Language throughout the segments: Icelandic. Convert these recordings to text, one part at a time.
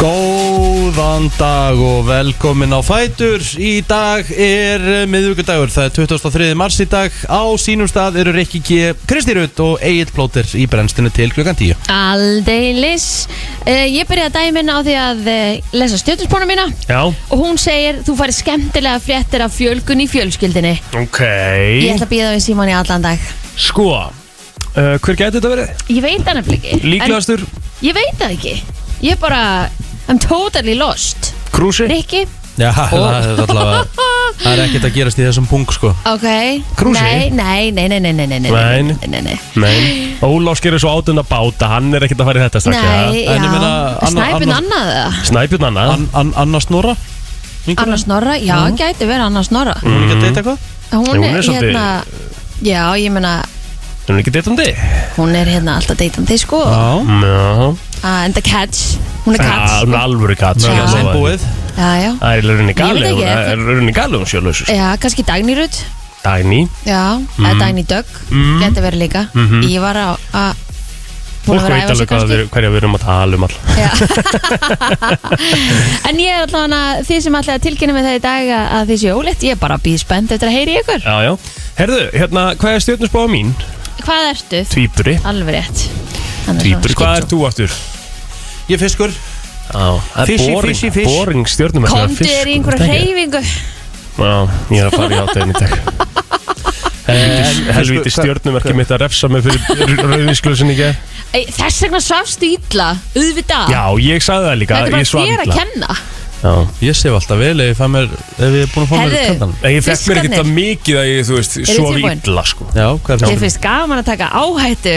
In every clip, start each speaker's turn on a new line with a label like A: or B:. A: Góðan dag og velkomin á Fætur Í dag er miðvíkudagur, það er 23. mars í dag Á sínum stað eru Rikki G, Kristi Rutt og Egil Plóter í brennstinu til klukkan 10
B: Aldeilis uh, Ég byrjaði daginn minn á því að uh, lesa stjórnspónu mína
C: Já,
B: og hún segir þú farið skemmtilega fréttir af fjölgun í fjölskyldinni
C: ok
B: Ég ætla að býða við Simon í allan dag
C: Sko, uh, hver gæti þetta verið?
B: Ég veit það nefnilega ekki
C: Líklegastur,
B: en Ég veit það ekki Ég bara, I'm totally lost
C: Krúsi
B: Rikki,
A: Já, það er allavega Það er ekkert að gerast í þessum punkt sko
B: ok
C: Krúsi?
B: Nei, nei, nei, nei, nei, nei, nei, nei,
C: Nei.
B: nei, nei, nei.
C: Nei, Ólás gerir svo átun að báta Hann er ekkert að fara í þetta strax
B: Nei,
A: En ég meina,
B: já,
A: anna-
B: snæpun
A: annars-
B: annað eða?
C: Snæpjum hann að
A: An, an, Anna Snorra,
B: Anna Snorra, já, gæti verið Anna Snorra Mm.
A: hún er ekki
C: Mm.
A: að deyta eitthvað
B: Hún
C: Nei, hún
B: er
C: er svolítið-
B: hérna Já, ég meina,
C: Hún er ekki um deytandi
B: hún er hérna alltaf deytandi sko
A: Já,
C: Já,
B: Ah, En the catch, hún er
C: Ah,
B: catch
C: hún er alvöru katt
B: Já.
C: sko.
A: sem búið
B: Já, já,
C: Það er í rauninni gali
B: Ég veit
C: Hún
B: ekki,
C: er í rauninni gali hún sjálflaus
B: já, kannski Dagný Rut
C: Dæni
B: Já, eða Dagný Dögg mm. Geti verið líka
C: Mhm.
B: Ég var á að búin
C: Fólk
B: að vera
C: veit
B: að æfa sig
C: alveg hvað
B: kannski
C: við- hverja við erum að tala um all
B: Já. En ég er allavega að þið sem ætlaði að tilkynna mig það í dag að- að þið séu ólétt Ég er bara að býð spennt eftir að heyri ykkur
C: Já, já Herðu, hérna, hvað er stjórnusbáða mín?
B: Hvað ertu?
C: Tvíburi
B: Alveg rétt Hann er
C: Tvíburi,
B: svona
C: hvað er
B: skyggjú.
C: þú aftur?
A: Ég er fiskur,
C: Já, það er
A: Fishy,
C: boring,
A: fishy, fish.
C: boring stjórnum
B: Komdu þér
C: sko,
B: í einhverja hreyfingu
C: Já, ég er að fara í átöðin í dag Helvíti, helvíti stjórnumerki mitt að refsa mig fyrir rauðinsklöðsinn í gær
B: Ei, Þess vegna svafstu illa Uðvitað
C: Já, ég sagði það líka
B: Ah. Þetta er bara
C: ég svaf
B: þér að
C: illa.
B: kenna
C: Já.
A: ég sef alltaf vel ef ég fæ mér, ef ég er búin að fá mér
B: Herðu.
A: kandan
C: En Ég fekk mér ekki
B: Fiskarnir.
C: það mikið að ég, þú veist,
B: þið
C: svof
B: tilbúin?
C: illa sko.
A: Já, hvað
B: Ég
A: er
B: finnst gaman að taka áhættu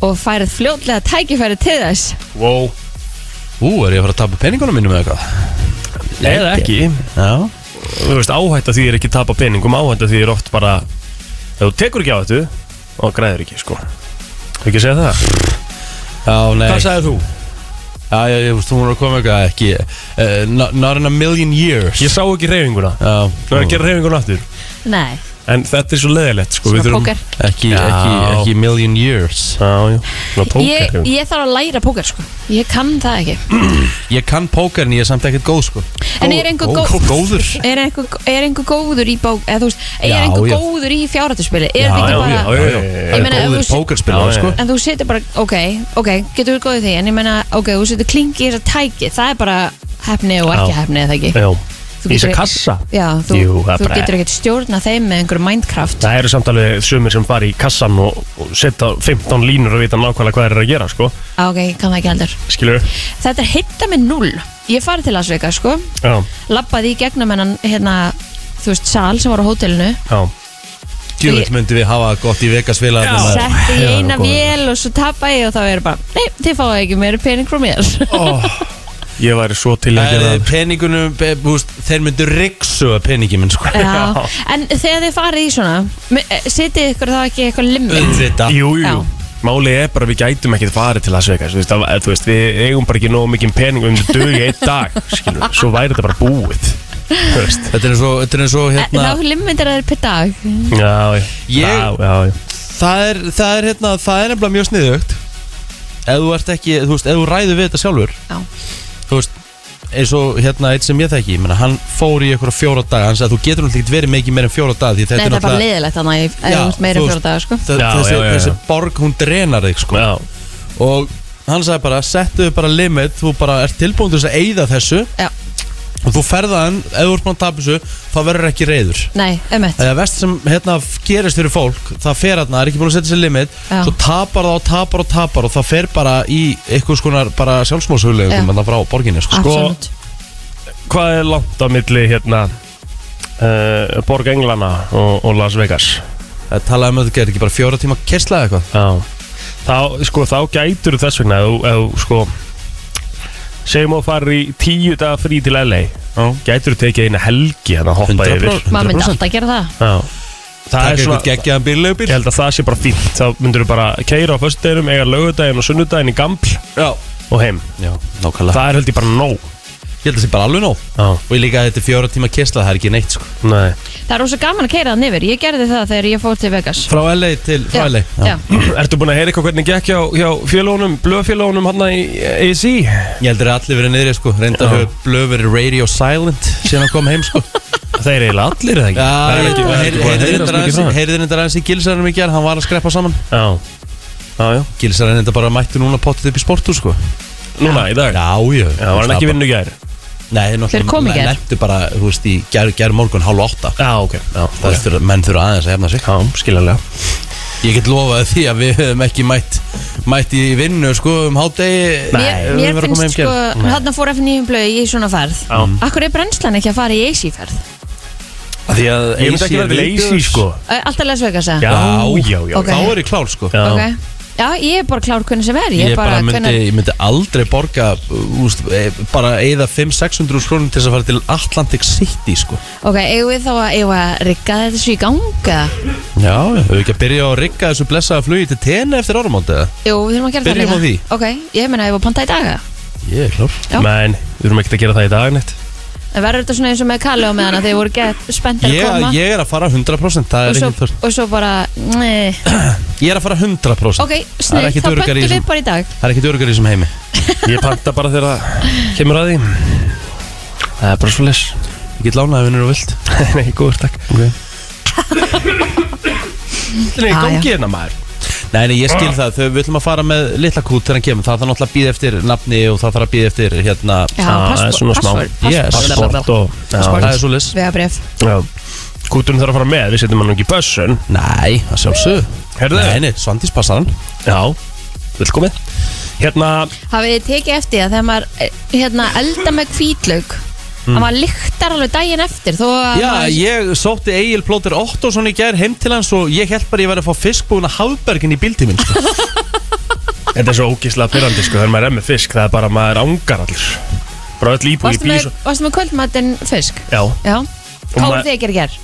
B: og færið fljótlega tækifæri til þess
C: wow.
A: Ú, er ég að fara að tapa peningunum mínum eða eitthvað?
C: Eða ekki
A: Já,
C: Þú veist, áhætt að því er ekki tapa peningum Áhætt að því er oft bara Ef þú tekur ekki á þetta og græður ekki, sko Ekki segja það
A: já, nei
C: sagðið þú?
A: Já, já, já, þú veist, hún er að koma eitthvað ekki uh, not, not in a million years
C: Ég sá ekki reyfinguna
A: Já,
C: Nú er að gera reyfinguna aftur
B: Nei,
C: En þetta er svo leðilegt, sko
B: svona
C: Við þurfum-
B: póker
A: ekki,
C: Já.
A: ekki, ekki million years
C: Já, já Svona
B: ég,
C: póker
B: ég þarf að læra póker sko Ég kann það ekki
A: Ég kann póker en ég er samt ekkert góð sko
B: En er einhver
A: Góð-
B: góð-
A: Góður
B: Er einhver, er einhver góður í bók eða þú veist, er
A: Já,
B: einhver
A: já.
B: góður í fjárhættuspili Er
C: Já,
B: þetta
C: já,
B: ekki bara
C: já, já, já, já.
B: Ég meina, ef
A: Góður
B: þú-
A: pókerspilar
C: Já,
A: sko
B: En þú setur bara, ok, ok, getur við góðið því En ég meina, ok, þú setur klingi í þess að tæki Það er bara hefni og ekki
C: Já.
B: hefni eða ekki
C: Já,
B: Þú
C: í þess
B: getur-
C: kassa
B: Já, þú,
C: Jú, það er
B: þú
C: bara-
B: getur ekkert stjórna þeim með einhverjum mindcraft
C: Það eru samt alveg sumir sem fara í kassan og, og setja 15 línur og vita nákvæmlega hvað þeir eru að gera, sko.
B: Á, Ah, Ok, ég kann það ekki heldur
C: Skilur?
B: Þetta er hitta með null Ég farið til Las Vegas sko
C: Já,
B: Lappaði í gegnum hennan hérna Þú veist sal sem var á hótelinu
C: já.
A: Djúvill myndi við hafa gott í Vegas vilja
C: Já.
B: Setti í eina vél og svo tappa ég Og þá er bara, nei, þið fáið ekki meira pening frá mér
A: Oh.
C: Ég væri svo til að gera það.
A: Eh, Peningunum, be- þú veist, þeir myndu riksuga peningi minn sko
B: Já, en þegar þið farið í svona me- eh, Setið ykkur þá ekki eitthvað limit
A: Auðvitað
C: Jú, jú,
B: Já.
C: jú. Málið er bara að við gætum ekkert farið til Las Vegas, þú veist, að, þú veist, við eigum bara ekki nógu mikið pening um þetta dög í einn dag, skilur, svo væri þetta bara búið, þú veist.
A: Þetta er eins og, þetta er eins og
B: En
A: hérna
B: Eh, Þá limitir það er per dag
C: Já,
A: Ég-
C: já, já, já,
A: Það er, það er hérna, það er nefnilega mjög sniðugt Ef þú ert ekki, þú veist, ef þú ræður við þetta sjálfur
B: Já.
A: Þú veist, eins og hérna eitt sem ég þekki ég menna, Hann fór í eitthvað fjóra daga Hann sagði þú getur náttúrulega ekki verið mikið meir en fjóra daga Því
B: Nei,
A: þetta
B: það er
A: er
B: bara
A: náttúrulega
B: leiðilegt þannig að
A: Já,
B: þú ert meira
A: þú
B: en
A: veist-
B: fjóra dagar sko
A: þe-
C: Já,
A: þessi,
C: já, já, já.
A: þessi borg, hún drenar þig sko.
C: já,
A: Og hann sagði bara, settu bara limit Þú bara ert tilbúin til þess að eyða þessu
B: Já,
A: Og þú ferðaðan, ef þú ert búin að tapa þessu Þá verður ekki reyður
B: nei, ömmett
A: Það er vest sem hérna gerist fyrir fólk Það fer hérna, er ekki búin að setja sér limit
B: Já.
A: Svo tapar það og tapar og tapar Og það fer bara í einhvers konar bara
B: Já.
A: sjálfsmóðshuglegum Þannig frá borginni sko.
B: Absolutt
C: Hvað er langt á milli, hérna, uh, Borg Englana og, og Las Vegas?
A: Það talaði um að þetta gerir ekki bara fjóra tíma kersla eða eitthvað
C: Já, þá, sko, þá gætur þess vegna ef, þú- ef þú, sko segjum að fara í tíu daga frí til LA
A: Já.
C: gætur þú tekið eina helgi hann að hoppa
A: 100%.
C: yfir
B: Maður myndi alltaf gera það
C: Já. það
A: Takk
C: er
A: eitthvað
C: svona
A: geggjaðan bíllegubil
C: Ég held að það sé bara fínt, þá myndur við bara keira á föstudeginum, eiga lögudaginn og sunnudaginn í gaml
A: Já,
C: og heim.
A: já, nákvæmlega
C: Það er held ég bara nóg.
A: Ég held að það sé bara alveg nóg
C: Já,
A: Og ég líka að þetta er fjóra tíma kersla, það er ekki neitt sko
C: nei.
B: Það er rosa gaman að keira þann yfir Ég gerði það þegar ég fór til Vegas
A: Frá LA til frá LA
B: já.
C: Ertu búin að heyra eitthvað hvernig gekk hjá, hjá félónum, blöðfélónum hann í ESI?
A: Ég heldur að allir verið niðri sko Reynda
C: Já.
A: að hafa blöð verið radio silent Síðan hann kom heim sko
C: Það er eiginlega allir eða ekki? það er ekki, það er ekki búin að heyra svo mikið frá þeim.
A: Heyrðir reyndar aðeins í gilsarinn í gerð Hann var að skreppa saman
C: Já, já, já,
A: Gilsarinn reyndar bara mætti núna pottið upp í sportu sko
C: núna í dag Já,
A: Já, já
C: var hann ekki vinnu gæri?
A: Nei,
B: Þeir komu í gær.
A: Lentu bara, þú veist, í gerð ger morgun hálf átta
C: Já, ok, já,
A: Það
C: ok.
A: okay. þurfa, menn þurfa aðeins að hefna sig
C: Já, skiljanlega
A: Ég get lofað því að við höfum ekki mætt Mætt í vinnu, sko, um hádegi
B: Mér,
A: við
B: mér
A: verðum að koma heim
B: finnst sko
A: gær.
B: Þannig fór F9 blöði í svona ferð
C: Já.
B: Akkur er brennslan ekki að fara í AC ferð
A: Af Því að
C: Ég myndi ekki verið leysi, sko
B: Ö, Alltaf Las Vegas eða?
C: Já,
A: Já.
C: já, já
B: Ok.
A: Þá er ég klár, sko
C: Já.
B: Ok. Já, ég er bara klár hvernig sem er Ég,
A: Ég bara myndi,
B: hvenær-
A: ég myndi aldrei borga uh, úst, e, bara eða 5-600 skrónum til þess að fara til Atlantic City sko.
B: Ok, eigum við þá að, eigum við að rigga þetta svo í ganga?
A: Já, við höfum ekki að byrja að rigga þessu blessaða flugi til TN eftir áramónd eða?
B: Jú, við þurfum að gera
A: Byrjum
B: það
A: á því.
B: Ok, ég meina, eigum við að panta í daga
A: Ég er klár
B: Já.
C: Men, við erum ekkert að gera það í dag neitt
B: En verður þetta svona eins og með Kalle á meðan að þið voru gett spenntir að
A: ég,
B: koma
A: ég er að fara 100% það
B: og
A: er
B: svo,
A: ekki þörst
B: og svo bara, nei
A: Ég er að fara
B: Ok,
A: 100% Það er
B: snill,
A: ekkit
B: þá
A: öruggara í
B: pöntum við
A: þessum-
B: bara í dag
A: Það er ekkit örgar í þessum heimi
C: Ég panta bara þegar það kemur að því Það er bara svo les
A: Ég get lánað að vinnur og vilt
C: Nei, góður, takk
A: Ok.
C: Nei,
B: Já,
C: gangi
B: já.
C: hérna maður
A: Nei, nei, ég skil það, þau við ætlum að fara með litla kút þegar hann kemur, það þarf náttúrulega að býða eftir nafni og það þarf að býða eftir hérna
B: Já,
C: Já, það er svona smá.
B: password,
A: Yes.
B: password
C: Passport og
A: Það er
C: Já,
A: svo lis
B: Við að bref
C: já. Kúturinn þarf að fara með, við setjum hann ekki í bössun
A: Nei, það sjálfsög
C: Herðu
A: Nei, nei, Svandís passar hann
C: Já, velkomið Hérna,
B: Hafið þið tekið eftir að þegar maður eh, hérna, elda með hvítlaug að maður lyktar alveg daginn eftir þó að
A: Mm. Já,
B: maður-
A: ég sótti Egil Plóter Ottosson í gær heim til hans og ég held bara ég væri að fá fiskbúna hafbergin í bíltíminn sko.
C: þetta er svo ógislega pyrrandi sko Þegar maður er með fisk, það er bara maður ángar allir Bara öll íbúi í
B: Varstu
C: bís
B: með, Oh
C: og-
B: varstu með kvöldmatinn fisk?
C: Já,
B: Já Hvað voru
C: maður-
B: þið að gera í gær?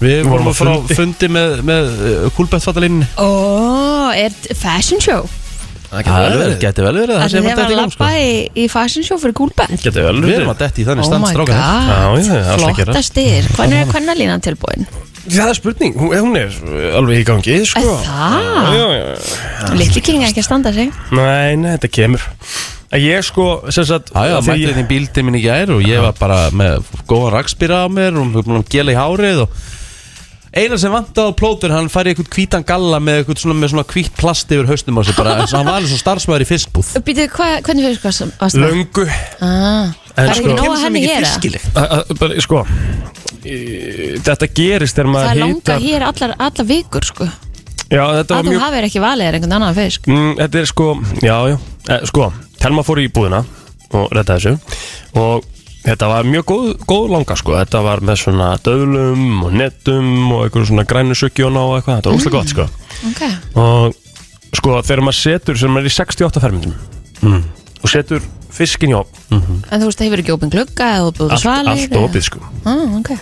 A: Við
C: vorum
A: vorum
C: á
A: að frá fundi með, með uh, kúlbettfattalinni
B: Ó, er t- fashion show?
A: Gæti vel verið að
B: Ætli þið
A: það sem
B: var að
A: að detti í gang
B: lappa
A: sko.
B: í, í fashion show fyrir gúlbætt?
C: Getur vel
A: Við erum
C: verið
A: að detti í þannig
B: Oh
A: stand
B: my
A: stráka
B: god,
C: Já, já, já, allt að gera.
B: flottast yfir Hvernig er kvennalínan tilbúin?
C: Það er spurning, hún, hún er alveg í gangi sko.
B: Er það?
C: Já, já, já.
B: Litli king ekki að standa sig
C: Nei, nei, þetta kemur Að Ég sko, sem sagt
A: Já, já, mætti
C: þegar ég-
A: þetta hérna í bíltíminn í gær og ég var bara með góðan rakspýra á mér og við búin að gela í hárið og eina sem vantaði á Plóter, hann fær í eitthvað hvítan galla með eitthvað svona, með svona hvítt plast yfir haustum á sig bara, eins og hann var alveg svo starfsmæður í fiskbúð
B: Býtu, hva, hvernig fisk varst varst það?
C: Löngu
B: Ah, Það
C: En
B: er ekki
C: sko-
B: nóg að henni hér eða?
C: Að- að- bara, Sko í- Þetta gerist þegar
B: Það
C: maður
B: er langa
C: hitar
B: hér allar, allar vikur sko
C: Já, þetta var
B: Að þú
C: mjög
B: hafið ekki valið er einhvern annan fisk
C: Mm, Þetta er sko, já, já eh, Sko, Telma fór í búðina og rettaði þessu og þetta var mjög góð, góð langa sko þetta var með svona döðlum og nettum og einhverjum svona grænusökjón og eitthvað þetta var óslega gott sko
B: Mm, Ok
C: og sko þegar maður setur sem maður er í 68 fermindum
A: Mm.
C: og setur fiskin í opn
A: Mhm.
B: En þú veist, það hefur ekki opin glugga eða opið
C: allt,
B: svalir
C: allt opið sko
B: ah, okay.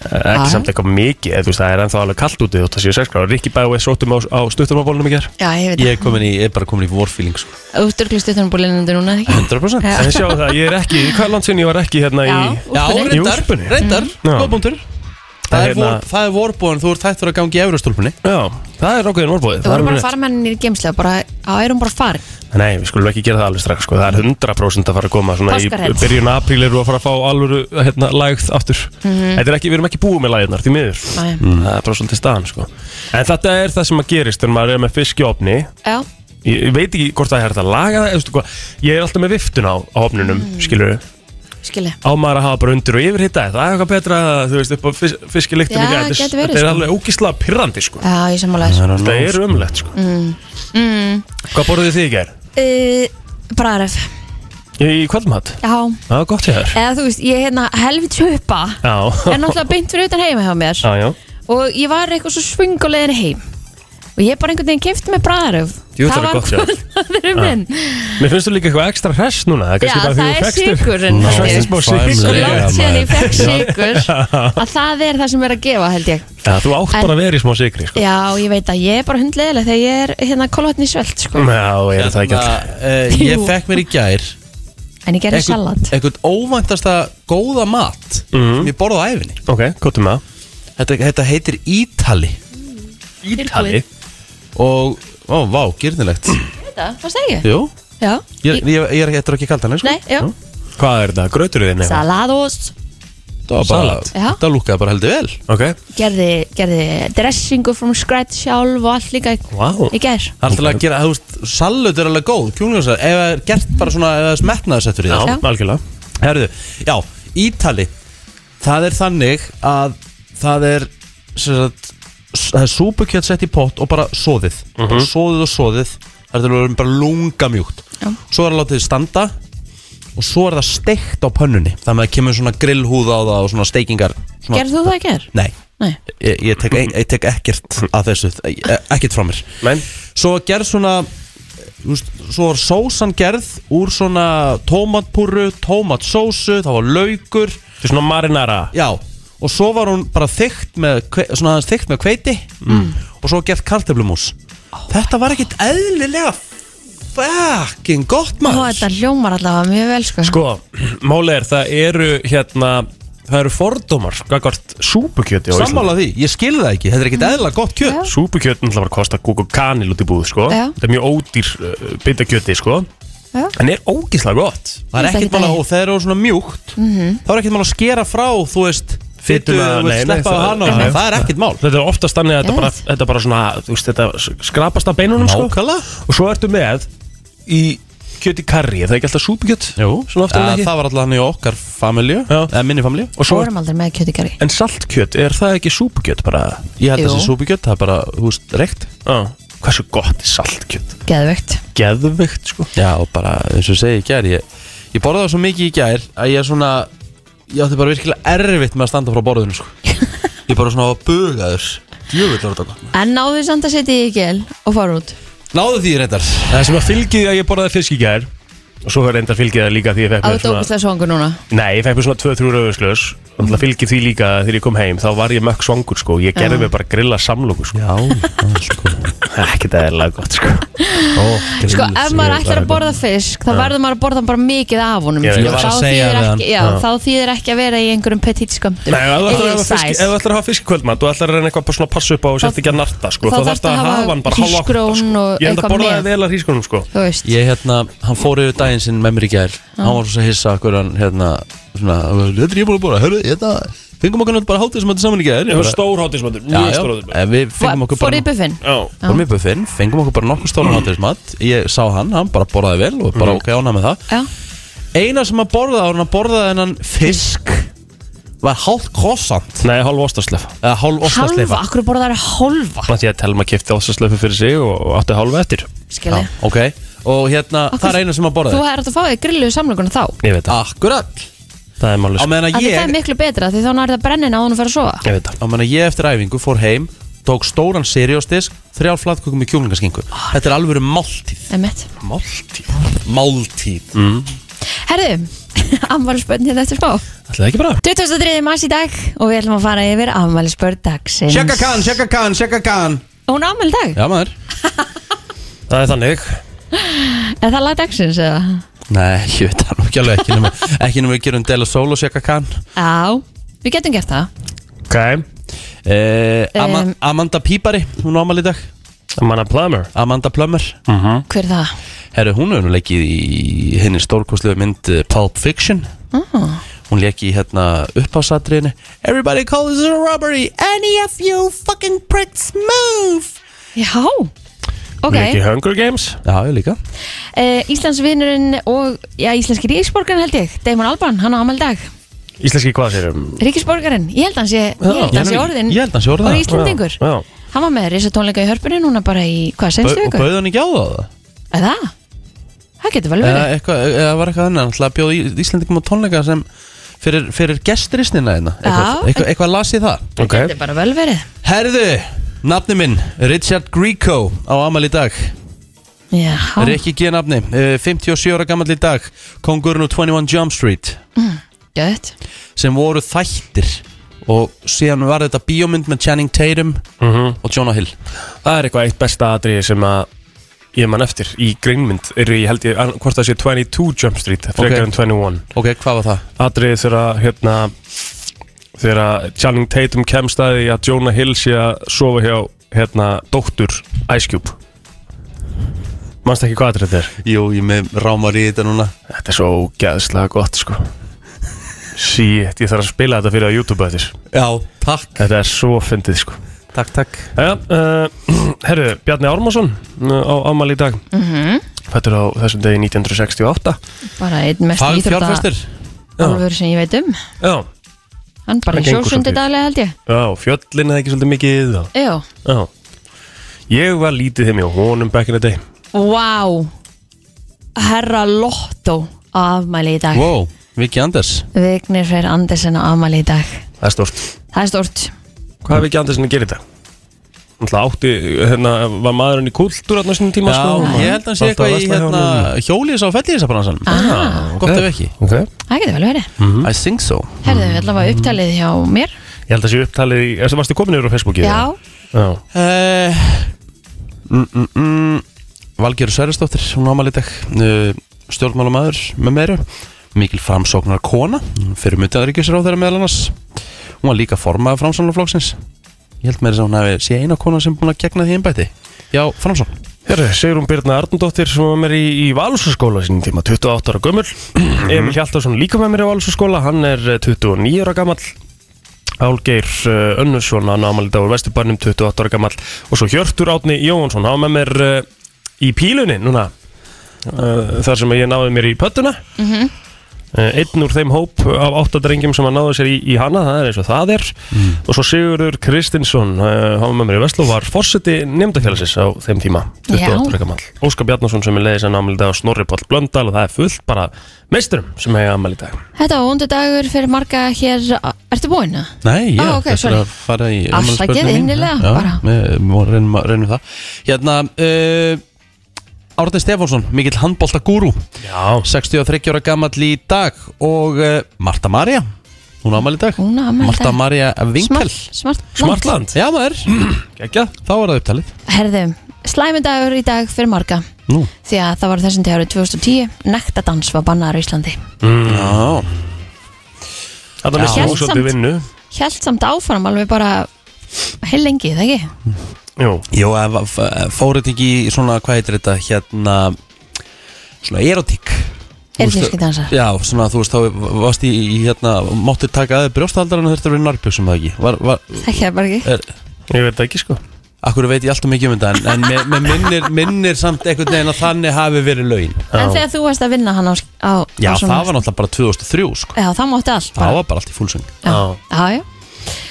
C: Eh, ekki
B: Ah.
C: samt eitthvað mikið eða, þú veist, það er ennþá alveg kallt úti þótt að séu 6 gráður Rikki bæði og sótum á, á stuttumabólunum í ger
B: Já, ég veit það
A: Ég er komin í, ég er bara komin í vorfíling sko.
B: Þú styrklist þetta um búlinandi núna ekki
A: 100%
B: Já.
C: en sjáu það, ég er ekki, í hvað land sinni ég var ekki hérna
B: Já,
C: í
A: Já,
B: úlpunni.
C: Jú,
A: reyndar,
C: úlpunni.
A: reyndar,
C: Já.
A: góðbúntur Það er,
C: hérna-
A: vor, það er vorbúin, þú ert hættur að gangi í eurastúlpunni
C: já, það er okkur en orðbóðið
B: Þú
C: það
B: voru bara
C: er alveg
B: að fara með henni í geimslega bara, á erum bara farin
C: rétt. nei, við skulum ekki gera það alveg strax sko. það er 100% að fara að koma svona í
B: Páskarhett.
C: byrjun apríl eru að fara að fá alvöru hérna, lagð aftur
B: Mhm.
C: þetta er ekki, við erum ekki búið með lagðnar, því miður Mm.
B: Nei.
C: það er bara svolítið staðan sko. en þetta er það sem að gerist þegar maður er með fisk í opni
B: Já,
C: ég ég veit ekki hvort það er hægt að laga það eða, veistu, hvað, ég er alltaf með viftun á, á opninum mm. skilur
B: skilji
C: á maður að hafa bara undir og yfir hitta það er eitthvað betra, þú veist, upp á fisk, fiskiliktum
B: Já,
C: í gær. Þetta er-
B: gæti verið,
C: þetta er
B: sko.
C: alveg ógísla pirrandi sko.
B: Já, ég Mm. sammála þessu
A: er
C: það er umlegt sko. hvað borðuðu þið í gær?
B: uh, Braref,
C: í kvöldmatt?
B: já
C: það var gott ég þar
B: Eða þú veist, ég hérna helvit huppa
C: já,
B: Er náttúrulega beint fyrir utan heima hjá mér
C: já, já,
B: Og ég var eitthvað svo svöng á leiðin heim Og ég bara einhvern veginn kefti með braref
C: Jú, það er gott, já.
B: kvöldaðurum minn
C: mér finnst þú líka eitthvað ekstra hress núna
B: Já, það er sigurinn
A: Ná,
C: það er smá
B: Svo
A: sæmilega.
C: sigur
A: Leiga,
B: langt síðan ég
A: maður.
B: fekk sigur Að það er það sem er að gefa, held ég
C: Já, þú átt
B: En-
C: bara að vera í smá sigri sko.
B: Já, ég veit að ég er bara hundleðileg þegar ég er hérna kolvatni svelt sko.
A: Mm.
C: já, ég er það ekki alltaf
A: uh, Ég
B: Jú.
A: fekk mér í gær
B: En ég gerði salat
A: eitthvað óvæntasta góða mat
C: Mhm.
A: sem ég borði á æfinni
C: ok, kóttum með það
A: Þetta, þetta heitir Ítali
C: Ítali
A: Og, ó, vá, gyrnilegt
B: Þetta, fannst það ekki?
A: Jú,
B: Já,
A: ég, ég, ég er þetta er ekki kalt hann, sko
B: Nei, já.
C: Hvað er þetta? Grautur í þinni?
B: saladost
A: Það var bara,
C: Salat.
B: Já.
A: það lúkaði bara heldur vel
C: Ok
B: gerði, gerði dressingu from scratch sjálf og allt líka í-
C: Vá
B: í gær
A: Það er alltaf að gera, þú veist, salut er alveg góð Kjúlingarsal, ef það er gert bara svona Ef það er smetnaðarsettur í
C: Já,
A: það
B: Já.
C: algjörlega
A: Herðu, já, Ítali Það er þannig að það er sem sagt, s- það er súpukjöld sett í pott og bara soðið
C: Mhm.
A: bara soðið og soðið það er til að vera bara lunga mjúkt
B: Já.
A: svo er það látið standa og svo er það steikt á pönnunni þannig að það kemur svona grillhúð á það og svona steikingar svona,
B: Gerði þú það í gær?
A: Nei,
B: Nei
A: ég, ég, tek, ein, ég tek ekkert að þessu e- e- ekkert frá mér
C: Men
A: Svo var gerð svona þú veist, Svo var sósan gerð úr svona tómatpúru, tómatsósu Það var laukur
C: Þetta er svona marinara
A: Já, og svo var hún bara þykkt með, kve- svona aðeins þykkt með kveiti
C: Mm.
A: Og svo gerð kartöflumús Þetta var ekkert eðlilega fucking gott
B: Ó,
A: maður
B: þetta hljómar allavega mjög vel sko
C: Sko, málið er það eru hérna Það eru fordómar Gagvart súpukjöti á Íslandi
A: Sammála því, ég skil það ekki, þetta er
B: Mm.
A: ekkert eðlilega gott kjöt
C: Súpukjötin ætla bara að kosta kúk og kanil út í búð sko.
B: Já.
C: Þetta er mjög ódýr uh, bita kjöti sko.
B: Já.
C: En er ógíslega gott
A: Það er
B: Ég
A: ekkert
B: þekki
A: mál að,
B: það.
A: og það er svona mjúkt Það er ekkert mál að skera frá, þú veist Fytu,
C: Fituna,
A: þú veist,
C: nei, nei,
A: sleppa á
C: það-
A: hana og
C: Já,
A: svona,
C: já.
A: það er ekkert mál
C: Þetta er oftast þannig að
B: Yes.
C: þetta bara, þetta bara svona, þú veist, þetta skrapast af beinunum sko.
A: Nákvæmlega.
C: Og svo ertu með í kjöti karri, er það ekki alltaf súpukjött? Svona oftar en
A: Eh,
C: ekki
A: Það var alltaf hann í okkar familju
C: Já.
A: Eða minni familju
C: Og
B: Svo
C: svo,
B: erum aldrei með kjötikari
C: en saltkjött, er það ekki súpukjött bara?
A: Ég held
B: Jú.
A: að þessi súpikjött, það er bara, þú veist, reykt
C: Já Hversu gott er saltkjött?
B: Geðvögt
C: Geðveikt sko
A: Já, og bara, eins og ég segi í gær Ég, ég borðaði svo mikið í gær að ég svona Ég átti bara virkilega erfitt með að standa frá borðinu sko. Ég bara svona var bugaður Djöfull var þetta gott
B: En náðu samt að setja í gel og fara út
A: Náðu því reyndar
C: Það sem að fylgið að ég borðaði fisk í gær Og svo reyndar fylgið að líka því ég fekk
B: Á
C: mér
B: þetta ógustlega svangur núna
C: Nei, ég fekk mér svona 2-3 rauðurslös Og náttúrulega fylgið því líka að þegar ég kom heim Þá var ég mökk svangur sko Ég gerði
B: Já.
C: mér bara grilla samlóku sko
A: Já, já, sko
C: Ekki það er lag gott sko
A: Ó,
B: Sko, ef maður
C: ég-
B: ætlar að borða fisk þá verður maður að borða bara mikið af honum
C: Ég-
B: sko.
C: ég var
A: að
B: Þá
A: segja
B: þýðir
A: við hann.
B: ekki, já, þá þýðir ekki að vera í einhverjum petit skömmtum
C: Nei, ef þú ætlar að hafa fisk- ef
B: size.
C: þú ætlar að hafa fisk í kvöldmatt Og ætlar að reyna eitthvað bara svona að passa upp á Og sért ekki að narta sko
B: þá
C: Þá þarfst að hafa hann bara hálf
B: hrísgrjón
C: átta sko
B: og
C: Ég held
B: eitthvað
C: að borða
B: með.
C: vel að hrísgrjónum sko
B: Þú veist
A: Ég hérna, hann fór yfir daginn sinn með mér í gær Hann var svo að hissa hver hann hérna Svona, þetta er ég búin að borða, hörru, hérna Fengum okkur náttúrulega bara hátið sem þetta saman í gær
C: Ég var
A: Bara-
C: stór hátísmöndur,
A: Já,
C: mjög
A: já,
C: stór hátísmöndur
A: eh, við fengum okkur
B: Fór í
A: bara
B: buffin
C: Já,
A: Fórum í buffin, fengum okkur bara nokkuð stóran hátíðismat Ég sá hann, hann bara borðaði vel og
C: Mhm.
A: bara ok ána með það
B: Já,
A: Eina sem að borða á hann að borða hennan fisk Var hálf krossant
C: nei, hálf ostaslefa
A: Eða hálf
B: halva,
A: ostasleifa
B: akkur borðar halva
C: Þannig að Telma kefti ostaslefu fyrir sig og og átti hálfa eftir
B: Skilji
A: Ok, og hérna,
B: Akkur-
A: það er eina sem að
B: Þú
A: borða
B: er að fá þig grillu samlokuna þá
C: Ég veit það,
A: Akkurat
C: það er málið
A: Á
C: sko.
B: Af
A: meðan að
B: því það er
A: ég,
B: miklu betra því þá nærðu að brennin á hún að fara að sofa
C: Ég veit það
A: á meðan að ég eftir æfingu fór heim Tók stóran serióstisk, þrjár flatkökum í kjúlingaskingu
B: Ah.
A: Þetta er alvöru máltíð
B: Einmitt.
A: Máltíð? Máltíð
C: Mhm.
B: Herðu, afmælisbörn hérna eftir smá
C: Ætlaði ekki bara
B: 23. mars í dag og við ætlum að fara yfir afmælisbörn dagsins
A: Shaka Khan, Shaka Khan, Shaka Khan
B: Hún afmæl dag,
A: Já maður
C: Það er þannig
B: er það lag dagsins eða?
A: Nei, ég veit það nú ekki alveg ekki nema, ekki nema við gerum Dela Sol og Shaka Khan
B: Já, við getum gert það
C: Ok
A: eh, Ama
B: Em.
A: Amanda Pípari, hún á amal í dag
C: Amanda Plummer Mhm.
A: Amanda Plummer
B: Hver er það?
A: Herru, hún hefur nú leikið í henni stórkoslega mynd eh, Pulp Fiction Hún leikið í hérna uppásatriðinu Everybody call this a robbery Any of you fucking pricks move
B: Já,
C: Hún
B: ok
C: er ekki í Hunger Games
A: Já, ég líka
B: uh, Íslandsvinnurinn og já, íslenski ríkisborgarinn held ég Damon Alban, hann á afmæli í dag
C: Íslenski hvað sér um
B: Ríkisborgarinn, ég held hans ég, ég held
A: Já,
B: hans
A: ég-
B: ég orðin
A: ég held hans sé orðinn
B: og
A: það.
B: Íslandingur
C: Já, já.
B: Hann var með risatónleika í hörpunni núna bara í, hvað,
A: Bau-
B: senstu
A: Og
B: ykkur?
A: bauði hann ekki á það?
B: Eða? Það getur vel
A: Eða
B: verið
A: eitthvað, eða var eitthvað þannig Hann ætlaði að bjóða í- Íslendingum á tónleika sem fyrir, fyrir gestrisnina hérna
B: Já.
A: eitthvað, eitthvað, eitthvað las ég það
B: Það
C: Ok.
B: getur bara vel verið
A: Herðu, nafni minn, Richard Grieco á amal í dag
B: Já,
A: Rikki G. nafni, eh, 57 ára gammal í dag Kongurinn og 21 Jump Street
B: Mm, gött
A: sem voru þættir og síðan var þetta bíómynd með Channing Tatum
C: Mhm.
A: og Jonah Hill
C: Það er eitthvað eitt besta atriði sem að ég man eftir í greinmynd eru ég held ég an- hvort það sé 22 Jump Street frekar
A: Ok.
C: en 21
A: Ok, hvað var það?
C: atriði þegar að, hérna þegar að Channing Tatum kemst að því að Jonah Hill sé að sofa hjá hérna dóttur Ice Cube Manst ekki hvað þetta er?
A: Jú, ég með rámar í þetta núna
C: Þetta er svo gæðslega gott sko Shit, ég þarf að spila þetta fyrir á YouTube að þér
A: Já, takk
C: Þetta er svo fyndið sko
A: Takk, takk
C: Jæja, uh, herru, Bjarni Ármarsson uh, á afmæli í dag mm
B: Mhm.
C: Fættur á þessum degi 1968
B: bara einn mest
A: Fag
B: íþrótta
A: fjárfestir
B: álfur sem ég veit um
C: Já,
B: hann bara
C: Það
B: í
C: gengur
B: sjósundi
C: svolítið.
B: daglega held ég
C: já fjöllin eða ekki svolítið mikið og,
B: já,
C: já. Ég var lítið þeim hjá honum back in the day
B: wow herra Lotto á afmæli í dag
A: Wow, Viki Anders
B: Vignir Freyr Andersen á afmæli í dag
C: Það er stort
B: það er stort
A: Mm.
C: Hvað hefði ekki Andersen að gera þetta? Þannig átti, hérna, var maðurinn í kultúr á sinni tíma
A: Já,
C: sko,
A: ég held að hann sé eitthvað í hérna Hjólís á fellíðisabransan
B: Ah.
A: Gott ef ekki
C: okay.
B: það getur vel verið
A: I think so
B: herðu við ætlum að upptalið hjá mér
C: Ég held að sé upptalið í, erstu varstu komin yfir á Facebooki?
B: já,
C: já.
A: Eh, mm, mm, mm. Valgerur Sverjastóttir hún ámali dag uh, stjórnmálamæður með meiru mikil framsóknar kona fyrir myndaðaríkisráð þeirra meðal annars hún var líka formaði framsóknarflóksins ég held meira sem hún hefði sé eina kona sem búin að gegna því einbæti já, framsókn
C: Herru, Sigrun Birna Arndóttir sem var með mér í, í Valsarskóla sínum tíma, 28 ára gömul Emil Hjaltarsson líka með mér í Valsarskóla, hann er eh, 29 ára gamall Álgeir uh, Önnusson, hann ámalið á Vesturbarnum, 28 ára gamall Og svo Hjörtur Átni Jóhansson, hann var með mér uh, í pílunni núna uh, Þar sem ég náði mér í pöttuna mm Einn úr þeim hóp af áttadrengjum sem hann náði sér í, í hana, það er eins og það er Og svo Sigurður Kristinsson, uh, hann var með mér í Vestló, var forseti nefndafélagsins á þeim tíma 28
B: Já.
C: ára gamall Óskar Bjarnason sem er leiðis en ámæli dag á Snorri Páll Blöndal og það er fullt bara meisturum sem hefur ámæli dag
B: þetta var vondur dagur fyrir marga hér ertu búinn að?
A: Nei, já,
B: Á, Ah, ok,
A: þetta er
B: sorry.
A: að fara í
B: Afsakið
A: afmælisbörnin mín.
B: innilega,
A: Já,
B: bara.
A: við við reynum, að- reynum það Hérna, uh, Árni Stefánsson, mikill handbolta
C: Já,
A: 63 ára gamall í dag og uh, Marta Maria hún ámæli í dag
B: Hún á afmæli í
A: Marta
B: dag.
A: Maria Vinkel
B: smart, smart,
C: Smartland
A: Já maður,
C: Gekja
A: þá var það upptalið
B: herðu, slæmindagur í dag fyrir marga
A: Nú
B: því að það var þessum til árið 2010 nektadans var bannaður í Íslandi
C: Mm.
A: Já,
C: Þetta
B: Já.
C: mistur hún svolítið
B: Samt.
C: vinnu
B: held samt áfram alveg bara heil lengi, það ekki?
C: Jú,
A: Jó en f- f- fóruð þetta ekki í svona, hvað heitir þetta, hérna svona erotík Þú veist,
B: Erotískir dansar.
A: Já, svona þú veist, þá varst í, í hérna, máttir taka aðeins brjósthaldarinn og þurfti að vera narbjöksum það ekki var, var,
B: Það ekki, það er bara ekki
A: er,
C: ég veit það ekki sko
A: Akkur veit ég alltaf mikið um þetta en, en með, með minnir, minnir samt einhvern veginn að þannig hafi verið laun
B: En þegar þú varst að vinna hann á, á á
A: Já, það
B: svona-
A: var náttúrulega bara 2003 sko.
B: Já, það mátti allt
A: Það
B: bara
A: var bara allt í fullsöng
B: Já, já, já.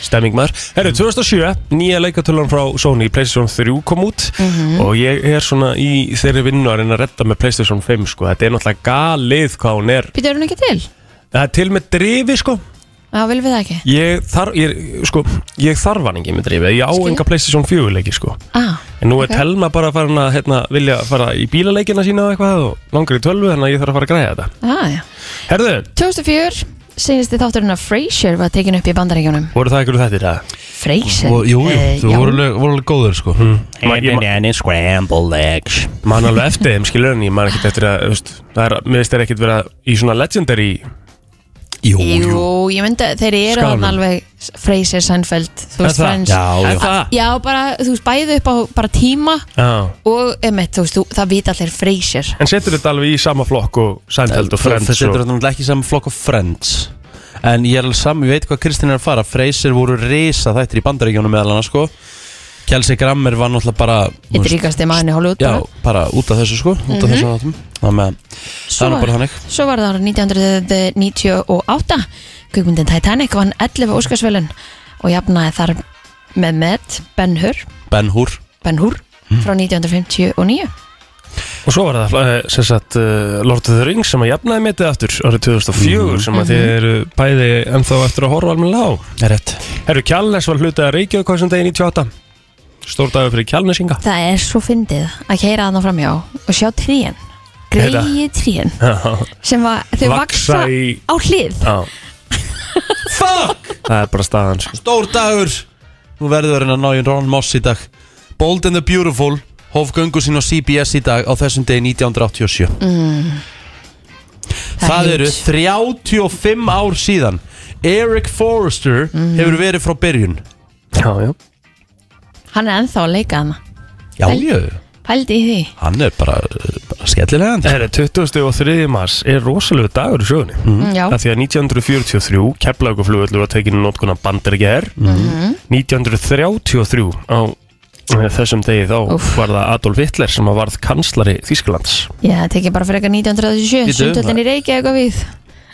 C: Stemming maður Herru, 2007, nýja leikatölan frá Sony Playstation 3 kom út
B: Mhm.
C: Og ég er svona í þeirri vinnu að reyna að redda með Playstation 5 sko Þetta er náttúrulega galið hvað hún er
B: Býtu, er hún ekki til?
C: Það er til með drifi sko
B: Já, viljum við það ekki?
C: Ég þarf, ég, sko, ég þarf hann ekki með drifi Ég á
B: Skil.
C: enga Playstation 4 leiki sko
B: Ah,
C: En nú er
B: Ok.
C: Telma bara farin að hérna, vilja fara í bílaleikina sína og eitthvað og langar í tölvu þannig að ég þarf að fara að græja þetta.
B: já, já
C: Herðu,
B: 2004 Sýnist þið þátturinn að Frasier var tekin upp í bandaríkjunum
C: voru það ykkur þetta í dag?
B: Frasier?
A: Og, Jú, jú,
B: Eh,
A: þú
B: já.
A: voru alveg, voru alveg góður sko.
C: Man, Mm. ég man,
A: any scrambled eggs
C: man alveg eftir þeim, skilur en ég man ekkert eftir að, þú veist, það er, mér veist þeir ekkert vera í svona legendary,
A: Jú,
B: Jú, ég myndi að þeir eru
C: Skálum.
B: hann alveg Frasier, Seinfeld, þú veist,
C: það?
B: Friends
A: Já, já.
C: Er það?
B: já, bara, þú veist, bæði upp á bara tíma
C: Já.
B: og, emitt, þú veist, þú, það vita allir Frasier
C: En setur þetta alveg í sama flokk og Seinfeld og
A: Það
C: Friends
A: setur
C: og...
A: þetta náttúrulega ekki saman flokk og Friends En ég er alveg saman, ég veit hvað Kristín er að fara Freyser voru risa þættir í bandaríkjónum meðal annars sko Kelsey Grammer var náttúrulega bara þú
B: Eitt
A: veist,
B: ríkasti maðurinn í Hollywood
A: Já, bara út af þessu sko Út af mm -hmm. þessu áttum Þannig að það er nú bara þannig
B: Svo var það árið 1998 Kvikmyndin Titanic vann 11 Óskarsvelun og jafnaði þar með með Ben Hur,
A: Ben Hur
B: ben Hur frá 1959
C: Og svo var það, eh, sem sagt, eh, Lord of the Rings sem að jafnaði metið aftur árið 2004
A: Mm.
C: sem
A: Mhm.
C: að þið eru bæði ennþá eftir að horfa alveg lág.
A: Er rétt
C: Herru, Kjallnes var hlutið að Reykjavík þessum degi 98 Stór dagur fyrir Kjallnesinga
B: Það er svo fyndið að keira þarna framjá og sjá tríin greiði tríin
C: Já,
B: sem var, þau
C: Vaxa
B: vaksa
C: í-
B: á hlið
A: Fuck,
C: það er bara staðan sko.
A: stór dagur Nú verður verið að ná í Ron Moss í dag Bold and the Beautiful Hóf göngu sín á CBS í dag á þessum degi 1987 mm.
B: Það er
A: Það eru
B: huge.
A: 35 ár síðan Eric Forrester
B: Mhm.
A: hefur verið frá byrjun
C: Já, já
B: Hann er ennþá að leika hana
A: Já,
B: Vel.
A: já,
B: Pældi í því
A: hann er bara, uh, bara skellilegandi
C: Herri, 23. mars er rosalegu dagur í sögunni
A: Mhm.
B: mm. Já,
C: af því að 1943 Keflauguflugvöllur var tekinn í notkun af bandaríkjaher
B: Mhm.
C: 1933 á eh, þessum degi þá
B: Úff.
C: var það Adolf Hitler sem að varð kanslari Þýskalands
B: já það tekið bara frekar 1937
A: Bíddu,
B: Sundhöllin í Reykjavík og við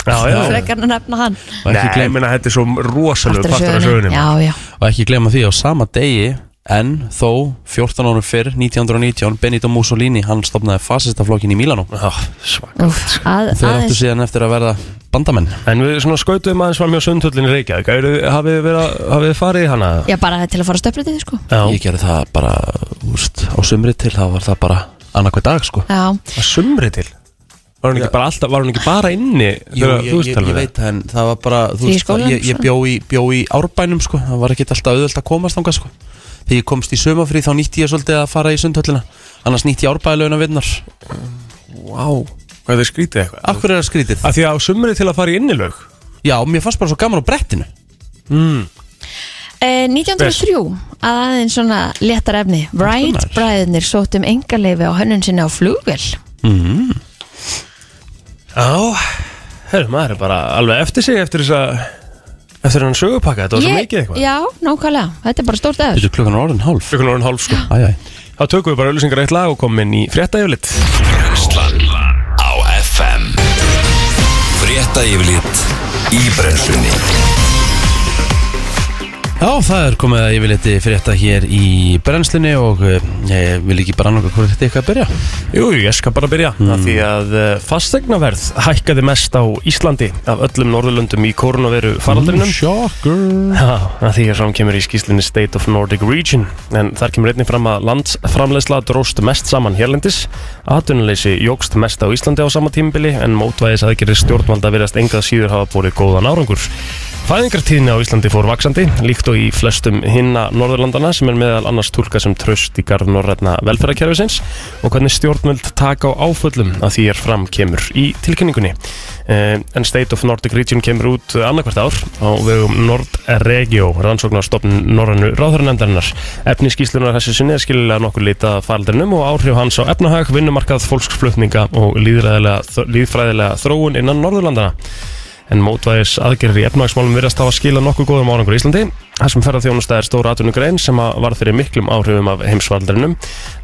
C: Já, já
B: Frekar að nefna hann
A: Og
C: Nei,
A: ekki
C: ég
A: gleyma-
C: meina þetta er svo rosalegu
B: Aftur að
C: partur af
B: sögunni.
C: sögunni
B: Já, já
A: Og ekki gleyma því á sama degi En þó 14 árum fyrr 1919 Benito Mussolini Hann stopnaði fasistaflokkin í Milano
C: Já, svak
B: Úf, að,
A: Þau áttu
B: Ah, aðeins,
A: síðan eftir að verða bandamenn
C: En við svona skautum aðeins fram hjá sundhöllinni Reykjavík Eruð- Hafið þið verið- hafið þið farið í hana?
B: já bara til að fara stöflutið sko
A: Ég gerði það bara úst, á sumri til þá var það bara annað hver dag sko
B: Já,
C: Að sumri til Var hún ekki bara alltaf, var hún ekki bara inni
A: Jú,
C: þegar
A: ég, ég,
C: þú veist
A: ég,
C: alveg?
A: veit það en það var bara þú
B: Í
A: veist,
B: skólanum,
A: ég, ég
B: svona?
A: bjó, í, bjó í árbænum sko það var ekkert alltaf auðvöld að komast þangað sko þegar ég komst í sömafrí þá nýtti ég svolítið að fara í sundhöllina annars nýtti ég árbæðileguna vinnar
C: Vá, hvað þið skrítið eitthvað
A: Af hverju er það skrítið?
C: Af því að á sumri til að fara í innilög Hmm.
A: Já, mér fannst bara svo gaman á brettinu
B: Eh, 1903 að aðeins svona léttar efni Wright bræðinir sóttum engaleifi á hönnun sinni á flugvel
C: Já, herru, maður er bara alveg eftir sig eftir þess að Eftir hann sögupakka, þetta var svo mikið eitthvað
B: Já, nákvæmlega, þetta er bara stórt eður
A: Þetta klukkan á orðin hálf
C: Fyrir konar hálf sko
A: Æ, æ.
C: Þá tökum við bara auðlýsingar eitt lag og komum inn í frétta yfirlit
D: Brennslan á FM Frétta yfirlit í brennslunni
A: Já, það er komið að yfirleiti frétta hér í brennslunni og eh, ég vil ekki bara annað hvort þetta eitthvað að byrja Hmm.
C: Jú, jú, ég skal bara byrja mm. Því að eh, fastegnaverð hækkaði mest á Íslandi Af öllum Norðurlöndum í koronaveru
A: Mm,
C: faraldrinum
A: Shocker
C: Já, að því að fram kemur í skýslinni State of Nordic Region en þar kemur einnig fram að landsframleysla dróst mest saman hérlendis atunleysi jógst mest á Íslandi á sama tímabili en mótvæðis aðgerðir stjórnvalda virðast engað síður hafa búið góðan árangur Fæðingartíðni á Íslandi fór vaksandi líkt og í flestum hinna Norðurlandana sem er meðal annars túlka sem tröst í garð norrætna velferðarkerfisins og hvernig stjórnvöld taka á áföllum að því er fram kemur í tilkynningunni Eh, en State of Nordic Region kemur út annarkvært ár á vegum Nordregio rannsóknarstofn Norrannu ráðhörunendarinnar. Efni skýslunar þessu sinni er skiljulega nokkur lita faraldrinum og áhrif hans á efnahag, vinnumarkað, fólksflutninga og líðræðilega- líðfræðilega þróun innan Norðurlandana en mótvæðis aðgerðir í efnahagsmálum virðast hafa skila nokkuð góðum árangur í Íslandi þar sem ferðarþjónusta er stóra atvinnugrein sem að varð fyrir miklum áhrifum af heimsvaldrinum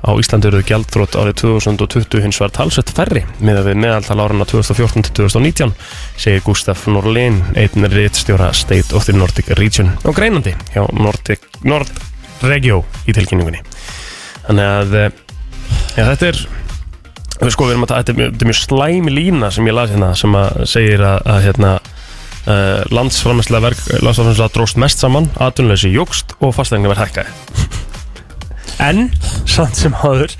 C: á Íslandi eruðu gjaldþrótt árið 2020 hins var talsvett færri miðað við meðaltal árana 2014 til 2019 segir Gustaf Norlin einn rittstjóra State of the Nordic Region og greinandi hjá Nordic, Nord Regio í tilkynningunni þannig að eh, já, þetta er Við sko, við erum að ta- þetta er mjög- þetta er mjög slæmi lína sem ég las hérna sem að segir að, að hérna Uh, landsframlæslega verk landsframlæslega dróst mest saman atvinnuleysi jógst og fasteigna verð hækkaði en samt sem áður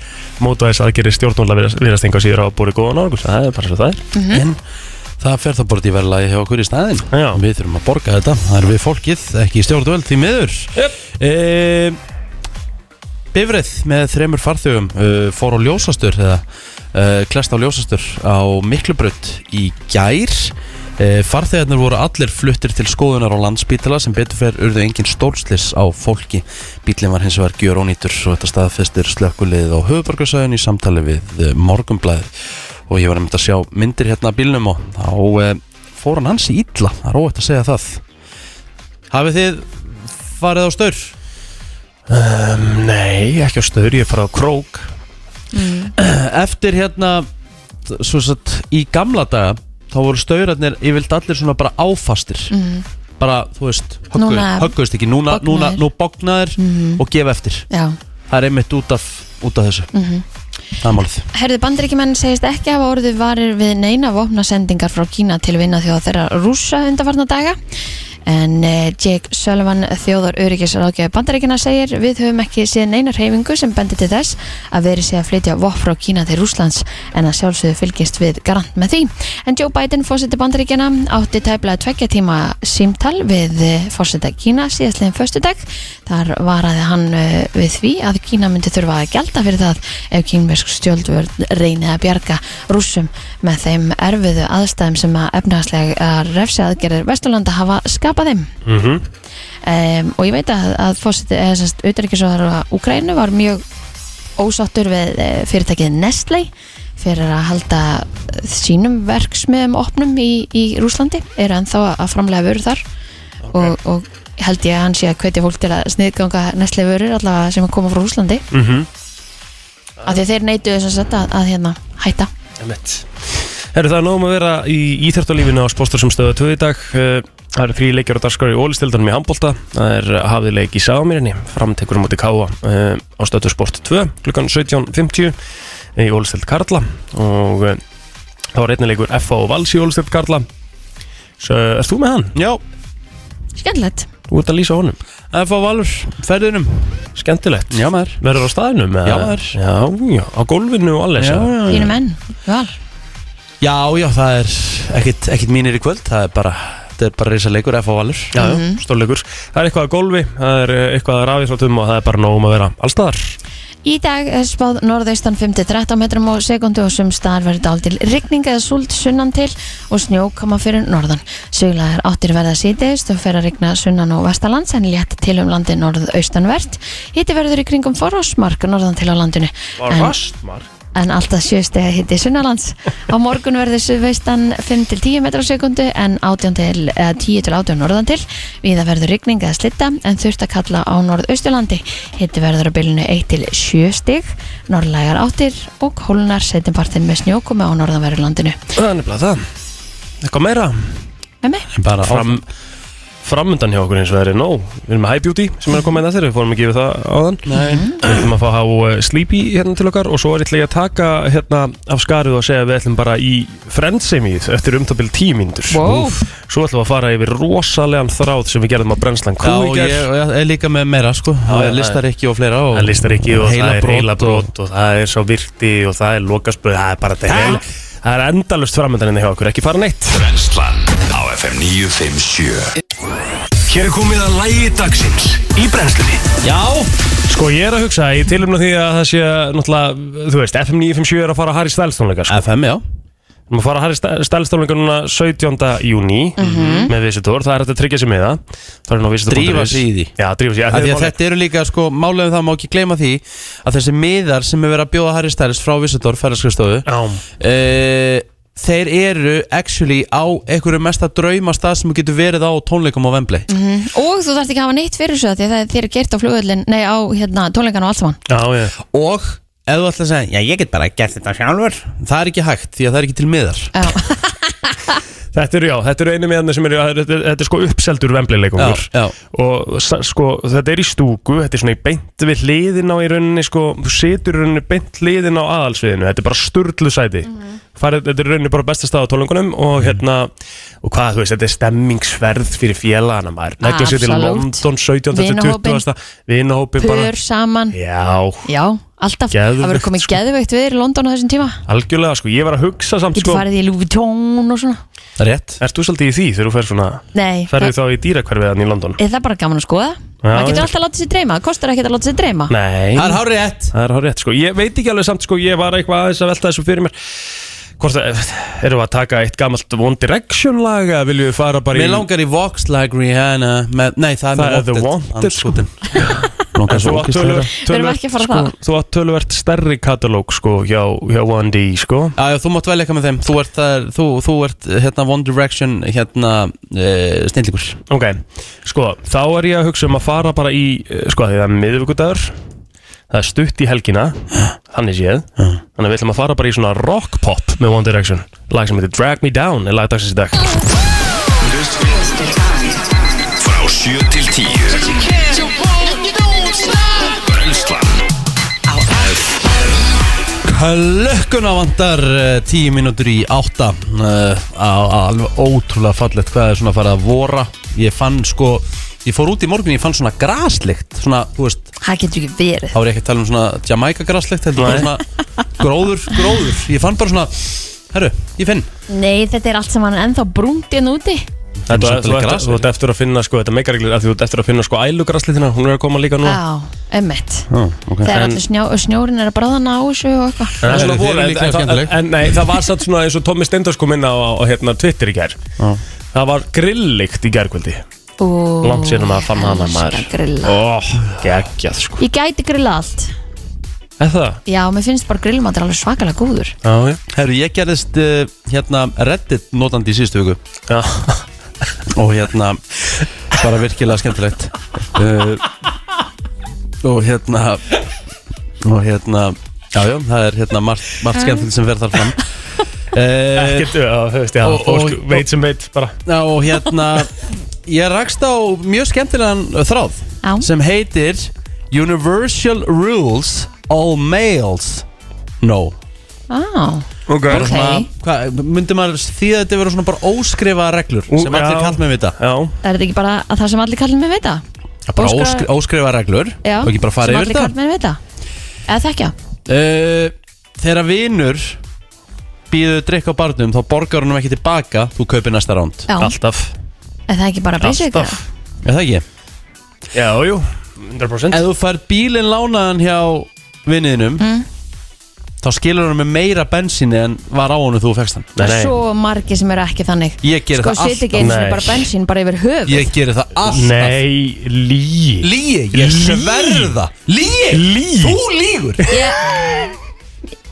C: mótaðis aðgerið stjórnmála virðast enga síður á að búri góðan árangur það er bara svo það er
A: En það fer það bara til verðlagi hjá okkur í staðinn
C: Já.
A: Við þurfum að borga þetta, það er við fólkið, ekki stjórnvöld því miður Eh,
C: Jöp.
A: yep. Bifrið með þremur farþögum uh, fór á ljósastur eða uh, klest á ljósastur á Miklubrödd í gær uh, Farþegarnir voru allir fluttir til skoðunar á landspítala sem betur fer urðu engin stólslis á fólki Bílinn var hins vegar gjör ónýtur og þetta staðfestir slökkulið á höfuborgarsæðin í samtali við uh, morgumblæði og ég var nefnd að sjá myndir hérna af bílnum og þá eh, fór hann hans í illa það er óvægt að segja það hafið þið farið á staur?
C: um, Nei, ekki á stöður, ég er farað á krók
A: eftir hérna svo satt, í gamla daga þá voru staurarnir, ég vildi allir svona bara áfastir bara, þú veist höggu-
B: Mhm. Núna-
A: högguðust ekki, núna,
B: bognaðir. Mhm.
A: núna nú bognaðir og gefa eftir
B: Já, Mm.
A: það er einmitt út af, út af þessu
B: Mhm.
A: það er málið
B: herðu bandaríkjumenn segist ekki hafa orðið varir við neina vopnasendingar frá Kína til vinna þjóða þeirra rúsa undarfarna daga En eh, Jake Sullivan, þjóðar öryggisráðgjöf bandaríkina segir við höfum ekki séð neina reyfingu sem bendir til þess að verið sé að flytja vopn frá Kína til Rúslands en að sjálfsögðu fylgist við garant með því. En Joe Biden, fórseti bandaríkina, átti tæplega tveggja tíma símtal við eh, fórseta Kína síðastliðin föstudag. Þar varaði hann eh, við því að Kína myndi þurfa að gelda fyrir það ef kínversk stjórnvörn reyni að bjarga rússum með þeim erfiðu aðstæðum sem að efnahagslega refsi aðgerðir Vesturlanda hafa skapað þeim
E: Mm-hmm.
B: um, og ég veit að, að fórseti, eða sérst, utanrikisóðar á Úkrænu var mjög ósáttur við eh, fyrirtækið Nestlé fyrir að halda eh, sínum verksmiðum opnum í, í Rúslandi, eru ennþá að framlega vörur þar og, og held ég að hann sé að hvetja fólk til að sniðganga Nestlé vörur allavega sem að koma frá Rúslandi
C: mm -hmm.
B: af því að þeir neytu þess að setja að, að hérna hætta
C: Herru, það er nógum að vera í íþjórtalífinu á spóstur sem stöða tvö í dag Eh, Það eru frí leikir og darskar í ólistildunum í handbólta Það er hafið leik í Sáamirinni Framtekur um út í Káa eh, á stöðu sport 2 klukkan 17.50 í ólistild Karla og eh, þá var einnig leikur FA og Vals í ólistild Karla Svo, Erst þú með hann?
A: Já,
B: skemmtilegt
C: Þú ert að lýsa honum
A: FH Valur, ferðinum
C: Skemmtilegt
A: Já maður
C: Verður á staðinum? eða?
A: Já, maður.
C: Já, já, á gólfinu og allir
B: þínu menn, val
A: já, já, það er ekkit, ekkit mínir í kvöld Það er bara, það er bara reysa leikur FH Valur
C: Já, já,
B: Mhm.
C: stórleikur Það er eitthvað að golfi, það er eh, eitthvað að rafíslátum og það er bara nógum að vera allstaðar
B: Í dag er spáð norðaustan 5-13 metrum á sekundu og sem staðar verður daldil rigning eða súld sunnan til og snjókama fyrir norðan. Siglaðar áttir verða síðdeist og fer að rigna sunnan og vestalands en létt til um landi norðaustanvert. Hitti verður í kringum forásmark norðan til á landinu. En-
C: marg
B: en alltaf sjöstega hitti sunnalands. Á morgun verður suðveistan 5-10 metrar á sekundu en 18 til, eða 10-18 norðan til. Víða verður rigning eða slitta en þurft að kalla á norðausturlandi. Hitti verður á bylunu 1-7 stig, norðlægar áttir og kólunar setjumpartin með snjókomi á norðanverðurlandinu.
C: Það er nefnilega það Eitthvað meira
B: Með mig?
A: Bara
C: Fram, Framundan hjá okkur eins og það er nóg Við erum með High Beauty sem er að koma inn að þeirra Við fórum ekki yfir það á þann Við ætlum að fá að hafa eh, Sleepy hérna til okkar Og svo er ég að taka hérna af skarið og segja að Við ætlum bara í frendsemið eftir umtabil tíu mínútur
B: Wow.
C: Úff. Svo ætlum við að fara yfir rosalegan þráð sem við gerðum á brennslan
A: Já,
C: Q í
A: og
C: gær.
A: ég, og ég er líka með meira sko
C: Já, já,
A: Listar ekki og fleira og
C: Það listar ekki og það er
A: heilabrot
C: heila
A: og-
C: brot og það er svo virti og það er lokaspöð það er bara þetta heila Það er endalust framöndaninni hjá okkur, ekki fara neitt
D: Brennslan á FM 957 Hér er komið að lægi dagsins í brennslunni
A: Já,
C: Sko ég er að hugsa, ég tilumna því að það sé náttúrulega, þú veist, FM 957 er að fara að Harry Styles tónleika sko.
A: FM já
C: Við erum að fara að Harry Styles- Styles tónleika núna 17. júni með Visitor, það er hægt að tryggja sig með það Það er nú Visitor
A: Mhm. Drífa sig í því.
C: Já, drífa sig, af
A: Af
C: því
A: því að
C: máli-
A: þetta eru líka, sko, málega um það má ekki gleyma því að þessi miðar sem er verið að bjóða Harry Styles frá Visitor, ferðarskristofu
C: Já,
A: uh, þeir eru actually á einhverju mesta draumastað sem þú getur verið á tónleikum á Vembley
C: Mhm.
B: Og þú þarft ekki að hafa neitt fyrir þessu af því að það er þér er gert á flugöldin, nei á hérna, tónleikan og allt saman.
C: já, já,
A: og ef þú ætla að segja, já ég get bara gert þetta sjálfur það er ekki hægt því að það er ekki til miðar
B: Já,
C: Þetta eru, já, þetta eru einu meðan sem eru, þetta er- þetta er sko uppseldur vembleileikungur
A: Já, já.
C: og sa- sko, þetta er í stúku, þetta er svona í beint við hliðin á í rauninni, sko, þú setur í rauninni beint hliðin á aðalsviðinu, þetta er bara sturlu sæti,
B: Mhm.
C: Farið, þetta er í rauninni bara besta stað á tólungunum
A: Mhm.
C: og hérna, og hvað, þú veist, þetta er stemmingsverð fyrir félagana maður, nættu að setja í
B: Absolutt.
C: London 17. til
B: Vinahópinn.
C: 20. vinahópin bara,
B: pur saman,
C: já,
B: já, alltaf.
C: Geðveikt,
B: það verður komið
C: sko.
B: geðveikt við í London á þessum tíma.
C: algjörlega, sko, ég var að hugsa samt,
B: Getur
C: sko,
B: farið í Louis Vuitton og svona.
A: það er rétt
C: ert þú svolítið í því þegar þú fer svona,
B: Nei,
C: ferðu þá í dýrakverfiðan í London?
B: er það bara gaman að skoða?
C: já.
B: maður getur alltaf að láta sér dreyma, það kostar ekki að láta sér dreyma
C: Nei,
A: það er hár rétt
C: Það er hár rétt sko, ég veit ekki alveg samt sko, ég var eitthvað aðeins að velta þessu fyrir mér Hvort að, erum við að taka eitt gamalt One Direction lag eða viljum við fara bara í
A: mér langar í Vox like Rihanna með, nei það
C: Það
A: er
C: er The
A: með
C: Wanted, sko.
A: andskotin. langar
C: Þú
A: svo
C: átt
A: ógeðslega.
C: töluvert-
B: Við erum ekki að fara
C: sko,
B: það.
C: Þú átt tölvert stærri katalóg sko hjá, hjá 1D sko
A: Já, já, þú mátt velja eitthvað með þeim Þú ert, það, þú, þú ert hérna, One Direction hérna, uh, snillingur
C: Ok, sko, þá er ég að hugsa um að fara bara í, eh, sko, því það er miðvikudagur Það er stutt í helgina, þannig séð Þannig að við ætlum að fara bara í svona rock pop með One Direction Lag sem heitir Drag Me Down er lagdagsins í dag
D: Frá 7 til 10 Brennslan á FM
A: Klökkuna vantar uh, Eh, tíu mínútur í átta uh, á- á- Alveg ótrúlega fallegt hvað er svona að fara að vora Ég fann sko, ég fór út í morgun, ég fann svona graslikt Svona, þú veist,
B: Það getur ekki verið
A: þá er ég ekki að tala um svona Jamaica graslikt Heldur bara
C: Nei.
A: svona gróður, gróður Ég fann bara svona, herru, ég finn
B: Nei, þetta er allt saman ennþá brúnt hérna úti
C: Þetta,
A: samt
C: þú,
A: alveg
C: ert,
A: gras,
C: þú ert eftir að finna sko, þetta meikareglir að þú ert eftir að finna sko ælugraslitina, hún er að koma líka nú
B: Já, emmitt
A: okay.
B: Þegar
C: En-
B: allir snjó, snjórin er að bráðana á þessu og eitthvað
A: það er
C: En-
A: svona
C: en-
A: voru
C: en-
A: líklega
C: en-
A: skemmtileg.
C: En nei, það var satt svona eins og Tommy Stendors kom inn á, á, á hérna, Twitter í gær Það var grillíkt í gærkvöldi
B: Og-
C: Langt síðan
A: um
C: maður fann hana maður
B: Elskar grilla.
C: Ó, geggjað sko
B: Ég gæti grilla allt
C: Er það?
B: Já, mér finnst bara grillmatur alveg svakalega góður
C: Já, já
A: Herru, ég gerðist uh, hérna Reddit notandi í síðustu viku
C: Já,
A: og hérna bara virkilega skemmtilegt uh, og hérna og hérna já, já, það er hérna margt, margt skemmtilegt sem fer þar fram uh,
C: getur, já, þú veist, já,
A: Og-
C: fólk
A: og-
C: veit sem veit bara
A: og hérna ég rakst á mjög skemmtilegan þráð
B: Já.
A: sem heitir Universal Rules All Males No
B: Á,
C: Ok
A: Bara
B: Ok.
A: svona, hvað, myndi maður því að þetta vera svona bara óskrifaða reglur
C: Ú,
A: sem allir
C: já.
A: kallt með vita
C: Já,
B: er þetta ekki bara að það sem allir kallin með veita?
A: bara
B: Óskra-
A: óskri, óskrifaða reglur
B: Já,
A: og ekki bara
B: sem
A: fara yfir
B: allir
A: þetta
B: kallin með veita Eða þekkja
A: Uh, þegar vinur býður drikk á barnum þá borgar hann ekki tilbaka þú kaupir næsta ránd
B: Já,
C: alltaf
B: er það ekki bara basic?
C: Alltaf.
B: eða?
A: er það ekki?
C: Já, jú, 100%
A: ef þú fær bílinn lánaðan hjá vinninum
B: Mm.
A: þá skilur hann með meira bensinni en var á hann þú fegst hann
C: Nei, nei,
B: Svo margi sem eru ekki þannig
A: Ég geri
B: Sko,
A: það
B: setja
A: alltaf.
B: ekki eins og
C: Nei.
B: bara bensín bara yfir höfuð
A: ég geri það alltaf
C: nei, lí
A: Líi, ég
C: Lygi.
A: sverða Líi,
C: Lygi.
A: þú lígur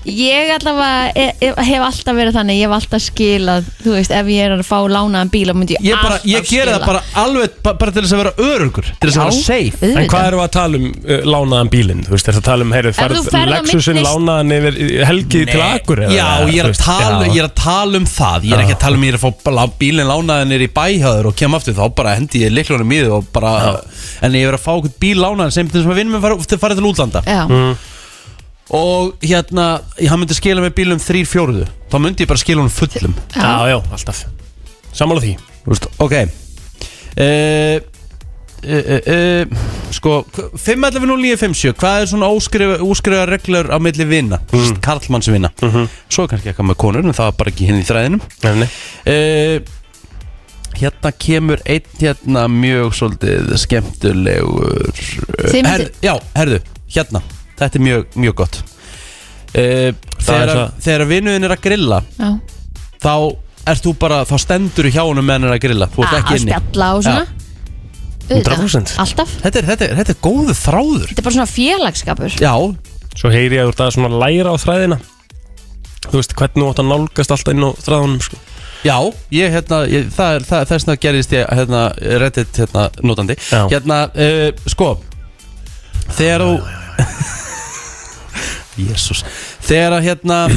B: Ég allavega e- e- hef alltaf verið þannig, ég hef alltaf skilað, þú veist, ef ég er að fá lánaðan bíl, þá myndi ég,
A: Ég, bara,
B: alltaf
A: ég geri það
B: skila.
A: bara alveg ba- bara til þess að vera örugur til þess að vera safe
C: En
B: auðvitað.
C: hvað erum við að tala um uh, lánaðan bílinn? Þú veist, er það að tala um, heyrðu,
B: þú
C: færð
B: ferð á
C: Lexusin
B: milli-
C: lánaðan yfir í- helgi til Akur
A: Já, ég er, að tala, ég er að tala um það Ég er ekki að tala um ég er að fá lá- bílinn lánaðan nýr í bæhjáður og kem aftur þá bara hendi ég liklunum í þau og bara en ég er að fá okkur bíl lánaðan sem til þess að vinn minn farið fari til útlanda
B: Já,
C: Mm.
A: og hérna, ég- hann myndi skila með bílum þrýr fjóruðu, þá myndi ég bara skila honum fullum
C: Já, já, alltaf Sammála því
A: Þú veist, ok uh, uh, uh, uh, Sko, 5.11.09.57 Hvað er svona óskrifa, óskrifa reglur á milli vina, mm.
C: Mhm.
A: karlmannsvina Svo er kannski eitthvað með konur en það var bara ekki hinn í þræðinum
C: Nefni
A: Eh, Hérna kemur einn hérna mjög svolítið skemmtulegur
B: Þið myndu-
A: Já, herðu, hérna Þetta er mjög, mjög gott uh,
C: Það er
A: Þegar,
C: það-
A: þegar vinnuðin er að grilla
B: já.
A: þá ert þú bara, þá stendur þú hjá honum meðan hann er að grilla, þú ert
B: Að-
A: ekki
B: að
A: inni
B: spjalla og
A: Já.
B: svona. Auðvitað.
C: 100%.
B: Alltaf.
A: Þetta er, þetta er, þetta er góðu þráður
B: Þetta er bara svona félagskapur.
A: Já,
C: Svo heyri ég að þú ert að svona læra á þræðina Þú veist, hvernig þú átt að nálgast alltaf inn á þræðunum sko.
A: já, ég hérna ég, það er, það, þessna gerist ég hérna, reddit hérna, notandi
C: Já.
A: Hérna, uh, sko Þegar þú Jésús Þegar að hérna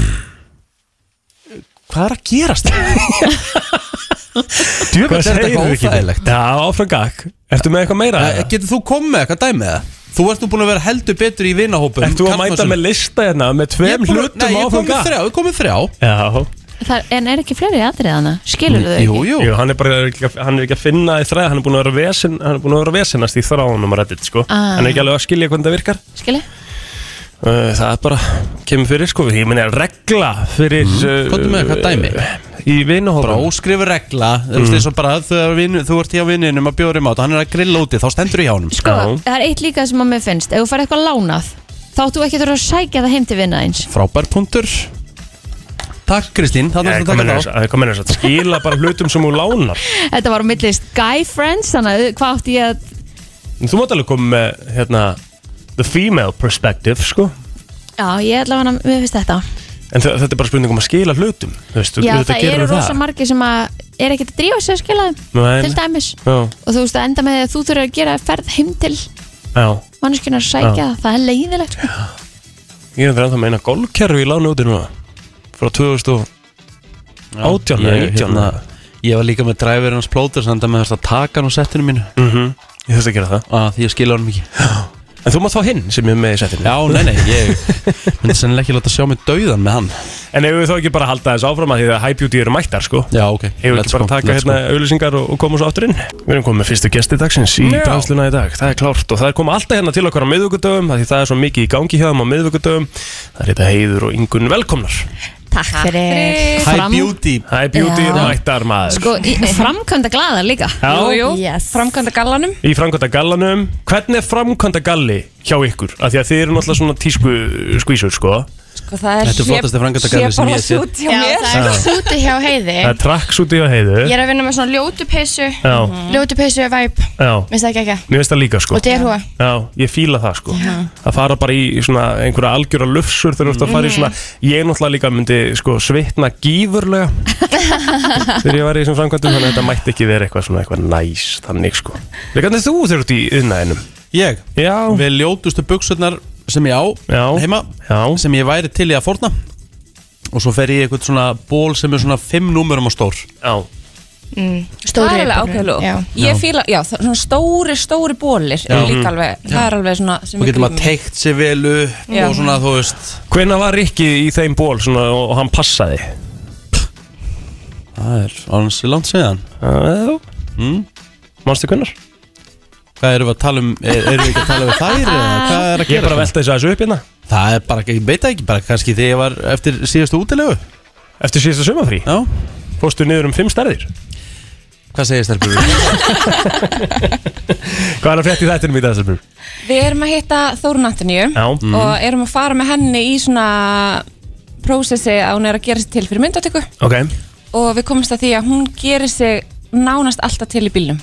A: Hvað er að gerast? Djöfum er þetta eitthvað óþægilegt
C: Já, áfram gag Ertu með eitthvað meira?
A: Eh, Getur þú komið með eitthvað dæmið það? Þú ert nú búin að vera heldur betur í vinahópum
C: Ertu að mæta með lista hérna með tveim hlutum
A: Nei, ég
C: áfram
A: komið
C: gag?
A: þrjá, ég komið þrjá
C: Já,
B: Það, en er ekki fleiri atriðana? Skilur þau
A: Jú,
B: ekki?
A: jú,
C: Jú, hann er bara ekki, hann er ekki að finna í þræð, hann er búin að vera, vesen, hann er búin að vera vesenast í þráðunum að reddit, sko.
B: Ah.
C: Hann er ekki alveg að skilja hvernig það virkar.
B: Skilur?
C: Uh, það er bara, kemur fyrir, sko, ég meina regla fyrir... Mm.
A: komdu með eitthvað dæmi.
C: Í vinahóðum.
A: bara óskrifur regla Þú veist eins og bara að þú, er vinu, þú ert hjá vinninum að bjóður í mát og hann er að grilla úti, þá stendur þú hjá honum
B: Sko,
C: Já.
B: það er eitt líka sem að mér finnst. Ef þú fær eitthvað lánað, þá áttu ekki að þurfa að sækja það heim til vinna eins.
A: Frábær punktur Takk Kristín, þannig að
C: Ég Eh,
A: taka
C: kom inn
A: þá
C: að þess að skila bara hlutum sem hún lánar.
B: Þetta var á milli Sky Friends, þannig að hvað átti ég að...
C: En Þú mátt alveg koma með, hérna, the female perspective, sko.
B: Já, ég ætla að hana, mér finnst þetta.
C: En þe- þetta er bara spurning um að skila hlutum, þú veist,
B: Já,
C: auðvitað
B: það
C: gerir
B: eru
C: hún
B: rosa margir sem að er ekkert að drífa sér skilaðum
C: Nei.
B: til dæmis
C: Já,
B: og þú veist að enda með því að þú þurfur að gera ferð heim til
C: já.
B: manneskunar að sækja það, það er leiðilegt sko.
C: Ég er það að meina golfkerfi í lánu úti núna. Frá 2000 átján eða
A: Ég,
C: nítján.
A: hérna, ég var líka með driverinn hans plótur þannig að með þess að taka hann á settinu mínu
C: mm Ég þurfti að gera það
A: að því ég skilja honum ekki
C: En þú mátt þá hinn sem ég er með í setinu
A: Já, nei, nei, ég myndi sennilega ekki láta sjá mig dauðan með hann
C: En ef við þá ekki bara að halda þessu áfram að því að High Beauty eru mættar sko
A: Já, ok
C: Hefur ekki bara að taka hérna auðlýsingar og, og koma svo aftur inn Við erum komið með fyrstu gesti dagsins í
A: Já.
C: brennsluna í dag Það er klárt og það er komið alltaf hérna til okkar á miðvíkudöfum Því það er svo mikið í gangi hjá þeim á miðvíkudöfum Það er þetta heiður og yngun velkomnar
F: Takk fyrir
A: Hi Beauty
C: High Beauty
B: Já.
C: eru mættar maður
B: Sko, framkvæmda glaða líka
C: Já.
G: Jú, jú,
F: Yes.
G: framkvæmda gallanum
C: Í framkvæmda gallanum Hvernig er framkvæmda galli hjá ykkur? Af því að þið eru náttúrulega svona tísku skvísur sko
G: sko, Það er
A: Þetta er flottasti framkvæmda galli sem ég hef séð.
G: sé bara sjút
H: Já,
G: hjá mér
H: það er súti hjá heiði
C: Það er tracks út í að heiðu
H: Ég er að vinna með svona ljótu peysu
C: Já,
H: Ljótu peysu er væp,
C: já
H: minnst það ekki ekki
C: Mér finnst það líka sko
H: Og derhúa
C: Já, ég fíla það sko Að fara bara í svona einhverja algjöra lufsur Þegar þú ert að fara í svona Ég náttúrulega líka myndi sko svitna gífurlega Þegar ég var í þessum framkvæmdum Þannig að þetta mætti ekki vera eitthvað svona eitthvað næs Þannig sko Líka hvernig þú þegar þú ert í yðnaðinum
A: Ég
C: Já,
A: Við ljótustu buksurnar sem ég á
C: Já.
A: heima
C: já,
A: sem ég væri til í að forna og svo fer ég í eitthvað svona ból sem er svona fimm númurum á stór
C: já
G: Mm. Það
H: Stóri
G: er alveg ákveðlu
H: Já
G: Ég fíla, já, það, svona stóri, stóri bólir
A: Já.
G: er líka alveg, það er alveg svona sem
A: og
G: ég
A: getur maður
G: glími.
A: teikt sér vel upp
G: Já.
A: og svona þú veist
C: Hvenær var Rikki í þeim ból svona, og, og hann passaði?
A: það er ansi langt síðan
C: Já
A: Mm.
C: Manstu hvernar?
A: hvað erum við að tala um, er, erum við ekki að tala um þær eða hvað er að
C: Ég er
A: gera
C: bara að velta þessu aðeins upp hérna
A: það er bara, ég veit það ekki, bara kannski þegar ég var eftir síðastu útilegu
C: Eftir síðasta sumafrí
A: já,
C: Fórstu niður um fimm stærðir
A: hvað segir stelpur við
C: Hvað er að frétt í þættinum í þessu búr?
G: Við erum að hitta Þórun Antoníu
C: Já
A: Mm-hmm.
G: og erum að fara með henni í svona prósessi að hún er að gera sér til fyrir myndatöku
C: Ok
G: og við komumst að því að hún gerir sig nánast alltaf til í bílnum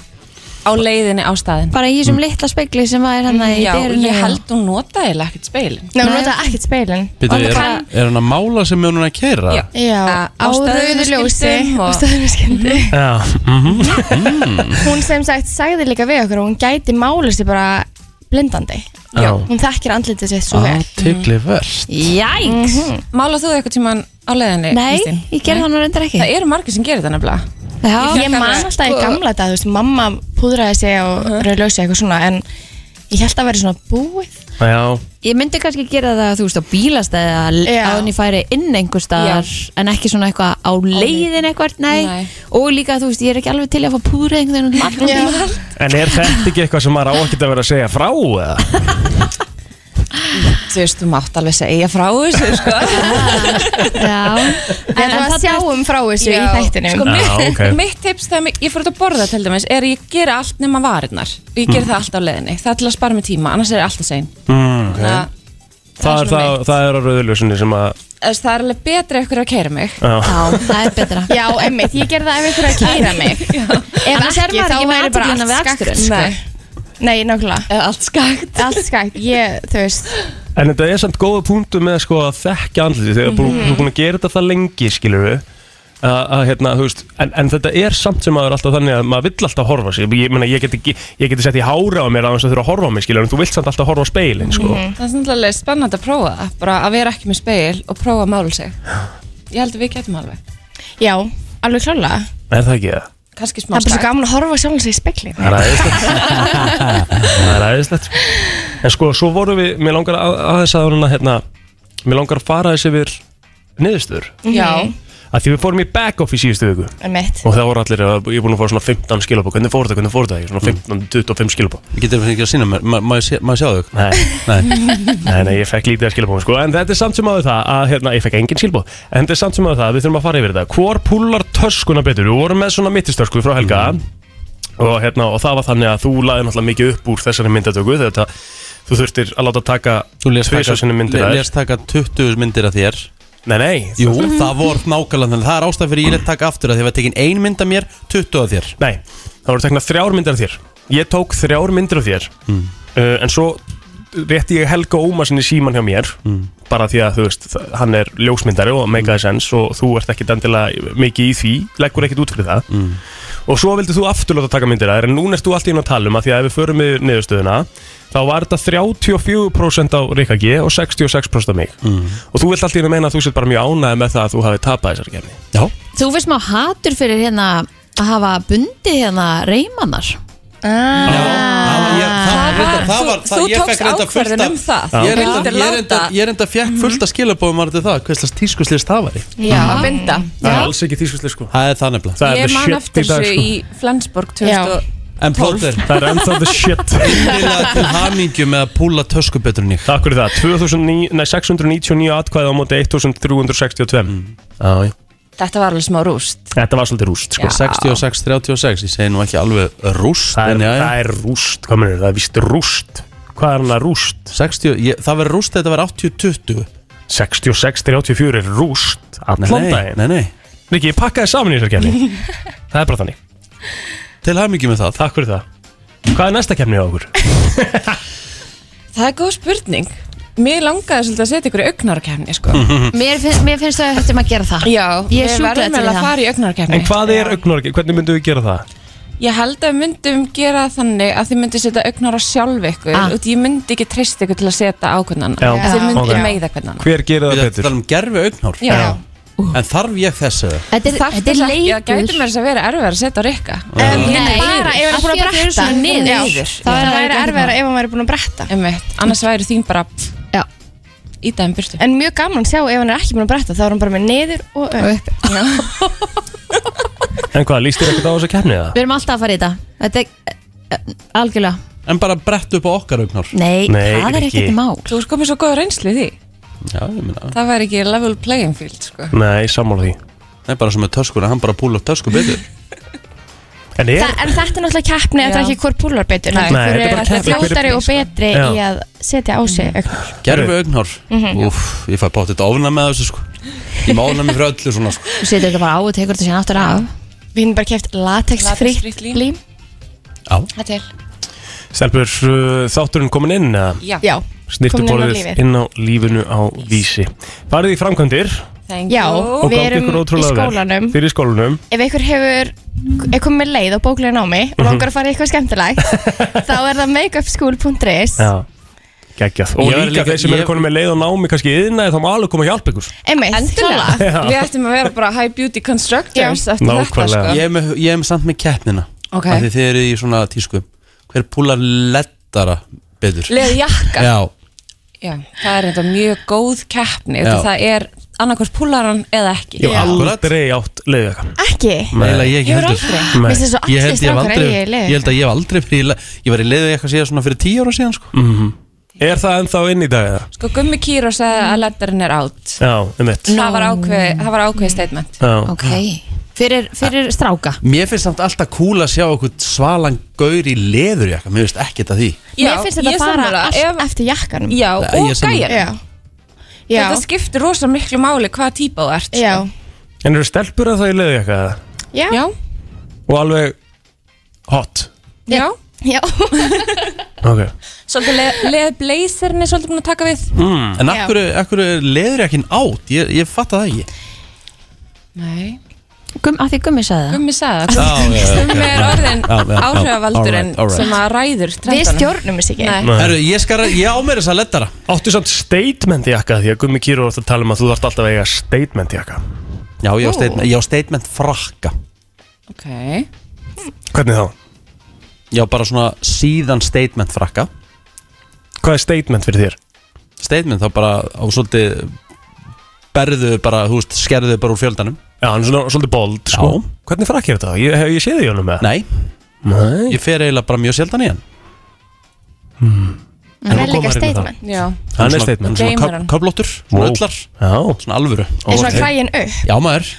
G: á leiðinni á staðin
B: Bara í
A: Mm.
B: þessum litla spegli sem var hérna í
G: Já,
B: dyrunni
G: ég held hún nota eiginlega ekkert speilin
H: Nei, hún
B: Nei.
H: notaði ekkert speilin
A: Býtu,
B: Og
A: er,
B: hvað-
A: er hann að mála sem mjónun að keira
G: Já.
H: Já,
G: Á- á
H: á rauðu
G: stöðvunarskiltum
H: ljósi
G: og- Mhm.
H: og stöðunarskyndi
C: Já Mhm.
A: Mm.
H: Hún sem sagt sagði líka við okkur að Hún gæti mála sig bara blindandi
C: Já
H: Hún þekkir andlitið sitt svo vel
A: aðtikli verst
B: Jæks
C: Mhm.
G: Mála Mhm. þú eitthvað tíman á leiðinni,
B: Nei,
G: Mm-hmm. Kristín?
B: ég gerði það nú reyndar ekki
G: Það eru margir sem gerir það nefnilega
B: Já,
H: Ég man alltaf í
G: Sko- Mhm.
H: gamla dag, þú veist, mamma púðraði sig og rauð ljósi eitthvað svona En ég held að vera svona búið
C: Já
B: ég myndi kannski gera það, þú veist, á bílastæði
H: Já.
B: að hún ég færi inn einhver staðar en ekki svona eitthvað á leiðin eitthvað, nei.
G: Nei.
B: og líka, þú veist, ég er ekki alveg til í að fá púðrið einhvern veginn út um allt.
C: En er þetta ekki eitthvað sem maður á ekkert að vera að segja frá eða?
G: Þú veist, þú mátt alveg segja frá þessu, sko.
B: Já,
H: Við ætlum að sjáum frá þessu í
G: Já.
H: þættinum
G: Sko, mitt,
C: Já, ok.
G: mitt tips þegar mig- ég fyrir út að borða til dæmis er að ég gera allt nema varirnar. Ég gera það allt á leiðinni. Það er til að spara mig tíma, annars er ég alltaf sein.
A: Hmm,
C: Mm,
G: Okay. Það,
C: það, er,
G: svona
C: það,
G: mitt.
C: það er á rauðljósunni sem að
G: Þess, það er alveg betra ykkur að keira mig.
C: Já
B: já, það er betra
H: Já, emmitt, ég gerði það ef einhver er að kæra mig Ef
B: Annars er
H: ekki,
B: maður
H: þá
B: ekki með
H: væri bara
B: athyglina
H: allt
B: við
H: skakt
B: aksturinn.
H: sko.
G: Nei.
H: Nei, nákvæmlega
G: Eða allt skagt.
H: Allt skakt, ég, þú veist
C: En þetta er samt góða punktu með sko að þekka andliti Þegar mm þú er búin að gera þetta það lengi skilur við að, að, hérna, þú veist, en, en þetta er samt sem maður alltaf þannig að maður vill alltaf horfa sig Ég, meina, ég, get, ekki, ég geti sett í hára á mér að þess að þurfa að horfa á mig skilur En þú vilt samt alltaf horfa á speilin sko
G: Mhm. Það er náttúrulega spennandi að prófa það, bara að vera ekki með speil og prófa að mála sig. Ég held að við getum alveg.
H: Já, alveg klálega
C: Er það ekki það?
G: Kanski smá
H: Það er bara svo
G: skagt.
H: gaman að horfa sjálf sig í speklin
C: Það er aðeinslegt Það er aðeinslegt En sko, svo vorum við, mér langar að- aðeins að hérna, hérna, mér langar að fara þessi yfir niðurstöður
H: Já,
C: að því við fórum í back-off í síðustu viku
H: emmitt
C: og það voru allir, að, ég er búin að fá svona 15 skilabó hvernig fór þetta, hvernig fór þetta, Ég svona 15, 25 skilabó
A: Mm. getur það ekki að sína mér, Ma- má ég sé- má ég sjá þau
C: Nei,
A: nei,
C: nei, nei, ég fekk lítið að skilabó sko. en þetta er samt sem áður það að, hérna, ég fekk engin skilabó en þetta er samt sem áður það að við þurfum að fara yfir þetta hvor púlar töskuna betur, við vorum með svona mittistösku frá Helga
A: Mm.
C: og, hérna, og það var þannig að þú laði náttúrulega mikið upp úr þessari myndatöku þetta, þú þurftir að láta taka
A: þú lést
C: Tvisvar sinnum myndir af
A: le-
C: þér.
A: lést taka 20 myndir af þér
C: nei, nei,
A: Jú, það voru nákvæmlega þannig Það er ástæð fyrir ég lett taka aftur að þið var tekin ein mynd af mér 20 af þér
C: Nei, það voru tekna þrjár myndir af þér Ég tók þrjár myndir af þér uh, En svo rétti ég Helga Ómarsson í síman hjá mér Bara því að þú veist, þa- hann er ljósmyndari og make a sense Og þú ert ekkit endilega mikið í því Leggur ekkit út fyrir það Og svo vildi þú aftur láta taka myndir af þér En núna ert þú allt í enn að tala um að því að ef við förum við niðurstöðuna Þá var þetta 34% á Rikka G og 66% á mig Og þú vilt allt í enn að meina að þú sér bara mjög ánægð með það að þú hafi tapað þessar gerni
A: Já,
B: Þú veist má hatur fyrir hérna að hafa bundið hérna reymannar
A: það var ég, það,
G: var-
A: reyndar- það var,
G: þú-
A: það,
G: þú
A: ég
G: tókst
A: fekk reyndar fullt
G: ákvörðun
A: af-
G: um það.
A: Ég
G: Þú
A: reyndar-
G: vildir
A: ég
G: láta- Mm.
A: reyndar- Ég reynda fekk fullt að skilabóðum að það, hvers slags tískuslis það væri
H: Já.
G: að binda
C: Það er alls ekki tískusli sko
A: Það er það nefnilega
C: Það er
G: Ég
C: the
G: man
C: shit
G: eftir
C: í dag
G: þessu
C: sko
G: í Flensborg
H: Já.
G: 2000
A: En plóter,
C: Það er ennþá the shit
A: innilega til hamingju með að púla tösku betur en ég
C: Takk fyrir það 2009 nei, 699 atkvæði á móti 1362
A: Mm.
C: Já, já.
G: Þetta var alveg smá rúst
C: Þetta var svolítið rúst sko.
A: 66, 36, ég segi nú ekki alveg rúst
C: það,
A: en
C: er,
A: já, já.
C: það er rúst, hvað mennur, það er vist rúst Hvað er hann að rúst?
A: 60, ég, það verður rúst þetta verður 80-20
C: 66-34 er rúst Allan
A: Nei,
C: daginn
A: nei, nei,
C: Riki, ég pakkaði saman í þessar kefni Það er bara þannig
A: til hamingju með það
C: Takk fyrir það Hvað er næsta kefni á okkur?
G: Það er góð spurning Mér langaði svolítið að setja ykkur í augnarkefni sko.
B: Mér finnst, mér finnst að við höfum að gera það
G: Já,
B: Ég er
G: við
B: sjúklega
G: verðum
B: til í
G: eiginlega að
B: það.
G: fara í augnarkefni
C: En hvað er augnarki? Hvernig myndum við gera það?
G: Ég held að við myndum gera það þannig að þið myndum setja augnar á sjálf ykkur
B: Ah.
G: ah. og ég myndi ekki treyst ykkur til að setja á hvern
C: Já.
G: annan Þið myndi
C: Ok.
G: meiða hvern annan
C: Hver gerir
A: Við
C: það
A: þetta
C: betur?
A: talum um gerfi augnhár
G: Já.
A: En þarf ég þessu?
B: Þetta er, þetta er
G: Það gæti mér
B: leikur
G: þess að vera erfið að setja á rikka
H: Um,
B: Nei.
H: bara ef hann
B: Af því að
H: er búin að
B: þau eru
H: bretta
B: svona niður.
H: Já,
B: Þá er
H: það
B: það
H: væri
B: ekki
H: erfiðara ef hann væri búin að bretta
G: Einmitt. annars væri þín bara pff,
B: Já.
G: í daginn burtu
H: en mjög gaman að sjá ef hann er ekki búin að bretta þá er hann bara með niður og upp
B: Upp.
C: En hvað, líst þér ekkert á þessa kefni það?
B: Við erum alltaf að fara í þetta Þetta er eh, eh, algjörlega
A: En bara brett upp á okkar augnhár
B: Nei,
C: Nei,
B: það er
C: Rikki.
B: ekkert mál
G: Þú er komið svo góða reynslu í því
A: Já, ég meina
G: Það væri ekki level playing field sko.
C: Nei, sammála því
A: Nei, bara sem með töskuna, hann bara púla tösku betur
C: En
H: Þa,
C: er,
H: en þetta er náttúrulega keppni, þetta er
G: Já.
H: ekki hvort púlar betur
G: Nei.
H: heldur
C: Nei,
H: hver
C: þetta er bara
H: er
C: keppni, hver er
H: fljótari og
G: betri, sko.
H: betri
C: Já.
H: í að setja á
G: Mm.
H: sig augnar
A: Gerfi augnhár Úff, ég fæ báttið ofna með þessu sko Ég má ofna mig fyrir öllu svona sko
B: Þú setur þetta bara á og tekur þetta síðan aftur af
H: við hefum bara keft
G: Latexfrítt
H: latexfritt
G: lím.
H: lím
A: Já,
G: Það til
C: Stelpur, uh, þátturinn komin inn eða?
G: Já,
H: já,
C: snirtuborðið inn á lífinu á vísi farið í framkvæmdir
G: thank
H: já
G: you
C: og
H: við
C: gangi
H: erum
C: ykkur
H: í
C: ótrúlega
H: skólanum
C: vel fyrir í skólanum
H: ef einhver hefur er komið með leið og bóklega námi
C: Mhm.
H: og langar að fara í eitthvað skemmtilegt þá er það makeupschool.is
C: já geggjað og
A: Ég var
C: líka,
A: líka-
C: þeir sem
A: ég-
C: eru konum með leið og námi kannski yðnaði þá má alveg koma að hjálpa ykkur
H: einmitt,
G: Endilega,
H: klálega.
G: við ættum að vera bara high beauty constructors
H: Já.
G: eftir
C: Nákvæmlega.
G: þetta
A: ég er, með, ég er með samt með keppnina
G: Ok.
A: Af Því þið eru í svona tísku Hver púlar lettara betur
G: sko Leð jakka
A: Já,
G: Já, það er þetta mjög góð keppni
A: Já.
G: Það er annarkvort púlaran eða ekki
C: ég hef
A: Akkurat.
C: aldrei átt leið eitthvað
H: ekki
A: eiginlega ég ekki
G: Ég er
A: heldur
G: aldrei
H: Mér finnst þess að
A: Ég
H: allir
A: held ég hef
H: strákar eigi
A: aldrei
H: í
A: Ég
H: leið
A: held að ég hef aldrei fyrir í le- Ég var í leiðu eitthvað síðan svona fyrir tíu ára síðan sko
C: Mhm. er það ennþá inn í dag eða?
G: Sko Gummi Kýrós sagði að letterinn er out
C: já, um mitt
G: það, var ákveð, það var ákveð statement
C: já,
B: Ok Fyrir, fyrir stráka
A: Mér finnst samt alltaf cool að sjá okkur svalan gaur í leður jakka Mér finnst ekkert að því
H: mér finnst þetta
G: ég
H: bara
G: sammála.
H: allt
G: Ef-
H: eftir jakkanum
G: Já,
A: Nei, ég
G: og
A: sammála.
G: gæjar
H: já, já,
G: Þetta skiptir rosa miklu máli hvaða típa þú ert sko.
H: já.
C: en eru stelpur að það í leið eitthvað eða?
H: já.
G: Já,
C: og alveg hot
G: já
H: já.
C: ok
G: Svolítið leð, leð blazerinn er svolítið búin að taka við
C: Hmm.
A: En akkur, akkur er leður jakkin átt Ég, ég fatt það ekki
G: Nei
B: Gum, að því gummi sagði það
G: Gummi sagði það
A: Já, já, já,
G: Gummi er
A: já,
G: orðin
A: já, já, já.
G: áhrifavaldurinn
A: Alright, alright.
G: sem að ræður
H: við
G: trendunum.
H: stjórnum þess ekki
G: Nei.
A: Herru, ég, skar, ég á mér þess að lettara
C: áttu samt statement jakka því að Gummi Kýrur var að tala um að þú þarft alltaf að eiga statement jakka
A: Já, ég á statement, ég á statement frakka
G: Ok
C: hvernig þá?
A: Já, bara svona síðan statement frakka
C: hvað er statement fyrir þér?
A: Statement þá bara á svolítið Berðu bara, þú veist, skerðu bara úr fjöldanum
C: Já, hann er svona svolítið bold, sko.
A: Já.
C: Hvernig frakkir þetta? Ég, hef ég séð í honum með?
A: Nei,
C: Nei.
A: ég fer eiginlega bara mjög sjaldan í hann
H: það er
C: koma
H: líka
C: þér inn í
H: statement
G: Já
C: Hann er
A: svona-
C: statement.
A: Hann er svona
G: Gameran.
A: köp- köflóttur, svona
C: Wow.
A: öllar
C: Já.
A: Svona alvöru
H: er svona kræin upp
A: Já maður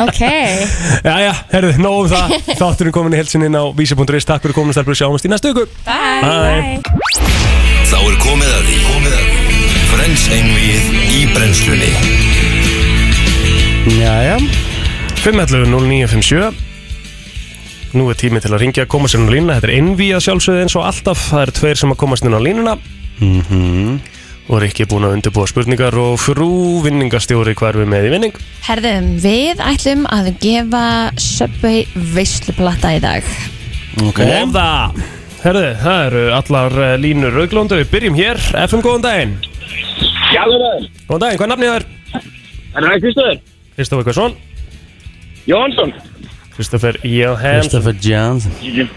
H: ok,
C: Já, já, herðu, nóg um það. Þátturinn komin í helsinni á vísi.is. Takk fyrir komin, stelpur, sjáumst í næstu ykkur. Bye. Bye.
D: Þá er komið að því Komið að því Frens einvið í brennslunni
A: Jæja
C: 5.11.09.57 Nú er tími til að ringja að koma sér inn á línuna Þetta er innví að sjálfsögðu eins og alltaf Það eru tveir sem að komast inn á línuna Og er ekki búin að undirbúa spurningar Og frú vinningastjóri hvað er við með í vinning
B: Herðum, við ætlum að gefa Subway veisluplata í dag
A: okay.
C: Og það Herðu, það eru allar eh, línur auglóndu Við byrjum hér, FM góðan daginn
I: Já, það er það.
C: Góðan daginn, hvað er nafnið það er?
I: Hann er Kristóður.
C: Kristof Ekkarsson
I: Jóhansson.
C: Kristoffer Johansson
A: Christopher Johnson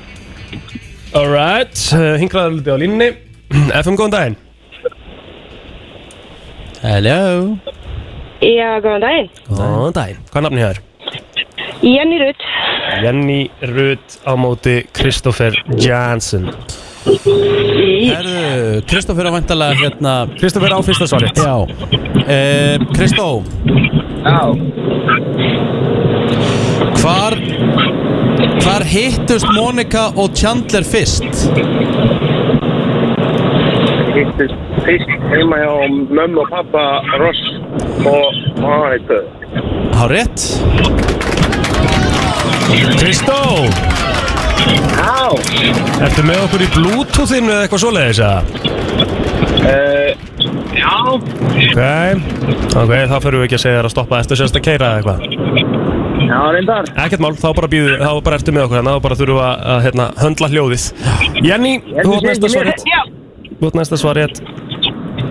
C: Alright, uh, hingraður hluti á línni FM, góðan daginn
A: Hello
E: Já, góðan daginn.
C: Góðan daginn Hvað er nafnið hér?
E: Jenny Rutt.
C: Jenny Rutt á móti Kristoffer Johnson
A: Herðu, Kristoffer á vantalega hérna
C: Kristoffer á fyrsta svarið
A: Já Eh, Kristó Já Hvar Hvar hittust Monika og Chandler fyrst?
I: Hittist fyrst heima hjá mömmu og pappa Ross og hvað heitu
A: Há rétt
C: Kristó,
I: Já
C: ertu með okkur í Bluetoothinu eða eitthvað svoleiðis að?
I: uh, Já
C: Ok, ok, þá förum við ekki að segja þér að stoppa eftir sérst að keira eða eitthvað
I: Já, reyndar
C: Ekkert mál, þá bara býðu, þá bara ertu með okkur hérna, þá bara þurfum við að, að hérna, höndla hljóðið Jenny, þú átt næsta svarið
E: Já,
C: Þú átt næsta svarið,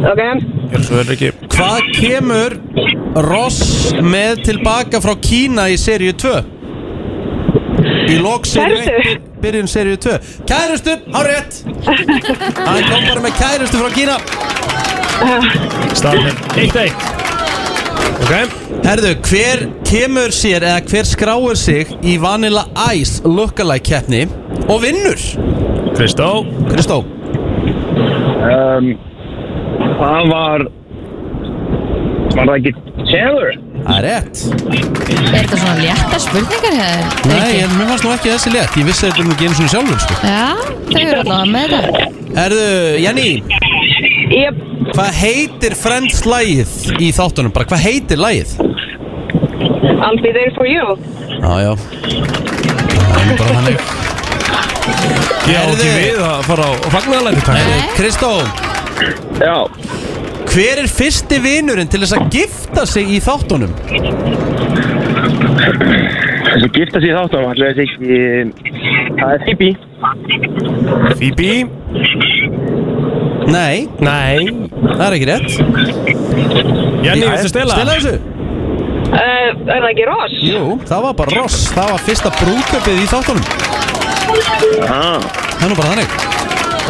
E: ok.
C: hér svo er ekki
A: Hvað kemur Ross með tilbaka frá Kína í seríu 2? Í lok seríu 1 Byrjun seríu 2 Kærustu, há rétt Hann kom bara með kærustu frá Kína
C: Staðan Eitt eitt Ok
A: Herðu, hver kemur sér eða hver skráir sig í Vanilla Ice lookalike keppni og vinnur?
C: Kristó
A: Kristó
I: um, Það var Var það ekki Taylor?
A: Það er rétt
B: Er þetta svona létta spurningar hér?
A: Nei, en mér fannst nú ekki þessi létt Ég vissi þetta nú ekki einu svona sjálfur sko.
B: Já, þau eru allavega með þetta.
A: Herðu, Jenny,
E: Jöp,
A: hvað heitir Friends lagið í þáttunum? Bara hvað heitir lagið?
E: I'll be there for you.
A: Já, já Það er nú bara þannig
C: Ég á
A: Herðu.
C: ekki við að fara á fagnaðalæti takk
A: Herðu, Kristó,
I: Já
A: hver er fyrsti vinurinn til þess að gifta sig í þáttunum?
I: Þessi gifta sig þátt og allir þessi ekki Það er Phoebe
C: Phoebe
A: Nei,
C: Nei
A: það er ekki rétt
C: Jenny, viltu stela?
A: Stela þessu?
E: Uh, er það ekki Ross?
A: Jú, það var bara Ross Það var fyrsta brúköpið í þáttunum
I: ah.
A: Það er nú bara þannig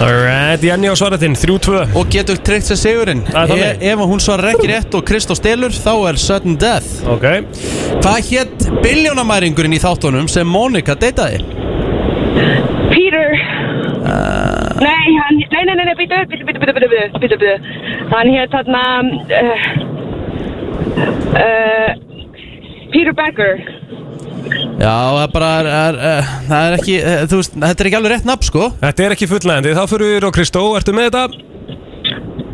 C: Alright, Jenny á svarað þinn 3-2
A: Og getur tryggt sér sigurinn
C: Það er
A: e
C: þannig.
A: Ef hún svarar ekki rétt og Kristó stelur Þá er sudden death
C: Ok
A: Hvað hétt biljónamæringurinn í þáttunum sem Monika deytaði?
E: Peter. Nei, hann, nei, nei, nei, nei, býtu, býtu, býtu, býtu, býtu, býtu, býtu. Hann hétt þarna, uh, uh, Peter Becker.
A: Já, það er bara er, er, Það er ekki, eh, þú veist, þetta er ekki alveg rétt nafn sko
C: Þetta er ekki fullnægandi Þá fyrir við og Kristó Ertu með þetta?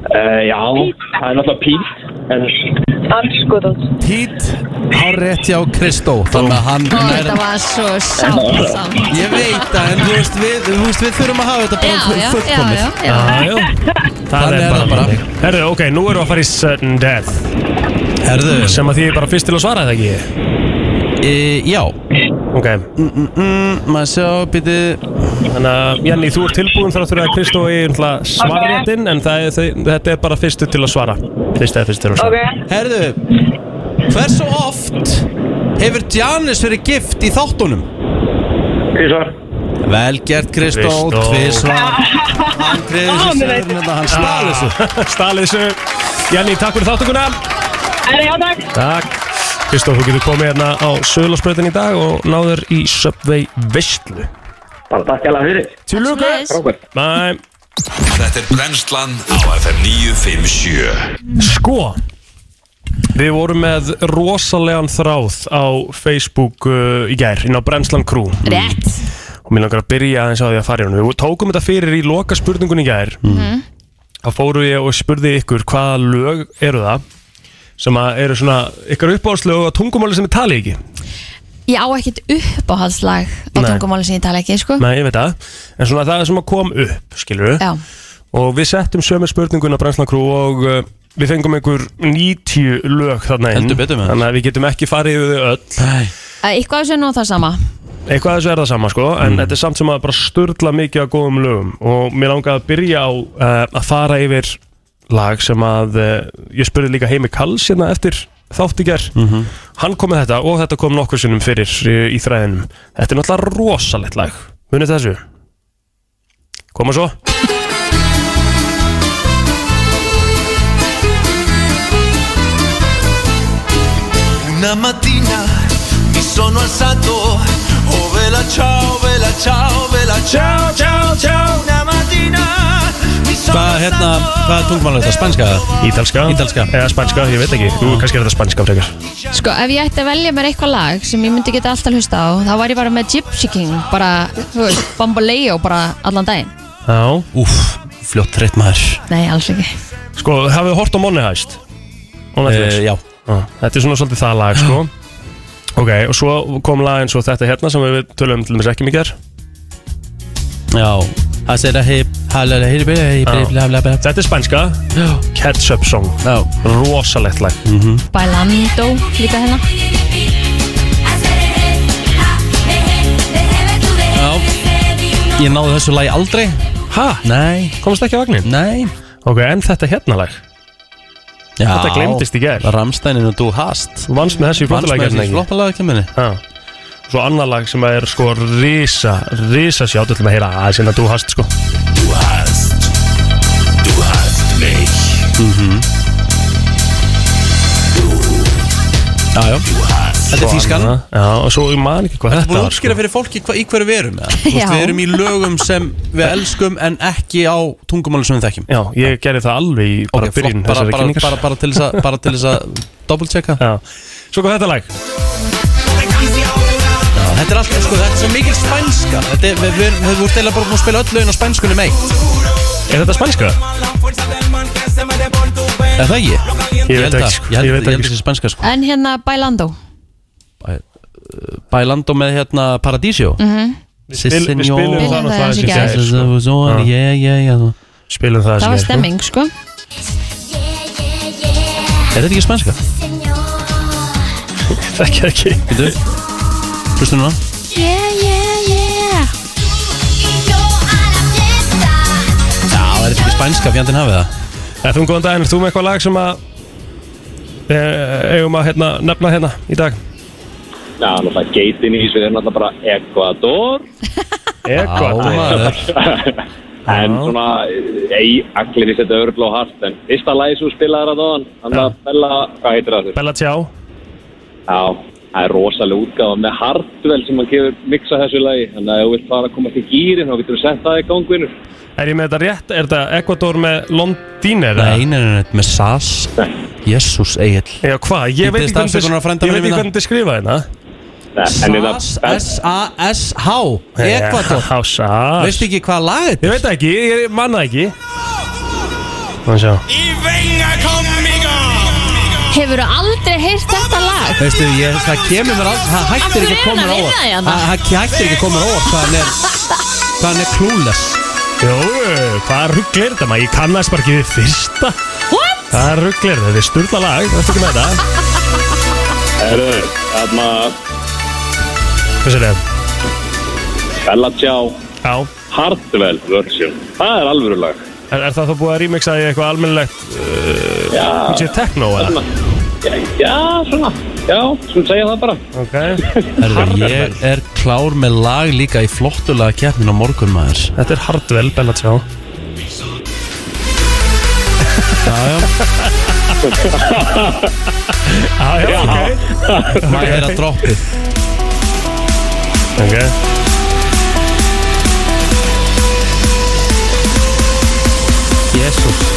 I: uh, Já, það er náttúrulega Pete En
E: Andskoðans.
A: Pít á rétt hjá Kristó Þannig að hann
B: Ó,
A: nær-
B: Þetta var svo sámsamt.
A: Ég veit það, en þú veist, við, þú veist, við þurfum að hafa þetta
B: Já,
A: bara
B: já, já,
A: fullkomið
B: já, já.
C: Jájó Það
A: Þannig er
C: er bara
A: það bara.
C: þannig. Herðu, ok, nú erum við að fara í sudden death
A: Herðu,
C: Sem að því er bara fyrst til að svara það ekki
A: e, já
C: Ok
A: mm, Maður sjá, býti
C: Þannig að Jenny, þú ert tilbúin þar að þurfa að Kristó er svarréttin En það er, þau- þetta er bara fyrstu til að svara Fyrst eða fyrst til að svara
E: Ok.
A: Herðu, hversu oft hefur Janis verið gift í þáttunum?
I: Písar
A: Vel gert, Kristó,
C: Kristó.
A: tvísvar Hann treður sér sér með hérna, hann stál þessu
C: Stalið Ah, þessu Jenny, takk fyrir þáttuguna
E: Er það játak?
C: Takk Kristof, þú getur komið hérna á Söðlarspröðin í dag og náður í Subway Vistlu
I: Bara takk alveg fyrir
C: Til lukku
I: Frábært
C: Bæ
D: Þetta er brennslan á FM 957
C: Sko Við vorum með rosalegan þráð á Facebook uh, í gær inn á Brennslan Crew
F: Rétt
C: og mér langar að byrja aðeins á því að fara í hún Við tókum þetta fyrir í loka spurningun í gær
A: Mm.
J: Mm.
C: þá fóru ég og spurði ykkur hvaða lög eru það sem að eru svona ykkar uppáhaldslög á tungumáli sem ég tali ekki
B: Ég á ekkert uppáhaldslag á
C: Nei.
B: tungumáli sem ég tala ekki, sko.
C: Nei, ég veit það, en svona það sem að kom upp, skilur við,
B: Já,
C: og við settum sömu spurninguna Brænslan Crew og uh, við fengum einhver 90 lög þarna inn,
A: Heldur betur, maður.
C: þannig að við getum ekki farið yfir þau öll,
A: Nei,
B: Eh, eitthvað sem nú það sama.
C: eitthvað af þessu er það sama sko, en
A: Mm.
C: þetta er samt sem að bara sturla mikið af góðum lögum og mér langaði að byrja á eh, uh, að fara yfir lag sem að uh, ég spurði líka Heimi Kalls hérna eftir þátt í ger
A: Mhm.
C: Hann kom með þetta og þetta kom nokkur sinnum fyrir eh, í þræðinum Þetta er náttúrulega rosalegt lag Munið þessu Koma svo
J: Una mattina mi sono alzato, oh vela ciao, vela ciao, vela ciao, ciao, ciao. Una mattina mi sono
A: Hvað, hérna, hvað tungmál er þetta? Spænska?
C: Ítalska
A: Ítalska Ah.
C: Eða spænska, ég veit ekki Ú, kannski er þetta spænska frekar
B: Sko, ef ég ætti að velja mér eitthvað lag sem ég myndi geta alltaf hlusta á, þá var ég bara með Gypsy King, bara, þú veist, Bambaleo, bara allan daginn.
C: Já
A: Úf, fljótt þreytt maður
B: Nei, alls ekki.
C: Sko, hafið þið hort á Money Heist? Á Netflix?
A: Eh, já.
C: Ah.
A: Ah.
C: Þetta er svona svolítið það lag, sko Ok, og svo kom lag eins og þetta hérna sem við tölum til dæmis ekki mikið er
A: Já Það segir að hip, halala, hip, hip, hip, hip, hip, hip, hip
C: Ah. Þetta er spænska Ketchup Song
A: Já Mhm.
C: Rosalegt lag mm -hmm.
B: Bailando, líka hérna.
A: Já Ég náði þessu lagi aldrei
C: Ha?
A: Nei
C: Komast ekki á vagnin?
A: Nei
C: Ok, en þetta hérna lag
A: Já
C: Þetta glemdist í gær.
A: Ramstænin og Du Hast
C: Vannst með þessu í
A: Vannst með
C: flottalagjörn
A: þessu í flottalagjörninni
C: hérna, Ah. Svo annar lag sem er sko risa, risa sjátt, ætlum að heyra aðeins en að þú hast sko
D: Du hast, du hast mich.
A: Mhm. Já,
C: Ah,
A: já Þetta er þýskan
C: Svona, Já, og svo ég man ekki hvað
A: Þetta er búin
C: þetta
A: að
C: var sko
A: útskýra fyrir fólki hva, í hverju við erum eða? Þú veist,
B: Já.
A: Við erum í lögum sem við elskum en ekki á tungumáli sem við þekkjum
C: Já, ég gerði það alveg í bara
A: Ok, flott.
C: byrjun
A: bara,
C: þessari
A: bara,
C: kynningar
A: bara, bara til þess að- bara til þess að double checka
C: Já, svo kom þetta lag
A: Já, Þetta er alltaf, sko, þetta er svo mikil spænska Þetta er, við, við, við vorum deila bara búin að spila öll lögin á um spænskunni meitt
C: Er þetta spænska?
A: Er það ekki?
C: Ég
A: Ég
C: veit
A: held
C: ekki,
A: að,
C: sko,
A: ég held,
C: ég
A: ég
C: veit
A: held að
C: ekki
A: það sé spænska, sko
B: En hérna Bailando.
A: Bælando með, hérna, Paradísio
B: Mm -hmm.
C: Spil- Við spilum
B: Byrjum
C: það
B: það aðeins í
C: náttúrulega
B: gær.
C: aðeins í gær, sko. Já,
A: Yeah, yeah, yeah
C: Spilum það
B: Það var
C: aðeins í gær, sko.
B: stemming, sko.
A: Er þetta ekki spænska?
C: Þekki það ekki
A: Býtu Hlustu núna Já, er þetta ekki spænska, fjandinn hafið það
C: Efum góðan daginn, ert þú með eitthvað lag sem að e, eigum að hérna, nefna hérna í dag?
K: Já, náttúrulega geitin í Ísverið er náttúrulega bara Ecuador
A: Já, maður.
K: En
C: Já.
K: svona, ei, allir í setja örgl og hart En fyrsta lagi sem þú spilaði það þaðan Þannig að Bella, hvað heitir það þér?
C: Bella Tjá
K: Já, það er rosalega útgáfa með Hardwell sem hann gefur miksa þessu lagi Þannig að ef þú vilt fara að koma til gýrin þá getur þú sett það í gangvinur
C: Er ég með þetta rétt? Er þetta Ecuador með Londýner? eða?
A: Nei, nei, nei, nei, með SAS Jésús, Egil
C: Já, hvað? Ég veit
A: biðst
C: ekki hvernig
A: afsökunar á frænda
C: ég veit
A: mínum
C: ekki
A: hérna.
C: hvernig þið skrifa hérna
K: En er
A: SAS,
K: það
A: S-A-S-H Ekvator
C: Já, sás
A: Veistu ekki hvað lag þetta?
C: Ég veit það ekki, ég manna ekki Þannig sjá
B: Hefur aldrei heyrt þetta lag?
A: Veistu, ég, það kemur mér á Það hættir ekki að koma mér á óvart.
B: Hann er að reyna hérna.
A: Það það hættir ekki að koma mér á óvart hvað hann er Hvað hann er klúles
C: Jó, hvað rugglir þetta maður? Ég kannast bara ekki við fyrsta
B: What?
C: Hvað rugglir þetta? Þetta er sturla lag, það er ekki með þetta
K: Herru, þarna
C: Hvað sér þetta?
K: Bella Tjá
C: Já,
K: Hardwell version Það er alvöru lag
C: er, er það þá búið að remixa í eitthvað almennilegt Eh,
K: Já,
C: Sér techno eða?
K: svona Já, svona Já, svona segja það bara
C: Ok
A: Herðu, ég
C: Hardwell.
A: er klár með lag líka í flottulega keppnin á morgun maður
C: Þetta er Hardwell, Bella Tjá
A: Já, já
C: ah, Já, ok
A: Maður er að droppið
C: Ok
A: Jésús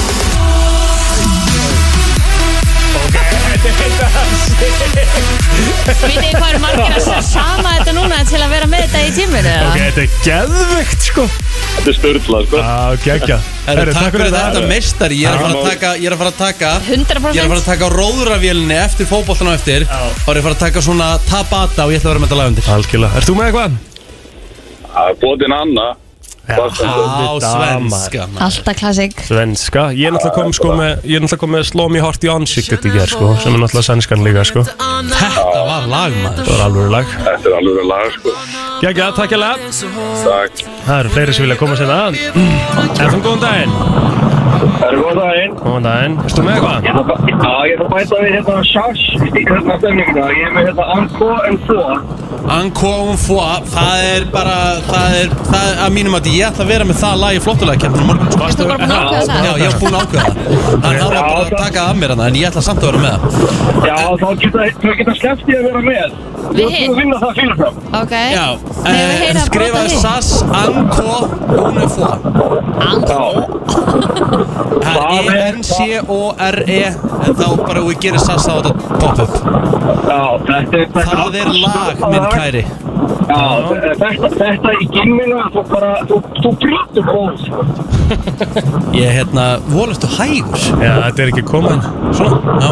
B: Vitið þið hvað eru margir að segja sama þetta núna til að vera með þetta í tíminu?
C: Ok, þetta er geðveikt sko
K: Þetta er störtlað, sko.
C: Já, geggja
A: Herru, takk fyrir þetta meistari Ég er að fara að taka Ég er að fara að taka Ég er að fara
B: 100%
A: að taka róðuravélinni eftir fótbollan á eftir
C: Já.
A: og er ég að fara að taka svona tabata og ég ætla að vera með þetta lag undir
C: Algjörlega, ert þú með eitthvað?
I: Bóðin Anna
A: Á svenska maður.
B: Alltaf klassik
C: Svenska, ég er náttúrulega kom sko með Ég er náttúrulega kom með Sló mig hort í ansiktet í gerð sko Sem er náttúrulega sænskan líka sko Það
J: Ah.
A: Þetta var lag maður
C: var alveg lag
I: Þetta er alveg lag, sko
C: Geggja, takk ég lega
I: Takk
C: Það eru fleiri sem vilja koma sér að mm. Efum góðan daginn
I: Það er góð daginn.
C: Góðan daginn. Erstu með eitthvað?
I: Ég ætla að- Já, ég ætla að bæta við hérna sjás í hérna stemninguna. Ég er með hérna Anko en Flo.
A: Anko un fois, það er bara, það er, það er að mínum að ég ætla að vera með það lag í flottulega kemdunum morgun. Sko.
J: Ertu bara búin að ákveða það?
A: Já, ég er búin að ákveða það. Þannig að það var bara að taka af mér hana, en ég ætla samt að vera með það.
I: Já, þá geta, þá geta sleppt ég að vera með. Þú ert búin að vinna það fyrirfram.
B: Ok
A: Já,
B: Megum við
A: eh,
B: heyra
A: skrifaðu
B: brotið?
A: SAS Anko un fois. Anko? Það er E E-N-C-O-R-E, E, en þá bara við gerum SAS á þetta
I: Já,
A: pop-up.
I: þetta er...
A: Það er lag, minn kæri.
I: Já, þetta, þetta í gimmina, þú bara, þú, þú brýttur góð.
A: Ég er hérna, volastu hægur.
C: Já, þetta er ekki komin.
A: Svona, já.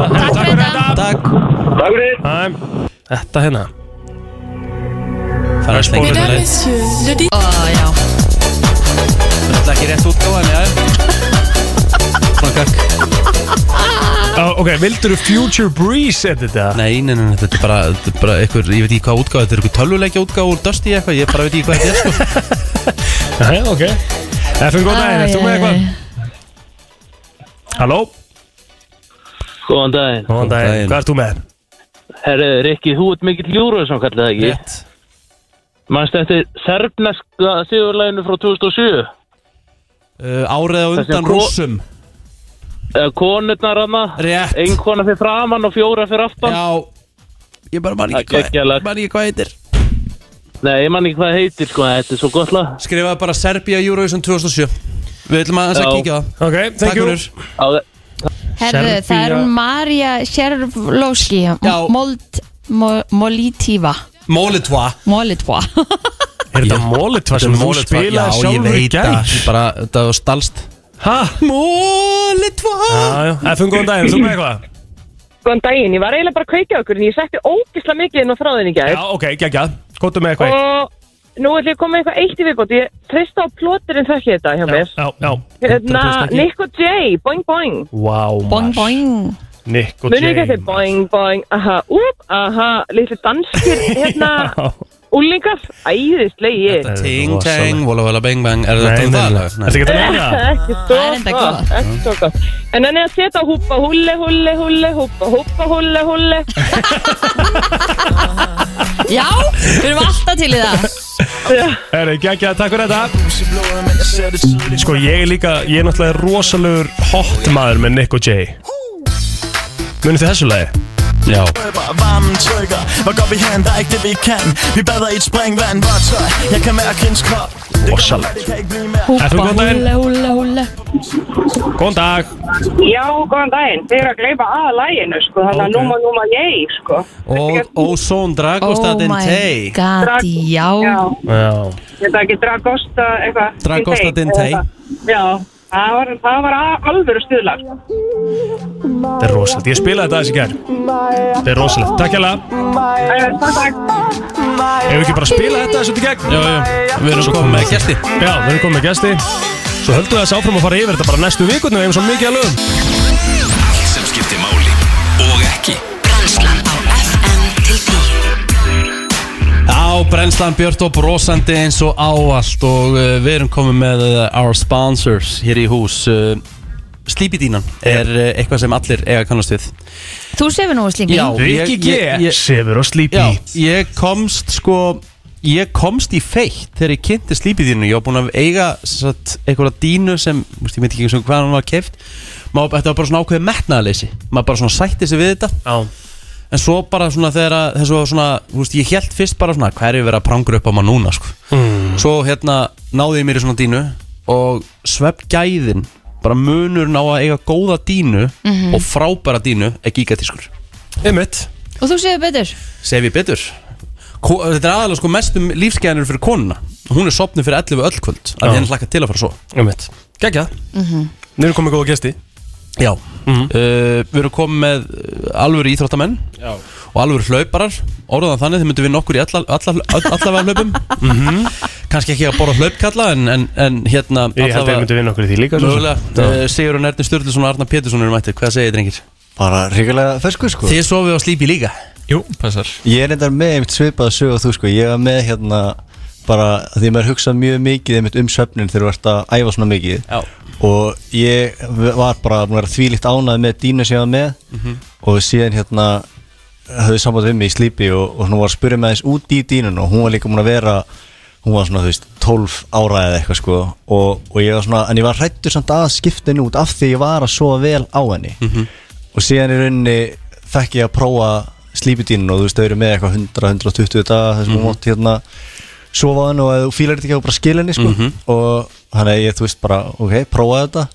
C: Takk fyrir þetta.
A: Takk.
I: Takk fyrir.
C: Æ, þetta hérna.
A: Það er slengur
C: Mesdames,
B: Ó, já
A: Þetta er ekki rétt útgáða, en já. Svona kakk.
C: Ah, ok, vildur þú Future Breeze edita?
A: Nei, nei, nei, þetta er bara, þetta er bara einhver, ég veit ekki hvað útgáð, þetta er einhver tölvuleikja útgáð úr Dusty eitthvað, ég bara veit ekki hvað þetta er, sko.
C: Nei, ok. FM, góð daginn, ertu með eitthvað? Halló?
L: Góðan daginn.
C: Góðan daginn. Hvað ert þú með?
L: Herru, Rikki, þú ert mikill júruð sem kallar það ekki. Rétt. Manst eftir serbneska sigurlæginu frá 2007?
A: Uh, árið á
L: Þessi
A: undan
L: gro-
A: rússum.
L: Uh, konurnar hana?
A: Rétt.
L: Einn kona fyrir framann og fjóra fyrir aftan?
A: Já, ég bara man
L: ekki hvað,
A: man ekki hvað heitir.
L: Nei, ég man ekki hvað það heitir, sko, en þetta er svo gott lag.
A: Skrifaði bara Serbia Eurovision 2007. Við ætlum aðeins að
L: Já.
A: kíkja á það.
C: Ok,
A: thank you.
B: Herðu, það er
A: Serbía-
B: hún Marja Sjervlóski Mold Mo- Molitiva
A: Mólitva.
B: Molitva
C: Er þetta Mólitva sem þú spilaði
A: Já, ég
C: sjálfur í
A: veit
C: gær?
A: það, bara, þetta var stalst.
C: Hæ?
B: Molitva
C: Já, já. FM, góðan daginn, ertu með eitthvað?
M: Góðan daginn, ég var eiginlega bara að kveikja okkur en ég setti ógislega mikið inn á þráðin í gær
C: Já, ok, geggjað. Kóttu með eitthvað?
M: og nú ætlum ég að koma með eitthvað eitt í viðbót ég treysta á plóturinn þekki þetta hjá mér
C: Já, já.
M: Hérna,
C: 100% ekki.
M: Nick og Jay, boing boing
C: Vá,
M: Boing
B: boing
C: Nick og
M: Munið ekki
C: Jay.
M: eftir boing boing, aha, úp, aha litli danskir, hérna úlingar, æðislegi
A: Ting, tang, vola, vola, bang, bang. Er þetta
C: Nei,
A: um
C: nei,
A: það?
C: nei.
A: lag? Nei.
C: Ertu ekki að nefna það?
M: ekki svo gott, ekki svo gott en hann er að setja á húpa húlle, húlle, húlle húpa, húpa, húlle, húlle
B: Já, við erum alltaf til í það
C: Herri, geggja, takk fyrir þetta Sko ég er líka, ég er náttúrulega rosalegur hot maður með Nick og Jay Munið þið þessu lagi? Já
N: Varmen trykker Hvor går vi hen? Der er ikke det vi kan Vi bader i et springvand Hvor er tøj Jeg kan mærke hendes krop
C: Rosalegur FM,
B: Húpa,
C: góðan daginn
B: húle, húle, húle
C: Góðan dag
E: Já, góðan daginn, þeir eru að gleypa að læginu sko, þannig að núma, núma, ég sko
A: Og Ozone Dragostatin
E: Oh my
A: Tay.
E: Drag-
B: já
C: Já
E: Ég veit ekki, Dragosta eitthvað
A: Dragosta
E: Dintei,
A: Dintei.
E: eða eitthvað. Já, það var, það var a- alvöru stuðlag
C: Þetta er rosalegt, ég spilaði þetta aðeins í gær Þetta er rosalegt, takk hérlega Ef við ekki bara spila þetta þessu til gegn Já, já, við erum komið með gæsti Já, við erum komið með gæsti Svo höldum við þessu áfram að fara yfir þetta bara næstu vikunni Við hefum svo mikið að lögum
D: Allt sem skiptir máli og ekki Brænslan á FM til 10
A: Á brennslan Björn og brosandi eins og áallt og uh, við erum komið með uh, our sponsors hér í hús uh, Slípidínan er uh, eitthvað sem allir eiga að kannast við
B: Þú sefur nú að slími
A: ég- ég- ég-
C: sefur og slípi
A: Já, ég komst sko ég komst í feitt þegar ég kynnti slípidínu ég var búin að eiga sem sagt, einhverja dínu sem, múst, ég veit ekki eins og hvað hann var keft maður, þetta var bara svona ákveðið metnaðleysi maður bara svona sætti sig við þetta
C: Já.
A: en svo bara svona þegar að- þessu var svona, þú veist, ég held fyrst bara svona hverju verið að prangur upp á maður núna sko
C: Mm.
A: Svo hérna náði ég mér í svona dínu Og svepp gæðin Bara munur ná að eiga góða dínu
B: Mhm.
A: Og frábæra dínu er gigatískur
C: Einmitt
B: Og þú sefur betur
A: Sef ég betur Ko Þetta er aðalega sko mestum lífsgæðinur fyrir konuna Hún er sopnið fyrir 11 öll kvöld Að henni hlakka til að fara svo
C: Einmitt Gækja
B: Mhm.
C: Við erum komið góða Mhm. gæsti
A: Já uh, Við erum komið með uh, alvöru íþróttamenn
C: Já.
A: Og alvöru hlauparar Orðan þannig þeir myndu vinna okkur í alla, alla, alla, allavega hlaupum mm
C: Mhm.
A: Kannski ekki að borða hlaupkalla En, en, en hérna
C: Ég held að við myndum vinna okkur í því líka svo sem.
A: Mögulega, uh, Sigurinn Erni Sturluson og Arnar Pétursson eru mættir, hvað segir þið drengir?
O: Bara ríkulega fersku sko
A: Þið sofið á slípi líka
C: Jú, passar
O: Ég er reyndar með einmitt svipað sög og þú sko Ég var með hérna bara því maður hugsað mjög mikið einmitt um söfnin þegar þú ert að æfa svona mikið
A: Já.
O: og ég var bara búin að vera þvílíkt ánað með dýna sem ég var með
A: Mhm.
O: og síðan hérna höfðu samband við mig í slípi og, og hún var að spyrja mig aðeins út í dýnun og hún var líka búin að vera hún var svona, þú veist, 12 ára eða eitthvað sko og, og ég var svona, en ég var hrættur samt að skipta henni út af því ég var að sofa vel á henni
A: Mhm.
O: og síðan í rauninni fekk ég að prófa slípidínin og þú veist, þau eru með eitthvað 100-120 daga þar sem
A: Mhm.
O: hún mátt hérna sofa á henni og ef þú fílar þetta ekki þá bara skil henni sko.
A: Mhm.
O: og þannig að ég, þú veist, bara ok, prófa þetta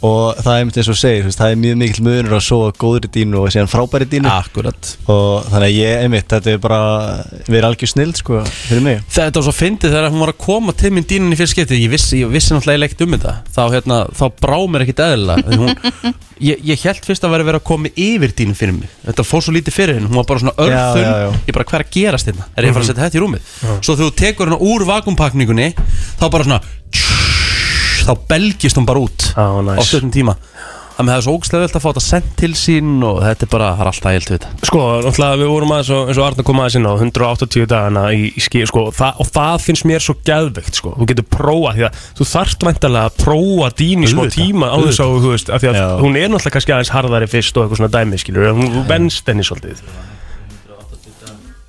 O: og það er einmitt eins og þú segir, þú veist, það er mjög mikill munur að sofa á góðri dínu og síðan frábæri dínu
A: Akkurat
O: og þannig að ég, einmitt, þetta er bara við erum algjör snild, sko, fyrir mig
A: Þetta var svo fyndið þegar hún var að koma til minn dýnin í fyrst skiptið Ég vissi, ég vissi náttúrulega ekki um þetta Þá, hérna, þá brá mér ekkit eðla hún, ég, ég held fyrst að vera að vera að koma yfir dýnin fyrir mig Þetta fór svo lítið fyrir henni Hún var bara svona
O: Já, já, já.
A: örþun Ég bara hver að gerast hérna Er ég að fara að setja þetta í rúmið
O: Já.
A: Svo þegar þú tekur henni úr vakumpakningunni Þá bara svona Þá belgist hún bara út
C: ah, nice.
A: Á stundum tíma Þannig að það er svo ógstlega velt að fá þetta sent til sín Og þetta er bara, það er alltaf heilt við þetta
C: Sko, náttúrulega við vorum aðeins og, eins og Arna kom aðeins inn á 180 dagana í, í skí, sko, og það, og það finnst mér svo geðveikt, sko, þú getur prófa því að þú þarft væntalega að prófa dín í smá
A: Auðvitað,
C: tíma á þess að,
A: auðvitað.
C: þú veist, af því að hún er náttúrulega kannski aðeins harðari fyrst og eitthvað svona dæmi, skilur, hún þú venst henni svolítið.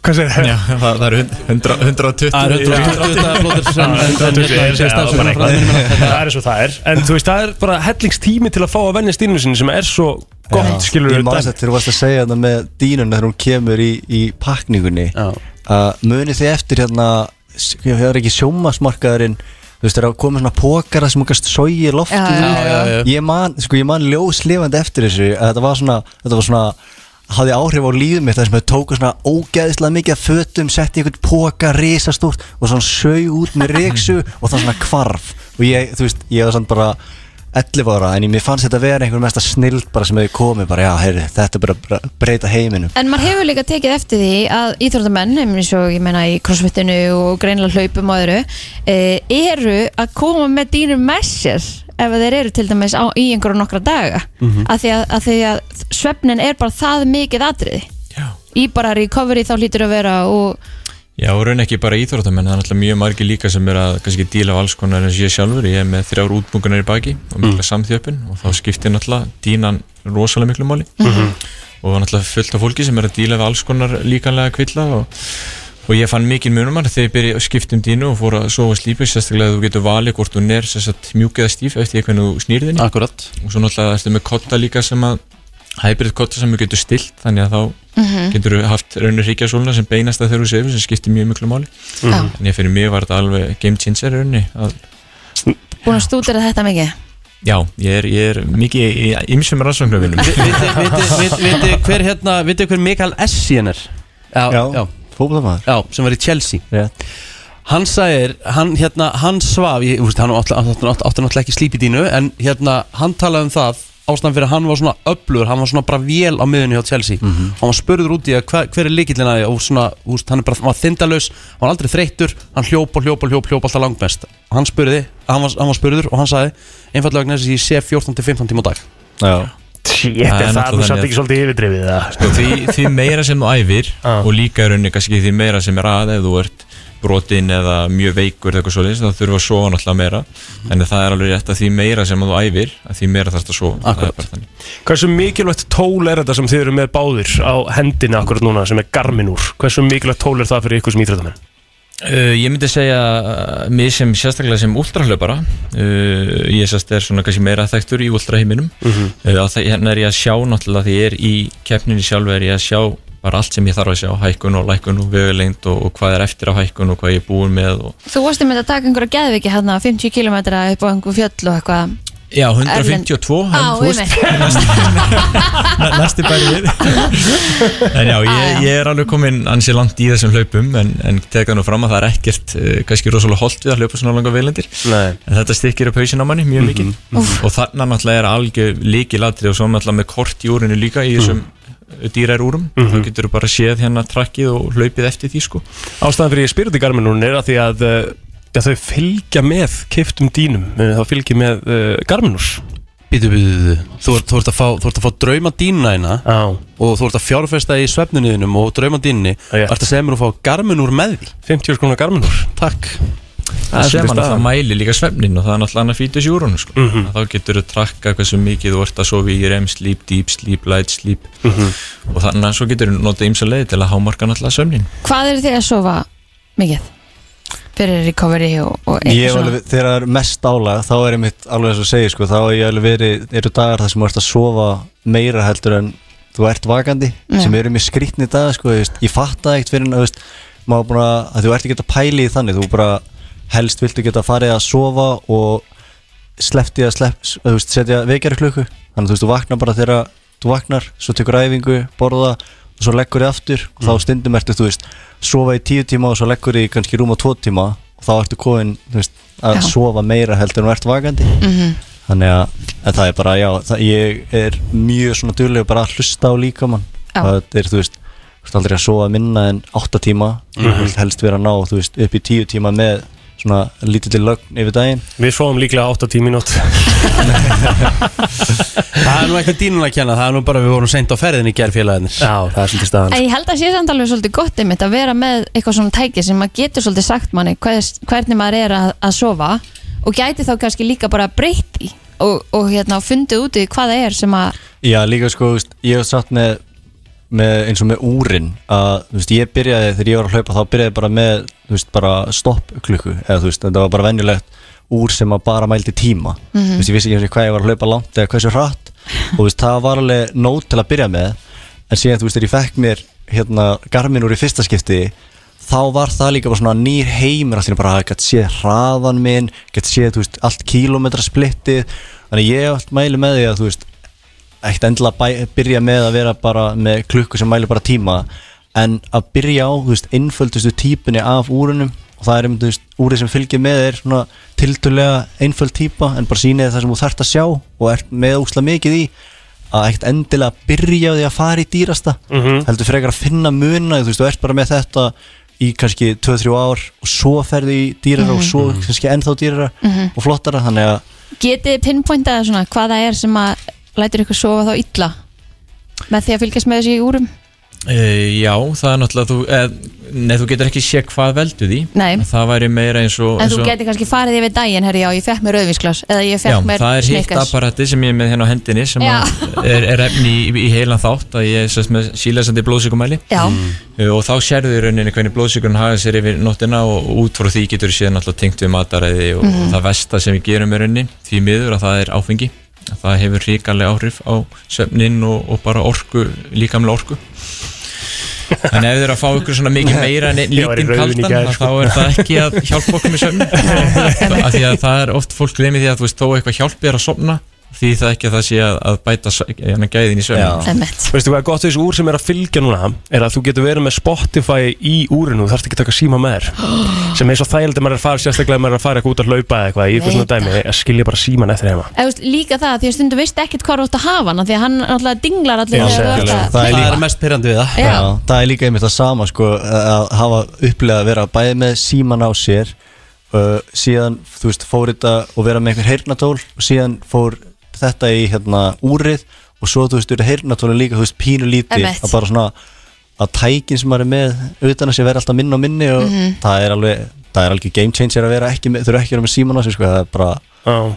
C: Hvað segir það?
P: Já, það, það eru hund- hundra- 120
C: Það er 120 dagar blóðir sem- en- en- en- en- en- bara eitthvað. Það er eins og það er En þú veist, það er bara hellingstími til að fá að vennja stínu sinni sem er svo gott, skilur
O: Ég maður þetta þegar þú varst að segja þetta með dýnuna þegar hún kemur í, í pakningunni að muni þið eftir hérna það er ekki sjómasmarkaðurinn þú veist, það er að koma svona pókara sem hún kannst sói loftið
J: Já,
O: úr.
J: já, já, já.
O: Ég man, sko, ég man ljóslifandi eftir þessu að þetta var svona, þetta var svona hafði áhrif á lífið mitt þar sem þau tóku svona ógæðislega mikið af fötum setti í einhvern póka risastúrt og svona sög út með reyksu og það svona kvarf og ég, þú veist, ég var svona bara 11 ára en ég mér fannst þetta vera einhver mesta snild bara sem hefur komið bara, já, heyri, þetta er bara bara breyta heiminum
B: En maður hefur líka tekið eftir því að íþróttamenn, eins og ég meina í crossfitinu og greinilega hlaupum og öðru, e, eru að koma með dýnum með sér ef þeir eru til dæmis á, í einhverju nokkra daga. Mm
Q: Mhm.
B: Af því að, að því að svefnin er bara það mikið atriði. Já. Í bara recovery þá hlýtur að vera og
P: Já, og raun ekki bara íþróttamenn, það er náttúrulega mjög margir líka sem er að kannski díla af alls konar eins og ég sjálfur, ég er með þrjár útbungunar í baki og mikla samþjöppun og þá skiptir náttúrulega dínan rosalega miklu máli
C: Mhm.
P: og náttúrulega fullt af fólki sem er að díla af alls konar líkanlega kvilla og, og ég fann mikinn munumar þegar ég byrja að skipta um dínu og fór að sofa slípið sérstaklega að þú getur valið hvort hún er sérstaklega mjúk eða stíf eftir því hvernig þú snýrið henni
A: Akkurat.
P: og svo náttúrulega ertu með kotta líka sem að hybrid kotta sem þú getur stilt þannig að þá
B: Mhm.
P: getur þú haft raunir ríkjasóluna sem beinast að þegar þú sefur sem skiptir mjög miklu máli
B: Já.
P: en ég fyrir mig var þetta alveg game changer raunni að,
B: búin að stúdera þetta mikið.
P: já, ég er, ég er mikið í í ýmsum rannsóknarvinnum
A: Vitið hver hérna, vitið hver Mikael Essien er? Já, já.
O: fókbaltamaður
A: Já, sem var í Chelsea
O: Rétt.
A: Hann sagðir, hann hérna, hann svaf ég, úst, Hann átti átti- átti- átti náttúrulega ekki slíp í dínu En hérna, hann talaði um það Ástæðan fyrir að hann var svona öflugur Hann var svona bara vél á miðunni hjá Chelsea Hann var spurður út í að hver, hver er líkillin að því Og svona, úst, hann er bara, hann var þindalaus Hann var aldrei þreyttur, hann hljóp og hljóp og hljóp, hljóp alltaf langmest Og hann spurði, hann var, hann var spurður Og hann sagði, einfallega vegna þess að ég sé 14-15 tíma á dag
O: Já
C: Shit, er það er nú samt ekki svolítið yfirdrifið það
P: sko, því, því meira sem þú æfir og líka í rauninni kannski því meira sem er að ef þú ert brotinn eða mjög veikur eða eitthvað svolítið, þá þurfa að sofa náttúrulega meira en það er alveg rétt að því meira sem þú æfir að því meira þarfst að sofa Það er bara þannig.
C: Hversu mikilvægt tól er þetta sem þið eru með báðir á hendinni akkurat núna sem er garmin úr Hversu mikilvægt tól er það fyrir ykkur sem íþróttamenn?
P: Uh, ég myndi segja uh, mig sem sérstaklega sem ultrahlaupara uh, ég sérst er svona kannski meira þekktur í ultraheiminum
C: Mhm.
P: uh, það, hérna er ég að sjá náttúrulega því ég er í keppninni sjálf er ég að sjá bara allt sem ég þarf að sjá hækkun og lækkun og vegulegnd og, og hvað er eftir á hækkun og hvað ég er búin með og,
B: Þú varst með að taka einhverja geðviki hérna 50 km upp á einhver fjöll og eitthvað.
P: já, 152 en
B: Á,
P: þú veist, næ- næsti bæri við en já, ég, ég er alveg kominn ansi langt í þessum hlaupum en, en tek það nú fram að það er ekkert uh, kannski rosalega holdt við að hlaupa svona langa veilendir
C: Nei. Mhm.
P: en þetta stykkir upp hausinn á manni mjög mikið
C: Úff.
P: og þarna náttúrulega er algjör líkilatri og svo náttúrulega með kort í úrinu líka í þessum mm. dýrarúrum
C: Mhm.
P: þá getur þú bara séð hérna trakkið og hlaupið eftir því sko
C: Ástæðan fyrir ég spyrir þetta í garmin úr er að því að Eh, uh, ja, þau fylgja með keiftum dýnum uh, þá fylgja með uh, garmin úr
A: Býtu, býtu, býtu. Þú, ert- þú, ert að fá, þú ert að fá drauma dýna hérna og þú ert að fjárfesta í svefnunniðinum og drauma dýnni og ert að segja mér að fá garminúr með því
C: 50 skrónar garminúr
A: Takk
P: Það sem hann alltaf mæli líka svefnin og það er náttúrulega annar fítus í úrunum sko.
A: Mhm.
P: Þá getur þú trakka hversu mikið þú ert að sofa í REM sleep, deep sleep, light sleep
A: Mhm.
P: og þannig að svo getur þú notað ímsa leiði til að hámarka náttúrulega svefnin
B: Hvað eru þið að sofa mikið? Fyrir recovery og, og
O: Ég hef alveg, þegar það er mest álag þá er ég mitt alveg þess að segja sko, þá er ég alveg verið, eru dagar þar sem þú ert að sofa meira heldur en þú ert vakandi
B: Já.
O: sem eru mér skrýtni dag sko, ég, ég fatta ekkert fyrir en þú veist, maður bara, að þú ert ekki að pæli í þannig, þú bara helst viltu geta farið að sofa og sleppti að slepp, s- þú veist, setja vekjari klukku, þannig að þú veist, þú vaknar bara þegar þú vaknar, svo tekur æfingu, borða og svo leggur þið aftur og þá stundum ertu, þú veist, sofa í tíu tíma og svo leggur þið í kannski rúma tvo tíma og þá ertu komin, þú veist, að
B: Já.
O: sofa meira heldur en þú ert vakandi
B: Mhm.
O: þannig að, en það er bara, já það, ég er mjög svona dugleg bara að hlusta á líkamann
B: Já.
O: það er, þú veist, þú veist aldrei að sofa minna en 8 tíma, mm
C: Mhm.
O: helst vera að ná, þú veist, upp í 10 tíma með svona lítilli lögn yfir daginn
C: Við svofum líklega 8-10 mínút
A: Það er nú ekki dýnun að kenna, það er nú bara við vorum seint á ferðin í gerfélaginir
C: Já, það er svolítið staðan
B: En ég held að sé samt alveg svolítið gott einmitt að vera með eitthvað svona tæki sem maður getur svolítið sagt manni hvers, hvernig maður er að, að sofa og gæti þá kannski líka bara breytt í og, og hérna fundið út í hvað það er sem að
O: Já, líka sko, þú veist, ég hef satt með, með eins og með úrin að, þú veist, ég byrjaði þegar ég var að hlaupa þá byrjaði ég bara með, þú veist, bara stoppklukku, eða þú veist, þetta var bara venjulegt úr sem að bara mældi tíma
J: Mhm.
O: þú veist, ég vissi ekki einu sinni hvað ég var að hlaupa langt eða hversu hratt og þú veist, það var alveg nót til að byrja með en síðan, þú veist, þegar ég fekk mér hérna, garmin úr í fyrsta skipti þá var það líka bara svona nýr heimur allir bara að geta séð hraðan minn geta séð, þú veist, allt kílómetra splittið þannig að ég allt mæli með því að, þú veist, ekkert endilega bæ, byrja með að vera bara með klukku sem mæli bara tíma en að byrja á, þú veist, einföldustu típunni af úrunum og það er um, þú veist, úrið sem fylgir með er svona tildulega einföld típa en bara sýnið það sem þú þarft að sjá og ert með úsla mikið í að ekkert endilega byrja á því að fara í dýrasta
C: Mhm.
O: heldur frekar að finna muna þú veist, þú ert bara með þetta í kannski 2-3 ár og svo ferði í dýrara og
B: Mhm.
O: svo kannski ennþá dýrara
B: Mhm.
O: og flottara, þannig að
B: getið þið pinpointað svona hvað það er sem að lætur ykkur sofa þá illa með því að fylgjast með þessi í úrum
P: e, Já, það er náttúrulega þú, e, Nei, þú getur ekki sé hvað veldu því
B: Nei.
P: En Það væri meira eins og,
B: en
P: eins
B: þú
P: og
B: getið kannski farið yfir daginn herri já, ég fekk mér rauðvísglas eða ég
P: Já,
B: fekk mér
P: það er hitt
B: Snickers.
P: apparati sem ég er með hérna á hendinni sem
B: Já.
P: að er, er efni í, í heilan þátt að ég er sérst með sílæsandi blóðsíkumæli
B: Já.
P: Uh, og þá sérðu í rauninni hvernig blóðsíkurinn haga sér yfir nóttina og út frá því getur séð náttúrulega tengt við mataræði og
B: Mhm.
P: það vesta sem við gerum í rauninni því miður að það er áfengi það hefur ríkalega áhrif á svefnin og, og bara orku, líkamlega orku Þannig ef þið eru að fá ykkur svona mikið meira en einn
C: Ég var í
P: lítinn
C: rauðvíni í
P: kaldan
C: gær,
P: að
C: sko.
P: þá er það ekki að hjálpa okkur með sömni af því að það er oft fólk glemir því að þú veist þó eitthvað hjálpið er að sofna því það ekki að það sé að, að bæta s- hérna, gæðin í sömni
C: Veistu hvað er gott við þessu úr sem er að fylgja núna er að þú getur verið með Spotify í úrinu þú þarfst ekki að taka síma með þér sem er svo þægild að maður er að fara sérstaklega ef maður er að fara eitthvað út að laupa eða eitthvað í eitthvað svona
B: Veit
C: dæmi að skilja bara síman eftir heima
B: Eða, þú veist, líka það, því að stundum veist ekkert hvað þú átt að hafa hann af því að hann alltaf dinglar allir þegar þú ert að-
O: það er,
A: Það er mest pyrrandi við það
B: Já.
O: það er líka einmitt það sama sko, að hafa upplegað að vera bæði með síman á sér uh, síðan þú veist fór þetta og vera með einhver heyrnatól og síðan fór þetta í hérna úrið og svo þú veist eru heyrnatólin líka þú veist pínu lítið
B: Einmitt.
O: að bara svona að tækin sem maður er með utan að sér vera alltaf minna og minni og
B: Mhm.
O: það er alveg það er alveg game changer að vera ekki með þú eru ekki að vera með síman á sér sko, það er bara
C: oh.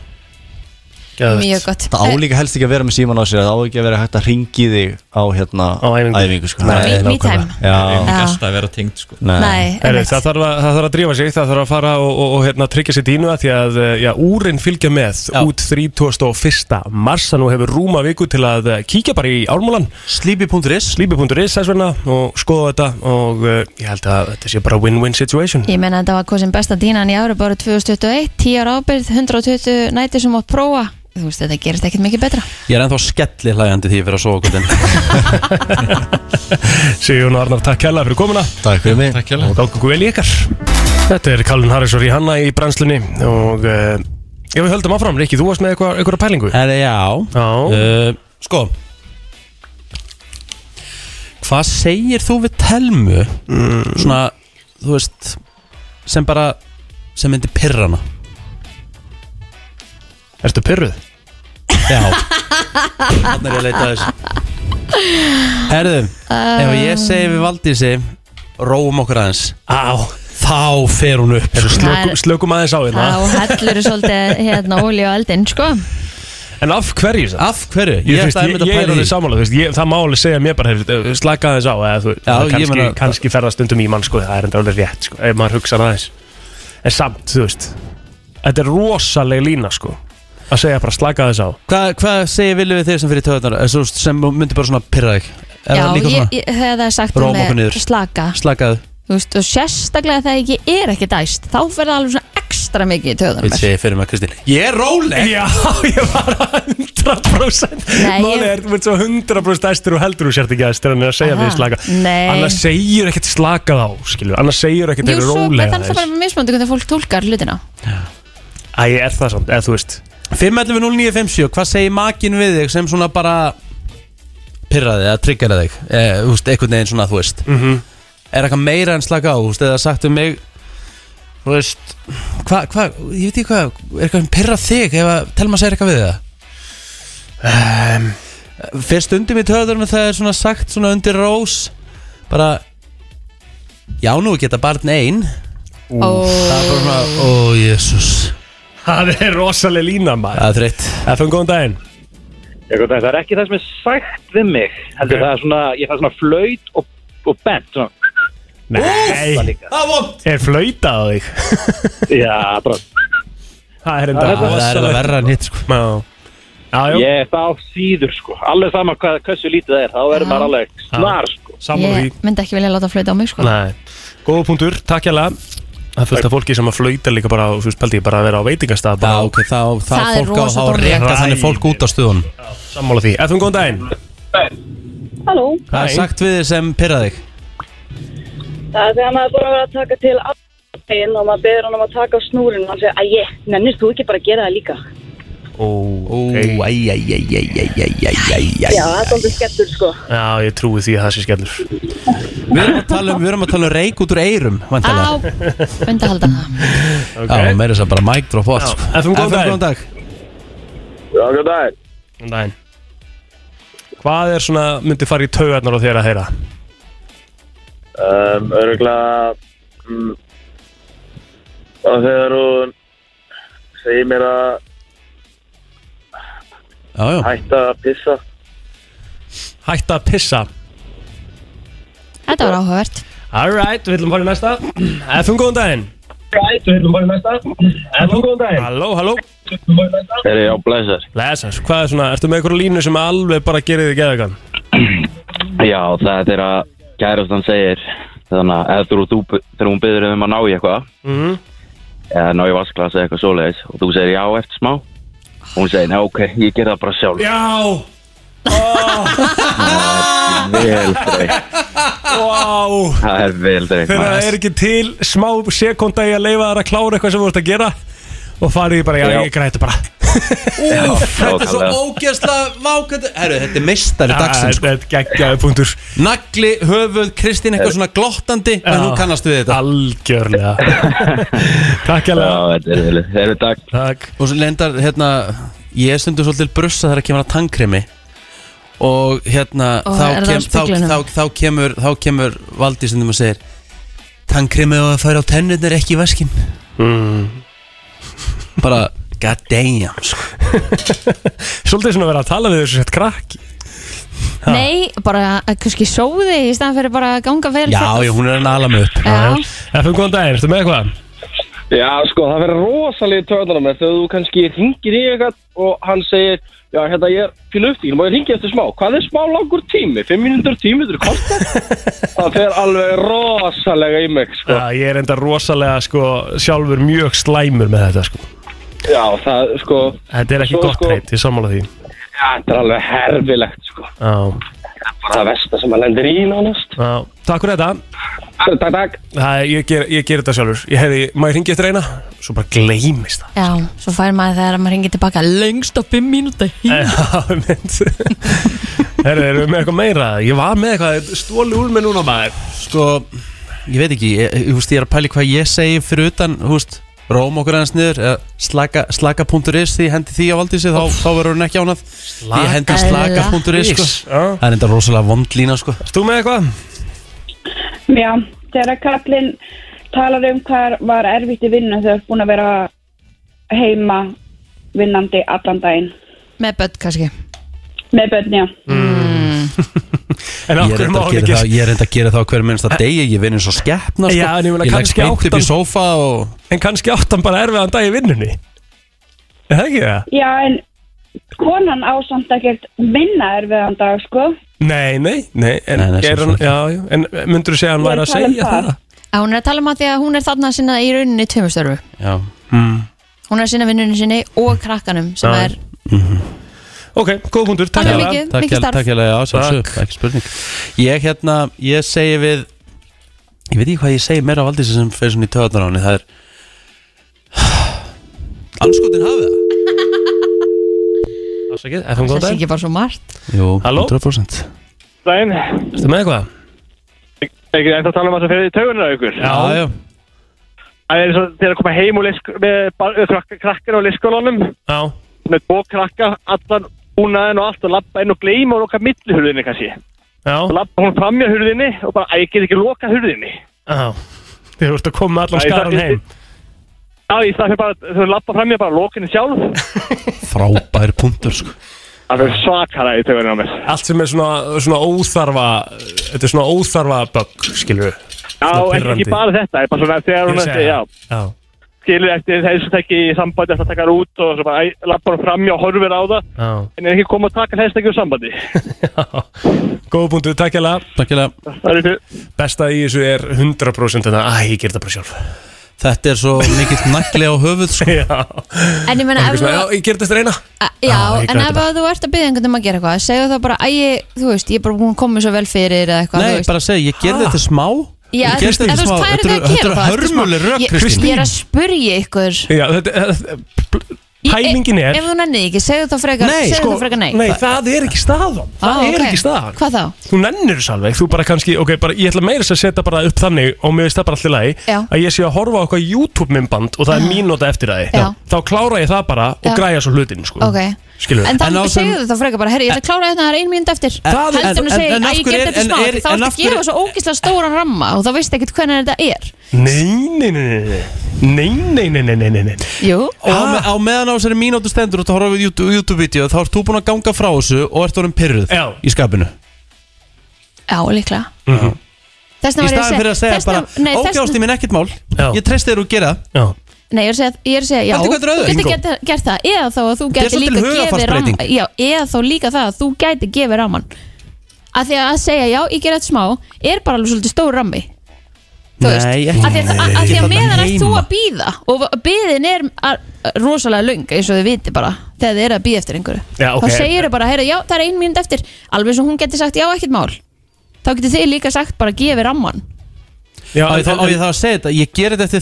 B: Mjög gott. Eh,
O: Það álíka helst ekki að vera með síman á sér Það á ekki að vera hægt að ringi þig á hérna Á æfingu, sko. Það
C: Nei,
O: er
C: me- me
O: nákvæmlega.
C: time.
P: Við erum
O: Já.
P: ekki alltaf að vera tengt sko.
O: Nei.
C: Heyrðu, það, þarf að, það þarf að drífa sig, það þarf að fara og, og, og hérna, tryggja sér dínu að því að eh, já, úrin fylgja með út 31. mars að nú hefur rúma viku til að eh, kíkja bara í ármúlan
A: Sleepy.is
C: Sleepy.is þess vegna og skoða þetta og eh, ég held að þetta sé bara win-win situation
B: Ég meina þetta var kosin besta dínan í ára bara 2021, 10 ára ábyrð 120 næti sem átt prófa þú veist þetta gerist ekkert mikið betra
A: Ég er ennþá skelli hlægandi því fyrir að sofa kvöldin
C: Sigjón Arnar, takk kærlega fyrir komuna
O: Takk fyrir mig
C: Takk kærlega Og gangi ykkur vel í ykkar Þetta er Kallun Harris og Rihanna í brennslunni og uh, já, við höldum áfram, Rikki, þú varst með eitthvað, eitthvað pælingu
A: Herri, já, já. Uh, Sko Hvað segir þú við Telmu Svona, þú veist Sem bara Sem myndi pirrana
C: Ertu pyrruð?
A: Já, þannig er ég að leita að þessu Herðum, ef ég segi við Valdísi Róum okkur aðeins Á, þá fer hún upp
B: slökum-
C: slökum aðeins á hérna.
B: Þá hellur þú svolítið hérna ólíu á eldinn, sko
C: En af hverju það?
A: Af hverju?
C: Ég,
A: Ég
C: þú
A: ætlaði
C: veist, ég,
A: einmitt að
C: ég,
A: pæla
C: er
A: í
C: alveg
A: því.
C: sammála, þú veist, ég, það má alveg segja mér bara, hef, slaka aðeins á eða, þú,
A: Já,
C: það
A: ég
C: kannski,
A: meina-
C: kannski ferða stundum í mann sko, það er enda alveg rétt sko, ef maður hugsa aðeins En samt, þú veist, þetta er rosaleg lína sko, að segja bara slaka aðeins á
A: Eh, Hvað hva segir Vili við þig sem fyrir töðunar sem myndi bara svona pyrra þig Er
B: Já,
A: það líka
B: ég,
A: svona?
B: ég, þegar það er sagt um, eh,
A: Róum okkur niður.
B: slaka
A: Slakaðu
B: Þú veist, og sérstaklega þegar ég er ekki dæst Þá fer það alveg svona ekstra mikið í töðunum
A: Vil segja fyrir mig Kristín Ég er róleg
C: Já, ég var 100%
B: Nei, ég-
C: Málið er, þú ert svo 100% æstur og heldur þú sért ekki æstur en er að segja
B: Aha,
C: við slaka
B: nei.
C: Annars segir ekkert slakað á, skilju, annars segir ekkert
B: Jú,
C: eru
B: svo
C: róleg
B: þannig það
C: aðeins.
B: bara mismöndi hvernig fólk tólkar hlutina
C: Æ, er það samt, eða þú veist
A: 5.11.09.57, hvað segir makin við þig sem svona bara pyrraði eða triggeraði þig eh, þú veist, einhvern veginn svona, þú veist
C: Mhm.
A: er eitthvað meira en slaka á, þú veist, eða sagt um mig þú veist hvað, hva, ég veit ekki hvað, er eitthvað sem pyrra þig ef að telma segir eitthvað við það
C: Ehm.
A: um, fyrst undir mér töður með það er svona sagt svona undir rós bara já nú geta barn ein það
C: Ó.
A: er bara svona, ó jésús
C: Það er rosaleg lína maður Það
A: er þreytt
C: FN, góðan daginn
Q: Ég, góðan daginn, það er ekki það sem er sagt við mig heldur það er svona, ég fæ svona flöyt og, og bent svona.
C: Nei,
A: það vond
C: er flöytað á þig
Q: Já, bara
C: Það er
A: Já, það er alveg verra en hitt sko
C: já.
Q: Ég er það á síður sko alveg sama hvað, hversu lítið það er þá
B: Já.
Q: verður maður alveg snar sko
B: Ég myndi ekki vilja láta flöta á mig, sko
C: Nei, góða punktur, takk hjá Það er fullt af fólki sem að flöyta líka bara á, þú veist, pældi ég bara að vera á veitingastað bara Já,
A: ok, þá,
B: það Það er fólk á- rosa þá dómlegt.
A: reka þannig fólk út á stuðun
C: Sammála því, ef þú góðan daginn
R: Halló,
A: Hvað er sagt við þig sem pyrraði þig?
R: það er þegar maður er búin að vera að taka til aftegin og maður beður hann um að taka á snúrin og hann segir, æj, nennir þú ekki bara að gera það líka?
C: Ó, æj, æj, æj, æj, æj, æj, æj,
R: Já, það er svolítið skellur sko.
C: Já, ég trúi því að það sé skellur
A: Við erum að tala um, við erum að tala um reik út úr eyrum
B: Á,
A: væntanlega.
B: myndi halda það
A: Já, meira þess að bara mic drop off sko.
C: FM, góðan daginn.
A: dag
I: Já, góð dag
C: Góðan Um daginn Hvað er svona, myndi fara í taugarnar á þér að heyra?
I: um, Öruglega um, Og þegar hún segir mér að
A: Já, já
I: hætta að pissa
C: Hætta að pissa
B: Þetta var áhugavert
C: Alright, við viljum fara í næsta FM, góðan daginn
I: Alright, við viljum fara í næsta FM, góðan daginn
C: Halló, halló
I: Þegar ég á blæsar
C: Læsans, hvað er svona, ertu með einhverju línu sem alveg bara gerir þig geðagan?
Q: Já, það er þegar kærastan segir þannig að eða þú, þú, þegar hún byður um að ná í eitthvað
C: Mhm
Q: eða ná í vasklasa eða eitthvað svoleiðis og þú segir já eftir smá og hún segir, já ok, ég ger það bara sjálf
C: Já
Q: vel dreikt,
C: Vá
Q: það er vel dreikt
C: Þegar það er ekki til smá sekunda í að leifa þar að klára eitthvað sem þú ert að gera og farið í bara, já,
A: Já.
C: ég græti bara
A: Úf, þetta er svo
C: nákvæmlega.
A: ógeðsla vákandi Herru, þetta er mistari
C: Já,
A: dagsins sko.
C: Þetta er geggjaði punktur
A: Nagli, höfuð, Kristín, eitthvað svona glottandi En hún kannast við þetta
C: Algjörlega Takk
Q: Já, þetta er vel Þeir eru takk
C: Takk
A: Og svo lendar, hérna Ég er stundum svolítið til brussa þegar kemur að tannkremi Og hérna
B: Og
A: þá,
B: er það á
A: þá,
B: speglinum?
A: þá, þá kemur, þá kemur Valdi sem þú maður segir Tannkremi á að færa á tennirnir ekki í vaskin
C: mm.
A: Bara, god damn sko.
C: Svolítið svona að vera að tala við þessu sett krakki
B: Nei, bara að kannski sóði í staðan fyrir bara að ganga vel
C: Já, já,
A: hún er að nala mig upp
B: Já.
C: FM, góðan daginn, ertu með eitthvað?
I: Já, sko, það verður rosalega törðanum þegar þú kannski ringir í eitthvað og hann segir, já, hérna, ég er fyrir luftingin, má ég ringi eftir smá? Hvað er smá langur tími? 5 minútur tími, þetta er kostar? það fer alveg rosalega í mig, sko.
C: Já, ég er enda rosalega sko, sjálfur mjög slæmur með þetta sko.
I: Já, það, sko,
C: Þetta er ekki
I: Svo,
C: gott
I: sko-
C: reynd, ég sammála því
I: já, þetta er alveg herfilegt, sko.
C: Já,
I: Bara það versta sem maður lendir í nánast.
C: já. Takk fyrir þetta
I: Takk, takk, takk.
C: Það, ég, ger, ég ger þetta sjálfur Ég hefði, má ég ringi eftir eina? Svo bara gleymist það
B: Já, svo fær maður þegar maður hengið tilbaka lengst á 5 mínúti
C: Já, mynd Herri, erum við með eitthvað meira? Ég var með eitthvað, stóli úr með núna maður
A: Sko, ég veit ekki Ég, ég, þú veist, ég er að pæli hvað ég segi fyrir utan Þú veist róm okkur aðeins niður eða slaka- slaka.is því ég hendi því á valdísi þá, þá verður hún ekki ánað Því ég hendi slaka.is sko.
C: Is, já.
A: það er enda rosalega vond lína sko.
C: Erst þú með eitthvað?
R: Já, þegar kallinn talar um hvað var erfitt í vinnu þegar þú ert búin að vera heima vinnandi allan daginn.
B: Með börn kannski. Mm.
R: Með börn, já.
C: En
A: ég er
C: okkur
A: enda
C: má
A: að gera
C: ekki-
A: það, ég er enda að gera það á hverju minnst að degi, ég vinn eins og skeppna sko.
C: Já, en ég meina
A: leggst
C: kannski
A: beint upp í
C: áttan-
A: sófa og...
C: En kannski áttan bara erfiðan dag í vinnunni Er það ekki það?
R: Já, en konan á samt ekkert minna erfiðan dag, sko.
C: Nei, nei, nei En, nei, nei, hann, já, já, en myndur þú segja að hann
R: Ég er
C: væri að
R: að tala um
C: segja
R: það.
C: það?
B: Að hún er að tala um að því að hún er þarna sinna í rauninni tveimustörfu.
A: Já mm.
C: Hmm.
B: Hún er að sinna vinnunni sinni og krakkanum sem
A: Já.
B: er
C: Ok, góð punktur,
B: takk Alveg hérlega. mikið,
A: Takk
B: mikið
A: hérlega,
B: starf.
A: Takk hérlega, já, sjálfsög, ekki spurning Ég hérna, ég segi við Ég veit ekki hvað ég segi meira á Valdísi sem fer svona í töðan á henni Það er Anskotin hafið það
C: Ásakið, FM góðan
B: Það sé
C: dag
B: ekki bara svo margt.
A: Jú,
C: Halló?
A: 100%
K: Dæin,
C: Erstu með eitthvað?
K: ekki ennþá tala um að það fyrir taugunar á ykkur
C: Já, já.
K: Það er eins og þegar að koma heim og lesk, með bar- krakka- krakkar á leikskólanum
C: Já
K: með tvo krakka, allan búnaðin og allt og lappa inn og gleyma og loka millihurðinni kannski
C: Já
K: og lappa hún framja hurðinni og bara, æ, ég get ekki loka hurðinni
C: Já Þið voru að koma með allan
K: Nei, það-
C: skaran heim
K: Já, í stað fyrir bara, þú lappa framja bara loka henni sjálf
A: Frábær punktur sko
K: Það er svakara í taugunar á mér
C: Allt sem er svona, svona óþarfa Þetta er svona óþarfa bögg, skilur við
K: Já, ekki, ekki bara þetta, ég bara svona þegar hún eftir, já,
C: Já
K: skilur eftir þessu tekki í sambandi eftir að taka hann út og svo bara æ, lappar hún framjá og horfir á það
C: Já
K: en er ekki komið að taka hestekki úr sambandi
C: Góða punktu, takk hérlega
A: Takk hérlega
K: Það er fyrir
C: Besta í þessu er 100% þetta Æ, ég ger þetta bara sjálf
A: Þetta er svo mikill nagli á höfuð sko.
C: Já
B: En ég menna,
C: Eitthvað
B: ef
C: svona,
B: þú...
C: Já, ég ger þetta reyna
B: Já,
C: Ah, ég
B: en
C: græt
B: ef
C: bara.
B: að þú ert að byggja einhvern um að gera eitthvað, segðu þá bara, æ, ég- þú veist, ég er bara búin að koma mér svo vel fyrir eða eitthvað, þú
A: Nei,
B: veist.
A: bara segi, ég gerði
B: Ha?
A: þetta smá
B: Já,
A: Ég
B: þú veist,
A: gerði
B: en
A: þetta
B: þú
A: smá
B: veist, hvað eru þið að
A: Þetta
B: gera
A: eru
B: það? Þetta er smá-
A: hörmuleg rök,
B: Ég-
A: Kristín
B: Ég er að spurja ykkur
C: Já, þetta
B: Ég-
C: Pælingin er-
B: Ef þú nennið ekki, segðu þá frekar
C: Nei,
B: segðu
C: sko,
B: þá frekar nei
C: nei, það er ekki staðan Það
B: Á,
C: er
B: ok.
C: ekki staðan
B: Hvað þá?
C: Þú nennir þessu alveg, þú bara kannski, ok, bara, ég ætla meira þess að setja bara upp þannig og mér veist það bara allir lagi
B: Já.
C: að ég sé að horfa á okkar YouTube-mymband og það er mín nota eftir það
B: Já.
C: þá klára ég það bara og
B: Já.
C: græja svo hlutin sko.
B: Ok
C: Skilurðu?
B: En
C: En á
B: þannig
C: þeim-
B: segðu þá frekar bara, herri, ég ætla að klára þetta, það er ein mínúnd eftir
C: Það-
B: Heldur
C: en-
B: hún að segja,
C: en- en
B: að
C: af
B: ég
C: hverju
B: get
C: er-
B: þetta
C: en
B: smá
C: er-
B: Þá ertu
C: en af
B: að gefa
C: hverju-
B: svo ógislega stóran ramma og þá veist ekkert hvernig þetta er
C: Nei, nei, nei, nei, nei, nei, nei, nei, nei, nei, nei.
B: Jú
A: Og á, me á meðan á þessari mínútu stendur og þú horfir á YouTube- YouTube-vídeó þá ert þú búin að ganga frá þessu og ert orðin pyrruð
C: Já.
A: í skapinu
B: Já, líklega
A: -hmm.
B: Þessna
A: Í
B: var ég
A: staðin fyrir að segja
B: þessna- nei,
A: bara
B: þessna-
A: Ógjásti minn ekkert mál
C: Já.
A: Ég treysti þér að gera
C: Já.
B: Nei, ég er að segja, ég er að segja já,
A: Heldur hvað þetta er
B: þú
A: öðru?
B: getur
A: Bingo.
B: gert, gert það eða þá að þú
A: Þetta er
B: gæti
A: svolítil
B: líka gefið
A: hugarfarsbreyting.
B: ramman já, eða þá líka það að þú gæti gefið ramman að því að segja já, ég ger þetta smá er bara alveg svolítið stór rammi
A: Nei, ekki
B: að því að, að, að, því að
A: Þarna
B: meðan að þú
A: heima.
B: að býða og býðin er að- rosalega löng eins og þið viti bara þegar þið eru að býða eftir einhverju
C: Já, ok.
B: þá segir þau bara, heyra, já, það er ein mínúnd eftir alveg svo hún geti sagt já, ekkert mál þá getur þið líka sagt bara gefið ramman
C: Já,
A: á, ég þá, á ég þá að segja þetta, ég ger þetta eftir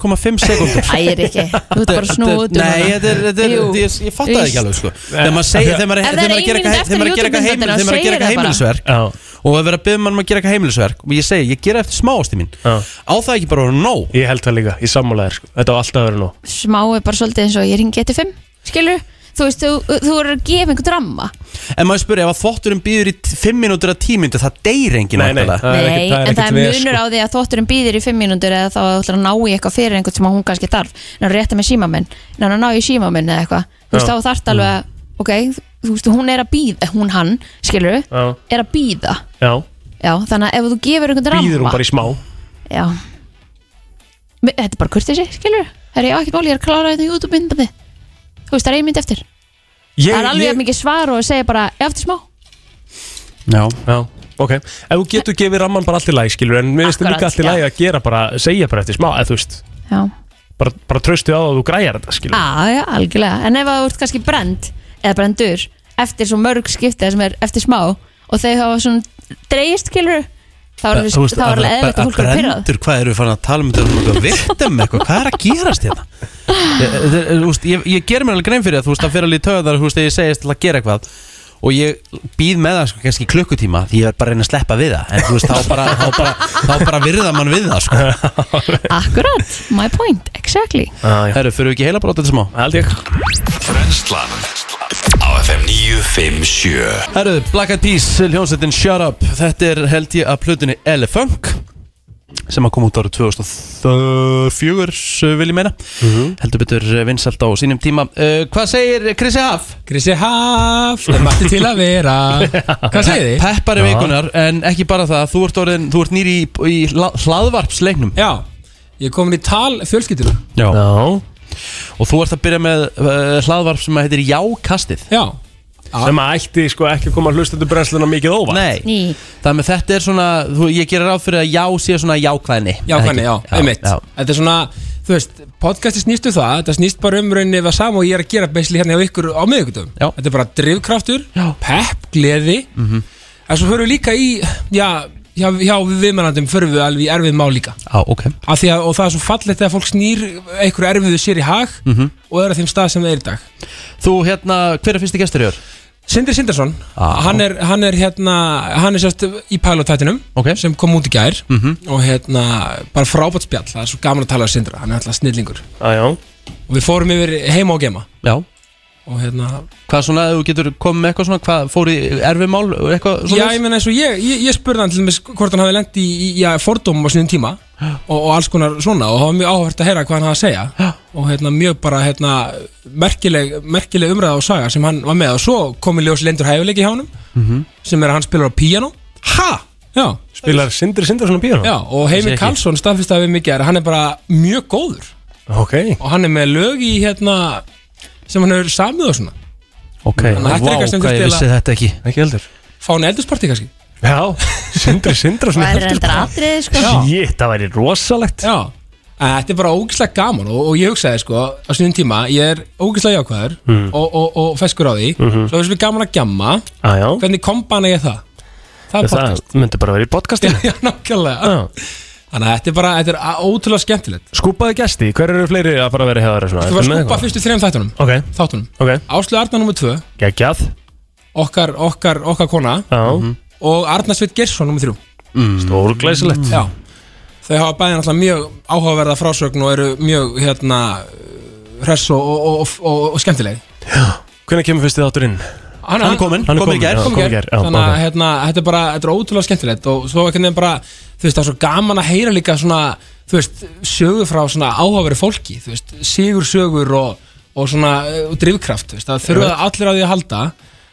A: 33,5 sekundur
B: Æ, er ekki, þú ert bara snúð út um
A: Nei,
B: hana.
A: þetta er, þetta er,
B: Jú.
A: ég, ég fatta það ekki alveg sko Þegar maður segja, þegar maður
B: Ef það er
A: þegar maður
B: ein
A: gera
B: mínúta
A: eitthvað-
B: eftir
A: þegar maður gera eitthvað
B: YouTube
A: heimil-
B: myndina,
A: þegar maður
B: segir
A: gera eitthvað
B: það bara.
A: heimilisverk og ef vera að byggja mann um að gera eitthvað heimilisverk og ég segi, ég gera eftir smá ástu mín á það ekki bara að vera nóg
C: Ég held það líka, ég sammála þér sko. Þetta á alltaf að vera nóg
B: smá er bara svolítið eins og ég ringi eftir fimm skilur, þú veist, þú, þú er að gefa einhvern ramma
A: En maður spyrir, ef að þvotturum býður í 5 minútur að 10 minútur, það deyr engin
C: Nei, nei, það er sko.
B: Nei, en það er munur á því að þótturinn býðir í fimm mínútur eða þá að þú ætlar að ná í eitthvað fyrir einhvern sem hún kannski þarf ná rétta með símaminn, ná að ná í símaminn eða eitthvað, þú veist,
C: Já.
B: þá þarft alveg að ok, þú veist, hún er að býða hún hann, skilur,
C: Já.
B: er að býða
C: Já,
B: já, þannig að ef þú gefur einhvern ramma
C: býður hún bara í smá
B: já Me- þetta er bara kurtið sig, skilur það er já, ekkert mál, ég er að klára þetta YouTube-myndandi þú veist, það er ein mynd eftir
C: Ég-
B: það er alveg
C: ég-
B: jafn mikið svar og segja bara "Já, eftir smá
A: Já,
C: ok Ef þú getur gefið ramman bara allt í lagi, skilur En mér finnst það
B: Akkurat,
C: líka allt í lagi að gera bara Segja bara eftir smá, eða þú veist
B: Já.
C: Bara, bara tröstu á að þú græjar þetta, skilur
B: Já, já, algjörlega En ef að þú ert kannski brend eða brendur eftir svo mörg skiptið sem er eftir smá og þau hafa svona dreigist skilur þá er
A: Þú veist,
B: alveg- þá er alveg eðlilegt að fólk er pyrrað
A: brendur, hvað eru fann að tala um þetta um eitthvað vittum eitthvað, hvað er að gerast hérna ég, ég, ég, ég ger mér alveg grein fyrir að þú veist að fyrir alveg í töðar þú veist, þegar ég segist til að gera eitthvað og ég býð með það sko, kannski í klukkutíma því ég er bara að reyna að sleppa við það en þú veist, þá bara, þá bara, þá bara virða mann við það sko.
B: Akkurat, my point, exactly
A: Herru, fyrir við ekki heila bara á þetta smá Held ég
D: Brennslan Á FM 957
A: Herru, Black Eyed Peas, hljónsettin Shut Up Þetta er held ég að plötunni Elefunk
B: Ah.
A: sem að koma út árið 2004 eh, vil ég meina
S: Mhm.
A: heldur betur eh, vinsælt á sínum tíma uh, Hvað segir Krissi Haf?
S: Krissi Haf, er mætti til að vera Hvað segir þið?
A: Peppari vikunar, en ekki bara það þú ert, orðin, þú ert nýri í, í hla- hlaðvarpsleiknum
S: Já, ég er komin í tal fjölskyldinu
A: Já. Og þú ert að byrja með uh, hlaðvarp sem að heitir Jákastið
S: Já
A: Sem að ætti sko ekki að koma að hlusta til brennsluna mikið óvart Nei,
B: Ný.
A: það með þetta er svona þú, ég gerir ráð fyrir að já sé svona jákvæðni
S: Já, hvernig, já,
A: Ekki?
S: einmitt Þetta er svona, þú veist, podcasti snýst um það Þetta snýst bara um rauninni það sama og ég er að gera beisli hérna hjá ykkur á miðugutum Þetta er bara drivkraftur, já. pepp, gleði
A: Mhm.
S: En svo förum við líka í, já, hjá, hjá viðmennandum förum við alveg í erfið mál líka
A: Já, ok
S: Af því að, og það er svo fallegt þegar fólk snýr einhverju erfiðu sér í hag
A: Mhm.
S: og er á þeim stað sem það er í dag
A: Þú, hérna, hver er fyrsti gestur í Ah, ör?
S: Sindri Sindarsson,
A: Á.
S: hann er, hann er hérna, hann er sérst í pilotætinum okay. sem kom út í gær
A: Mhm.
S: og hérna, bara frábært spjall það er svo gaman að tala um Sindra, hann er alltaf snillingur
A: Ah,
C: Æjá
S: og við fórum yfir heima og gema
A: Já
S: og hérna,
A: Hvað svona, ef þú getur komið með eitthvað svona hvað fór í erfimál, eitthvað svona
S: Já, ég meina eins og ég, ég, ég spurði hann til dæmis hvort hann hafi lengt í, í já, fordómum á sinni tíma og, og alls konar svona og það var mjög áhvert að heyra hvað hann hafa að segja og hérna, mjög bara hérna, merkileg, merkileg umræða og saga sem hann var með og svo kom í ljós lendur hæfileiki hjá hann
C: Mhm.
S: sem er að hann spilar á píano Ha? Já
C: Spilar Sindri Sindarsson á bíónu?
S: Já, og Heimir Karlsson staðfyrstaði við mikið er að hann er bara mjög góður
C: Ok
S: og hann er með lög í hérna sem hann hefur samið og svona
A: Ok,
S: Þannig að þetta er
A: vá,
S: eitthvað sem
A: hvað
S: þurfti
A: ég vissi
S: eiginlega-
A: þetta ekki Ekki heldur
S: fá hann eldursparti kannski
C: Já, Sindri Sindarsson
S: Það er
C: heldur-
S: reyndar atriði, sko.
C: Shit, það væri rosalegt
S: Já, að þetta er bara ógislega gaman og, og ég hugsaði sko á sínum tíma, ég er ógislega jákvæður
C: Mm.
S: og, og, og feskur á því
C: Mhm.
S: svo þess við gaman að gjamma
C: Æjá
S: hvernig kombana ég það? Það er podcast
C: Það myndi bara verið í podcastinu
S: Já, nákvæmlega Þannig að þetta er bara, þetta er á- ótrúlega skemmtilegt
C: Skúpaði gesti, hver eru fleiri að fara að vera hefðar
S: Þú var skúpa fyrstu þrejum þættunum
C: Ok,
S: þáttunum
C: ok
S: Áslu Arna nr. 2,
C: Gægjað
S: okkar, okkar, okkar kona Mhm.
C: Já
S: og Arna Sveit Gersson nr. 3
C: mm. Stórglæsilegt
S: Já Þau hafa bæði náttúrulega mjög áhugaverða frásögn og eru mjög hérna hress og, og, og, og, og skemmtileg
C: Hvernig kemur fyrsti þáttur inn?
S: Hann,
C: er kominn,
S: hann er
C: kominn,
S: kominn í gær,
C: já,
S: kominn í gær.
C: já,
S: Þannig að
C: ok.
S: hérna, þetta er bara, þetta er ótrúlega skemmtilegt og svo ekki nefn bara, þú veist, það er svo gaman að heyra líka svona, þú veist, sögur frá svona áhugaveri fólki, þú veist, sigur sögur og, og svona eh, og drivkraft, þú veist, það þurfa
C: Já.
S: allir á því að halda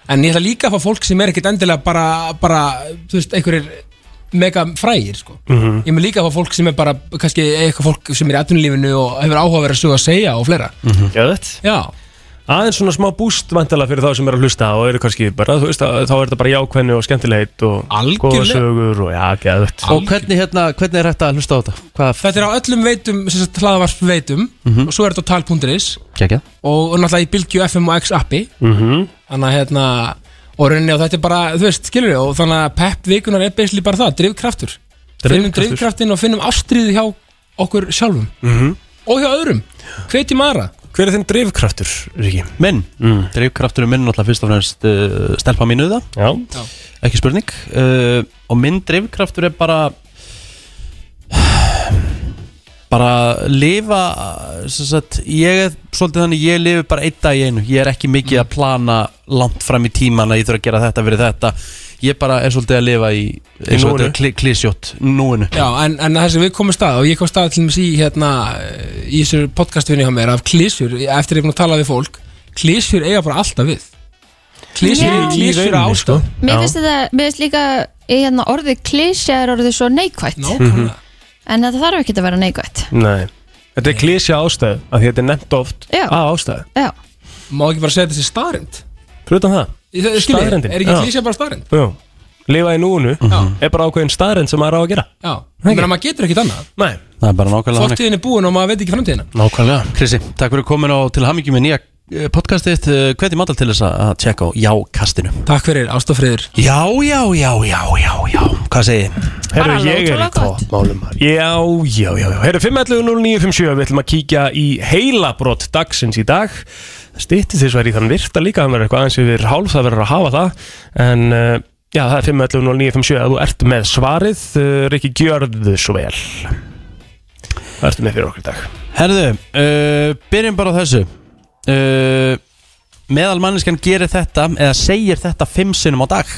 S: en ég ætla líka að fá fólk sem er ekkit endilega bara, bara, þú veist, einhverjir mega frægir, sko
C: Mhm.
S: ég með líka að fá fólk sem er bara, kannski eitthvað fólk sem er í atvinnulífinu og hefur áhugaverið sögur að segja og fleira
C: Gæðvett
S: Já
C: Mhm. Aðeins svona smá búst vantilega fyrir þá sem eru að hlusta og eru kannski bara, þú veist, að, þá er þetta bara jákvæðni og skemmtilegt og
S: Algjörlega.
C: góða sögur og já, gæðvett
A: Og hvernig, hérna, hvernig er hægt að hlusta á þetta? Hvað Mhm.
S: Þetta er á öllum veitum, sem sagt hlaðavarp veitum og svo er þetta á tal.is
A: Kekja
S: og, og náttúrulega í Bilgju FM og X appi
C: Mhm.
S: þannig að hérna og rauninni og þetta er bara, þú veist, skilur ég og þannig að pepp vikunar er basically bara það, drivkraftur finnum
C: Drifkraftur.
S: drivkraftin og finnum ástriði hjá okkur sjálfum
C: Mhm.
S: og hjá öðrum, hvetjum aðra
C: Hver er þinn drivkraftur, Ríki?
A: Minn, mm. drifkrafturinn minn náttúrulega fyrst og fremst uh, stelpa mínu það
C: Já.
A: Ekki spurning uh, Og minn drifkraftur er bara bara lifa sem sagt, ég er svolítið þannig ég lifi bara einn dag í einu, ég er ekki mikið að plana langt fram í tíman að ég þurfa að gera þetta fyrir þetta, ég bara er svolítið að lifa í, eins og
S: núinu.
A: þetta er kli, klísjótt núinu
S: Já, en, en það sem við komum stað og ég kom stað til dæmis í hérna í þessu podcastvinni hjá mér af klísjur eftir ég er búin að tala við fólk klísjur eiga bara alltaf við klísjur
B: Já.
S: er klísjur
C: Í rauninni, sko.
S: ástæð
B: Mér finnst þetta, mér finnst líka eh, hérna, orðið klísja er orðið svo neikvætt
C: Nákvæmlega.
B: En þetta þarf ekki að vera neikvætt
C: Nei Þetta er klísja ástæð, af því þetta er nefnt oft
B: Já.
C: að ástæð
B: Já,
S: Má ekki bara segja þessi starind
C: Fyrir utan það,
S: Staðrendin Er ekki
C: Já.
S: klísja bara starind?
C: Jú, lifa í núinu er bara ákveðin staðrind sem maður á að gera
S: Já Menn að maður getur ekkit annað
C: Nei
A: það er bara nákvæmlega þannig.
S: Fortíðin er búin og maður veit ekki framtíðina
A: Nákvæmlega Krissi, takk fyrir komin á til hamingjum með nýja eh, podcastið þitt. Eh, Hvernig matal til þess að að tjekka á já-kastinu
S: Takk fyrir, ástofriður
A: Já, já, já, já, já, já Hvað segið? þið?
C: Herru,
J: alveg
C: ég er í
J: ótrúlega gott.
C: toppmálum maður. Já, já, já, já Herru, 5.11.09.57 Við ætlum að kíkja í heilabrott dagsins í dag Stýtti þess að vera í þann virta líka Það verður eitthvað aðeins yfir hálf Það verður að hafa það En uh, já, það er 5.11.09.57 Ef þú ert með svarið uh, Rikki, gjörðu svo vel Það ertu með fyrir okkur í dag
A: Herðu, uh, byrjum bara á þessu uh, Meðalmanniskan gerir þetta eða segir þetta fimm sinnum á dag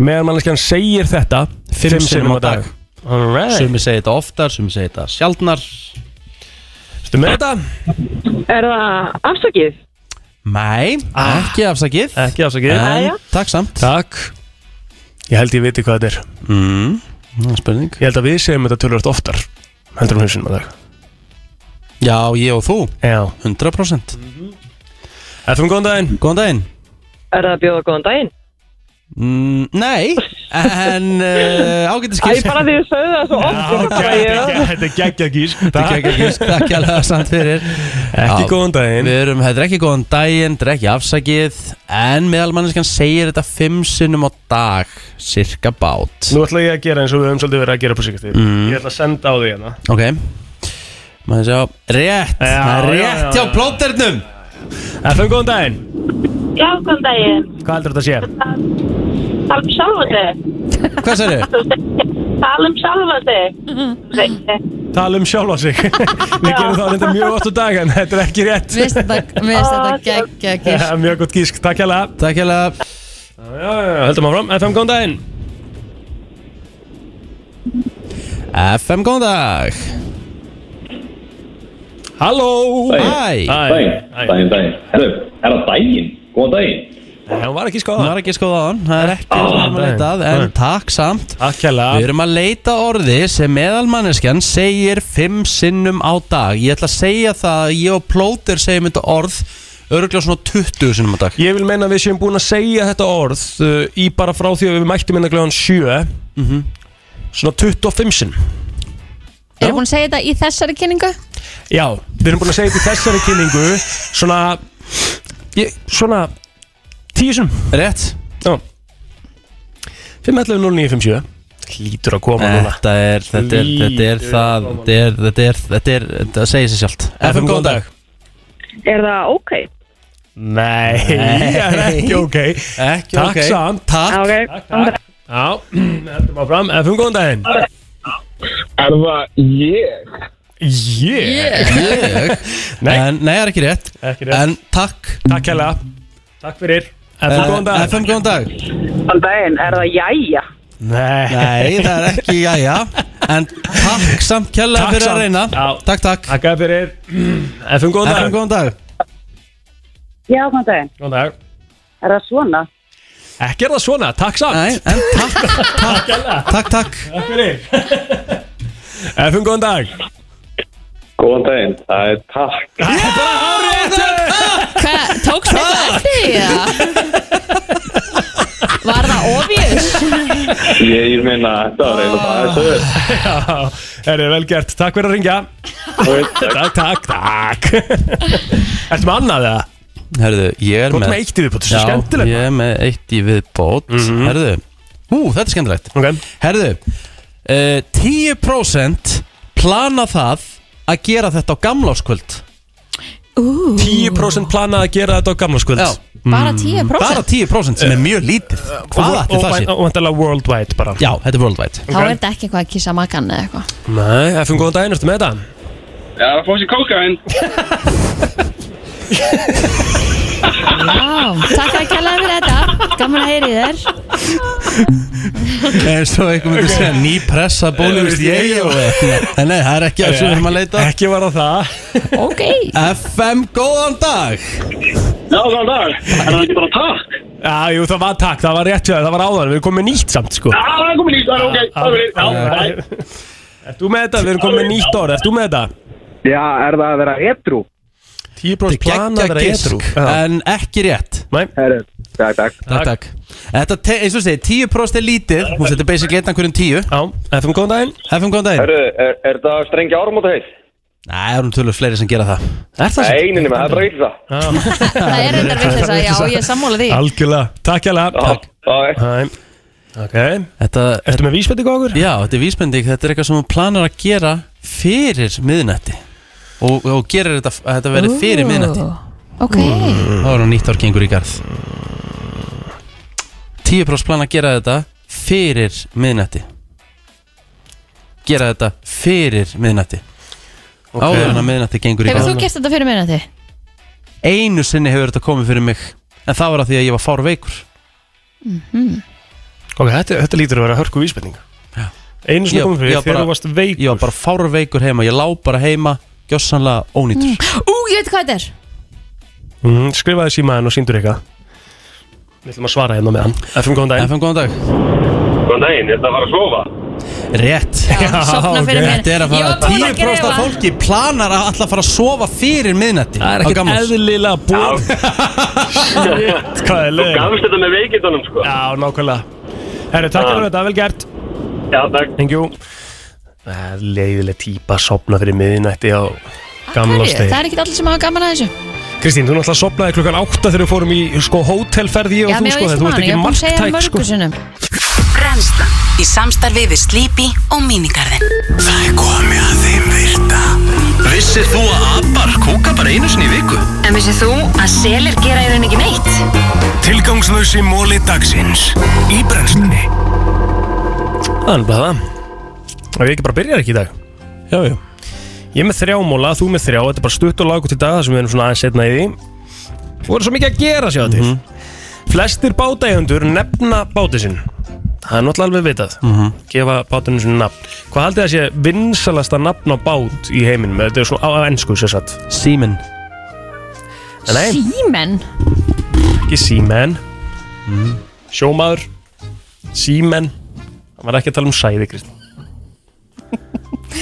C: Meðalmanniskan segir þetta
A: Fimm,
C: fimm
A: sinnum á dag,
C: Alright.
A: Sumi segir þetta oftar, sumi segir þetta sjaldnar
C: Ertu með þetta?
M: Er það afsakið?
A: Nei, ekki afsakið
C: Ah. Ekki afsakið
A: En, Takk samt
C: Takk Ég held ég viti hvað þetta er
A: mm, Spurning
C: Ég held að við segjum þetta tölvöld oftar Heldur um hinsunum að dag
A: Já, ég og þú
C: Já
A: 100%
C: Efum góðan daginn
A: Góðan daginn
M: Er það að bjóða góðan daginn?
A: mm, Nei, en uh, ágættis
M: Æ, bara því þú sögðu það svo
B: sko,
M: oft ég bara, ég-
C: Þetta er geggja gísk
A: Þetta er geggja gísk, takk alveg samt fyrir
C: Ekki góðan daginn
A: Við erum, þetta er ekki góðan daginn, þetta er ekki afsakið En meðalmanniskan segir þetta fimm sinnum á dag Cirka bát
C: Nú ætla ég að gera eins og við höfum svolítið verið að gera på síkastíð
A: Mm.
C: Ég ætla að senda á því hérna
A: Ok Maður sjá Rétt, það er rétt hjá plóternum
C: Efum góðan daginn
E: Já, góðan daginn.
C: Hvað heldur þetta að sé?
E: Tala um sjálfa þig.
A: Hvað sér
E: Tala um sjálfa þig.
C: Tala um sjálfa sig Við gerum það þetta mjög oft á dag en þetta er ekki rétt
B: Mér finnst þetta- mér finnst þetta geggja gísk.
C: Ja, Mjög gott gísk, takk hella
A: Takk hella
C: Heldum áfram, FM góðan daginn
A: FM góðan dag
C: Halló
A: Hæ
T: Daginn, daginn Herru, er það daginn? Góðan daginn
C: Nei, hún var ekki skoðað
A: Hún var ekki skoðaðan, það er ekki það sem við leitað En takk samt
C: Akkjala
A: Við erum að leita orði sem meðalmanneskjan segir fimm sinnum á dag Ég ætla að segja það að ég og plóter segjum þetta orð Örgulega svona 20 sinnum á dag
C: Ég vil meina að við séum búin að segja þetta orð uh, Í bara frá því að við mættum inn að glöðan 7 Mhm. Svona 25 sinn
B: Eru búin að segja þetta í þessari kynningu?
C: Já, við erum búin að segja þetta í þessari kynningu Svona ég, Svona Tíu sinn
A: Rétt
C: Já 5.11.09.57 Lítur að koma núna
A: Þetta er, þetta er, þetta er það Þetta er, þetta er, þetta er, þetta segir sér sjálft FM góðan dag
M: Ehm, Er það ok?
C: Nei, það er ekki ok
A: Ekki
C: Takk
A: ok.
C: samt
A: Takk
M: Já, ok. Góðan dag.
C: Já, heldum að fram Efum góðan daginn
T: Er það ég?
C: Ég
A: Ég Nei, en, nei það er ekki rétt.
C: Ekki rétt.
A: En takk
C: Takk hella Takk fyrir FM
A: Eh,
C: góðan dag
A: FM góðan dag
M: Góðan daginn, er það jæja?
C: Nei
A: Nei, það er ekki, já, já En takk samt kjærlega
C: Takk
A: fyrir
C: samt.
A: að reyna
C: Já.
A: Takk, takk
C: Takk að fyrir FM góðan dag
A: FM góðan dag
M: Já, góðan daginn.
C: Góðan dag
M: Er það svona?
C: Ekki er það svona, takk samt
A: Nei, en takk, takk, takk, takk
C: Takk fyrir FM góðan dag
K: Góðan daginn, það er takk
B: Hvað, tókst þetta eftir því? eða? Var það obvious?
K: Ég meina, þetta var eiginlega bara þessu verð.
C: Já, er vel gert Takk fyrir að ringja Takk, takk, takk Ertu með annað eða?
A: Herðu, ég er
C: Þú ert
A: með
C: með eitt í viðbót, þetta er svo skemmtilegt. Mhm.
A: Já, ég er með eitt í viðbót Herðu, ú, þetta er skemmtilegt
C: okay.
A: Herðu, uh, 10% plana það að gera þetta á gamláskvöld
C: 10% planað að gera þetta á gamlaskvöld
A: Já
B: Bara 10%?
A: Bara 10% sem er mjög lítið Hvað ætti það sé?
C: Eh, Og vantarlega worldwide bara
A: Já, þetta er worldwide
B: Þá er þetta ekki eitthvað að kissa makan eða eitthvað
C: Nei, FM góðan daginn, ertu með þetta?
I: Já, það fór sér kókain
B: Já, takk að kella fyrir þetta Gaman að heyri þér
A: En svo einhver myndi segja ný pressa bólivist ég og En nei, það er ekki að sem við erum að leita
C: Ekki var á það
B: Ok
A: FM, góðan dag
I: Já, góðan dag Er það ekki bara takk?
C: Já, jú, það var takk, það var rétt hjá þér, það var áðan, við erum komið nýtt samt, sko
I: Já, Ah, það er komin í Það er ok, það er verið Já, bæ
C: Ert þú með þetta, við erum komið nýtt orð, ert þú með þetta?
T: Já, er það að vera edru?
C: 10% planað að vera edru
A: En ekki rétt
C: Nei
T: Herru, takk, takk
A: Takk, takk Þetta, te- eins og segi, 10% er lítið Hún setur basic leitt einhverjum 10
C: Já, FM góðan daginn
A: FM góðan daginn
T: Herru, er, er það strengja áramóta heil?
A: Nei, það eru tölur fleiri sem gera það Er
T: Nei, einu nema, það er bara vill það
B: Það er reyndar við þess að já, ég er sammála því
C: Algjörlega, takk hjá
T: Takk
C: okay.
A: þetta, Ertu
C: með vísbending á okkur?
A: Já, þetta er vísbending, þetta er eitthvað sem hún planar að gera fyrir miðnætti og, og gerir þetta, að þetta verið fyrir miðnætti
B: Ok, Mm.
A: Þá er hún nýtt ár gengur í garð 10% plan að gera þetta fyrir miðnætti Gera þetta fyrir miðnætti Áður en að miðnætti gengur í
B: hefur þú
A: garð
B: gert þetta fyrir minna því?
A: Einu sinni hefur þetta komið fyrir mig En það var að því að ég var fárveikur
B: Mhm.
C: Ok, þetta, þetta lítur að vera hörku vísbending Einu
A: Ég-
C: sinni
A: ég
C: komið fyrir
A: var
C: þegar
A: bara-
C: þú varst veikur
A: Ég var bara fárveikur heima, ég lá bara heima Gjossanlega ónýtur
B: Ú, ég veit hvað þetta er
C: mm, Skrifaði símaðan og síndur eitthvað Við ætlum að svara hérna með hann FM góðan dag
A: FM góðan dag
T: Góðan daginn, ég ætla að fara að sofa
A: Rétt
T: Já, sofna fyrir ok. mér.
A: Þetta er að
T: Ég var
A: fara
T: búin að
A: 10% af
T: skrifa.
A: fólki planar að alltaf fara að sofa fyrir miðnætti
C: Það er ekkert eðlilega búið Shit, hvað er leið
T: Þú gafst þetta með veikindunum sko
C: Já, nákvæmlega Herru, takk fyrir þetta, vel gert
T: Já, takk
C: Thank you Það er Leiðileg típa að sopna fyrir miðinætti á gamla
B: Herri, Það
C: stegi
B: er ekki allir sem hafa gaman að þessu
C: Kristín, þú náttúrulega sopnaði klukkan 8 þegar við fórum í sko hótelferð
B: Já,
C: ég og þú
B: mér
C: sko
B: veist
C: Þú
B: það
C: ert
B: mann, ég
C: ekki
B: er búin að segja það
C: marktæk sko
B: mörgur sinnum
U: Brenslan Í samstarfi við Sleepy og Minigarðin
D: Það er komið að þeim virta Vissir þú að abar kúka bara einu sinni í viku?
U: En vissið þú að selir gera í raun ekki neitt?
D: Tilgangslösi móli dagsins Í brennslunni
C: Það er bara það Og ég ekki bara byrjar ekki í dag Já, já Ég er með þrjá móla, þú með þrjá Þetta er bara stutt og lagut í dag Það sem við erum svona aðeins setna í því Voru svo mikið að gera sjá til Flestir bátægjandur nefna bátið sinn Það er náttúrulega alveg vitað
A: Mhm.
C: Gefa bátinu sinni nafn Hvað haldið það sé vinsalasta nafn á bát í heiminum? Þetta er svona á, á ennsku sér satt
A: Símin
C: Nei,
B: Símen
C: ekki símen Sjómaður Símen Það var ekki að tala um sæði, Kristján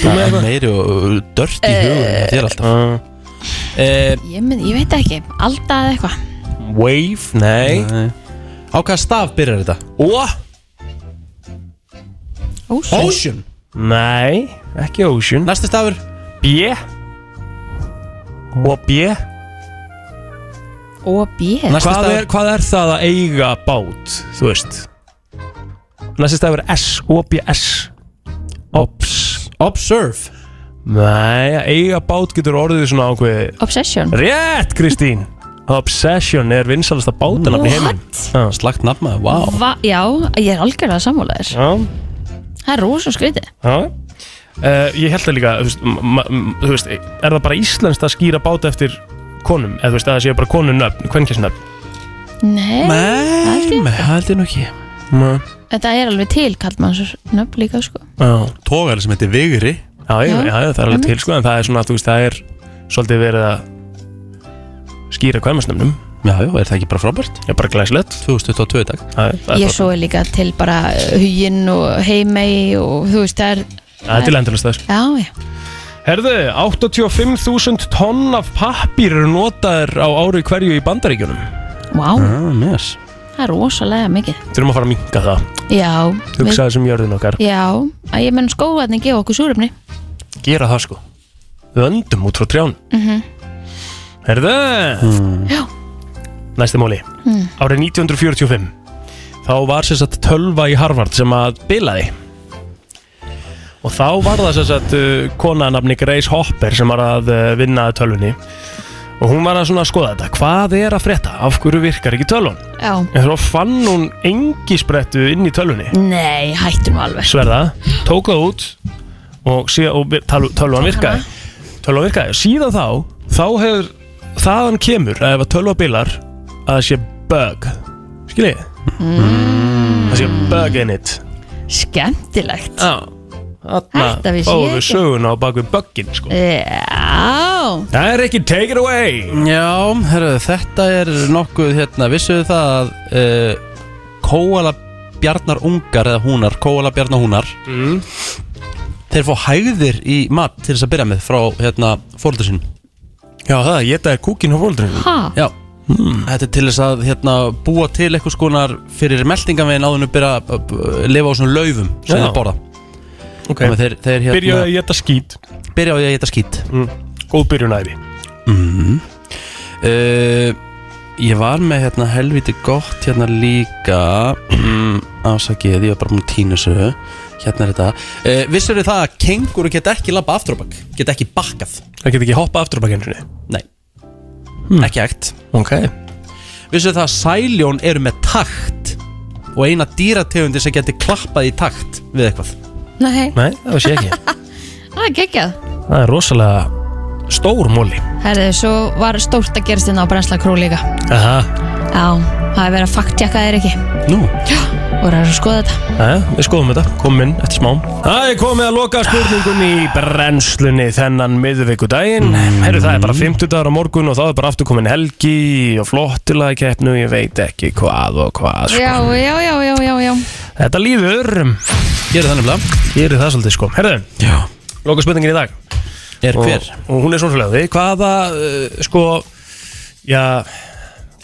A: Það er meiri og uh, dört í hugun uh, Þetta er
C: Eh,
A: alltaf uh,
B: Ég, mynd, ég veit ekki, alltaf eða eitthvað
C: Wave, nei.
A: Á hvaða staf byrjar þetta?
C: Ó
B: Ocean.
A: Ocean
C: Nei, ekki Ocean
A: Næsti stafur
C: B Og B
B: Og B
C: hvað er, hvað er það að eiga bát, þú veist? Næsti stafur S, OBS Obs
A: Observe
C: Nei, að eiga bát getur orðið svona ákveð
B: Obsession
C: Rétt, Kristín Obsession er vinsalasta bátanafn í heiminn
A: Slagt nafn maður, vá
B: Va Já, ég er algjörlega sammálaðir
C: Já,
B: Það er rosa skrítið
C: já uh, Ég held það líka, þú veist, ma- m- þú veist, er það bara íslenskt að skýra bát eftir konum? Eða þú veist, að það séu bara konunöfn, kvenkinsnöfn?
B: Nei, það held ég.
A: held ég nú ekki
C: Nei
B: Þetta er alveg til, kallt maður nöfn líka sko.
A: Tógari sem heitir Vigri
C: já, já,
B: Já.
C: já, það er alveg til sko en það er svona, þú veist, það er svolítið verið að skýra kvæmasnöfnum
A: Já, já, er það ekki bara frábært?
C: Já, bara glæslegt
A: 2022 í dag
C: Það er- það er
B: Ég
C: bara-
B: svo er líka til bara uh, huginn og heimei og þú veist það er
C: Það er sko. til endurlega stöður
B: Já, já,
C: Herðu, 85.000 tonn af pappir eru notaðir á ári hverju í bandaríkjunum
B: Vá.
A: mm, yes.
B: það er rosalega mikið
C: Þurfum að fara að minka það
B: Já,
C: Hugsa þessum jörðin okkar
B: já að ég menn skóðarni gefa okkur súrumni
C: Gera það sko Við öndum út frá trján
B: mm
C: Herðu
B: Já.
C: Næsti móli
B: Mm.
C: Árið 1945 Þá var sér satt tölva í Harvard sem að bilaði Og þá var það sér satt uh, konanafni Grace Hopper sem var að uh, vinna að tölvunni Og hún var að svona skoða þetta Hvað er að frétta? Af hverju virkar ekki tölvun?
B: Já,
C: En þá fann hún engi sprettu inn í tölvunni
B: nei, hættum alveg
C: Sverða, tók það út og, síða, og vi- tal- tölvan virkaði tölvan virkaði, síðan þá þá hefur, þaðan kemur að ef að tölva bilar að það sé bug skiljið mm. það sé bug in it
B: Skemmtilegt
C: Já,
B: Þetta vissi
C: fáum
B: ég
C: við
B: ekki.
C: söguna á bakvið buggin sko.
B: Já
C: það er ekki take it away
A: Já, herru, þetta er nokkuð hérna, vissuðu það að uh, Kóala Bjarnar ungar eða húnar, Kóala Bjarnar húnar
C: mm.
A: þeir fá hægðir í mat til þess að byrja með frá hérna fóldur sín
C: Já, það, ég þetta er kúkin á fóldurinn
B: Ha?
A: Já,
C: Hmm.
A: þetta er til þess að hérna, búa til eitthvað skonar fyrir meldingavegin áður en að byrja að b- lifa á svona laufum sem
C: Já.
A: þeir borða
C: Ok.
A: Þannig að þeir, þeir hérna,
C: Byrjaðu að geta skít
A: Byrjaðu að geta skít
C: mm. Góð byrjunæði
A: mm. Eh, uh, Ég var með hérna helviti gott hérna líka mm, Ásakið, ég var bara búin að týna þessu Hérna er þetta uh, Vissur þið það að kenguru get ekki labba afturbak Get ekki bakkað
C: Það getur ekki hoppa aftur á bakið einu sinni
A: Nei, ekki hægt
C: Ok
A: Vissur það að sæljón eru með takt Og eina dýrategundi sem geti klappað í takt Við eitthvað
B: Nei,
C: Nei, það vissi ég ekki
B: það er geggjað
C: Það er rosalega stór móli
B: Herðu, svo var stórt að gerast hérna á brennsla krú líka
C: Aha,
B: Já, það er verið að faktjaka þér ekki
C: nú
B: og það er að skoða þetta
C: Jæja, við skoðum þetta, komum inn eftir smám Það er komið að loka spurningunni í brennslunni þennan miðvíkudaginn Herru, það er bara 50 dagar á morgun og þá er bara aftur komin helgi og flottilega keppnu, ég veit ekki hvað og hvað sko.
B: Já, já, já, já, já, já
C: Þetta líður Gerir það nefnilega Gerir það svolítið sko, herru Já Loka spurningin í dag
A: Er
C: og,
A: hver?
C: Og hún er svona svolítið, hvaða, uh, sko, já,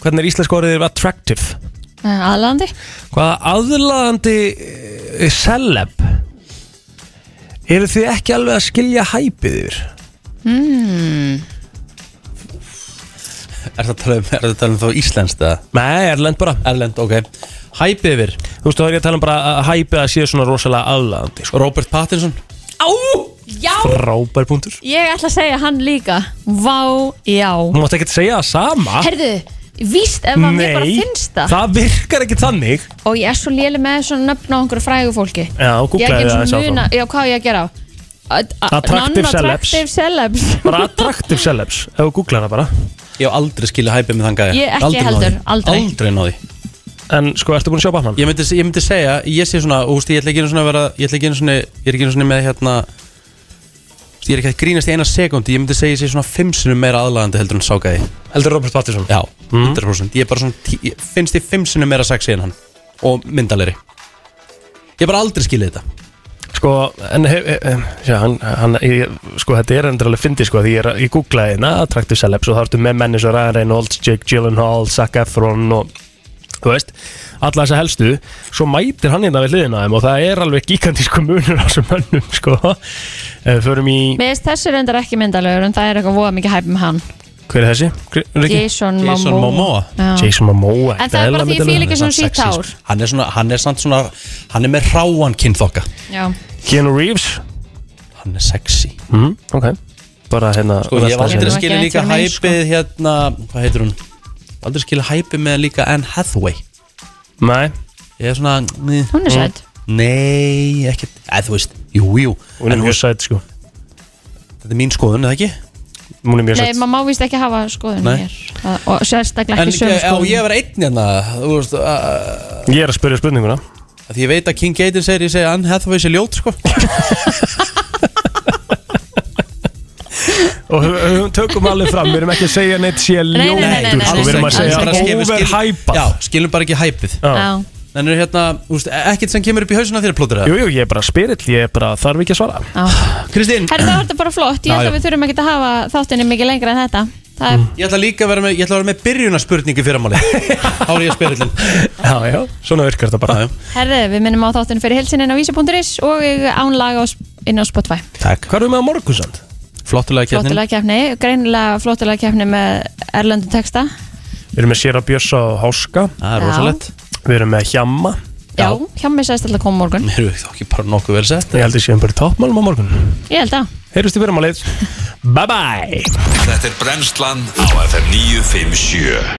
C: hvernig er íslensk orðið attractive?
B: Eh, Aðlandi
C: Hvaða aðlaðandi eh, celeb eru þið ekki alveg að skilja hæpið yfir?
B: mm.
A: Er það að tala um, er það að tala um þá íslenskt eða?
C: Nei, Erlend bara
A: Erlend, ok Hæpi yfir
C: Þú veist, þá er ég að tala um bara að hæpið að sé svona rosalega aðlaðandi sko.
A: Robert Pattinson
B: Á, já
C: Frábær punktur
B: Ég ætla að segja hann líka Vá, já
C: Þú mátt ekki segja það sama
B: Herðu, víst ef að mér bara finnst það
C: það virkar ekki þannig
B: Og ég er svo léli með svona nöfn á einhverju frægu fólki
C: Já,
B: Ég
C: googlaði
B: get
C: það
B: svo
C: sjálf
B: muna, já, hvað á ég að gera á? Ad- a-
C: Attractive celebs.
B: Non-attractive celebs
C: Bara attractive celebs, ef þú googlar það bara
A: Ég hef aldrei skilja hæpið með þangaði
B: Ég ekki heldur, aldrei.
A: Aldrei náði
C: En sko, ertu búin að sjá Batman?
A: Ég myndi, ég myndi segja, ég sé svona, og, úst, ég ætla ekki einu svona að vera Ég ætla ekki einu svona, ég er ekki einu svona með hérna úst, Ég er ekki að grínast í eina sekundi Ég myndi segja ég sé svona fimm sinnum meira aðlagandi heldur en sákaði
C: Heldur Robert Pattinson?
A: Já,
C: Mhm.
A: 100% Ég er bara svona, tí- ég, finnst ég fimm sinnum meira sexy en hann Og myndalegri Ég hef bara aldrei skilja þetta
C: Sko, en hef, hef, sjá, hann, hann, ég, sko, þetta er endur alveg fyndi sko, því ég, er, ég googlaði hérna attractive celebs og þá ertu með menni svo Ryan Reynolds, Jake Gyllenhaal, Zac Efron og þú veist, alla þessa helstu svo mætir hann hérna við hliðina á þeim og það er alveg gigantísku munur á þessum mönnum sko, ef við förum í
B: Mér finnst þessi reyndar ekki myndalegur en það er eitthvað voða mikið hæp um hann
C: hver er þessi? Hver- Rikki?
B: Jason Jason Momoa. Momoa. Já.
C: Jason Momoa
B: En það er bara því ég fíl ekki svona
A: Hann er
B: sítt hár
A: samt sexy, sko. Hann er svona, hann er samt svona Hann er með ráan kynþokka
B: Já,
C: Keanu Reeves
A: Hann er sexy
C: mm, ok, bara hérna
A: Sko, ég hef
C: velta
A: aldrei
C: þessu.
A: skilja líka
B: Getur ekki sko.
A: hæpið hérna, hvað heitir hún? Aldrei skilja hæpið með líka Anne Hathaway
C: Nei
A: Ég er svona Hún
B: Hún er sæt.
A: Nei, ekki, eða þú veist, jú, jú
C: Hún er mjög sæt, sko
A: Þetta er mín skoðun, eða ekki?
C: Hún er
B: nei, maður má víst ekki hafa skoðun
A: Nei.
B: hér Það- og sérstaklega
A: En
B: ekki sömu
A: ekki, á
B: skoðun
A: ég var einn hérna Þú veist uh,
C: Ég er að spyrja spurninguna
A: Því ég veit að King Gaten segir Ég segi Anne Hathaway sé ljót sko
C: og hö- hö- tökum alveg fram, við erum ekki að segja neitt sé
A: nei,
C: ljótur,
A: nei, nei,
C: sko, við erum að
A: alls
C: segja
A: ekki. Bara skilum- skilum-
C: overhypað
A: Já, skilum bara ekki hæpið
C: Já.
A: Þannig er hérna, þú veist, ekkert sem kemur upp í hausuna þér plótur
C: Jú, jú, ég er bara spyrill, ég er bara þarf ekki að svara
A: Kristín
B: Herðu, það var þetta bara flott, ég held
A: Já, já. Mm.
B: að við þurfum ekki að hafa þáttinni mikið lengra en þetta Það er
A: Ég ætla líka að vera með, ég ætla að vera með byrjunarspurningu fyrir máli Hári ég spyrillin
C: Já, já, svona virkar þetta bara
B: Herðu, við minnum á þáttinu fyrir hilsininn á vísi.is og ánlaga inn á Spotify.
C: Takk Hvað erum við að morgunsand?
A: Flottulega
B: Flottulega keppni, greinilega flottulega keppni með erlendu texta.
C: Við erum með Sera Björsa og Háska Það
B: er Já. rosalegt.
C: Við erum með Hjamma
B: Já, hjá mig sæðist alltaf koma á morgun.
A: Mér er þá ekki bara nokkuð vel sett
C: Ég held ég séum bara í toppmálum á morgun
B: Ég held að.
C: Heyrjumst í fyrirmálið Bye bye
D: Þetta er brennslan á FM 957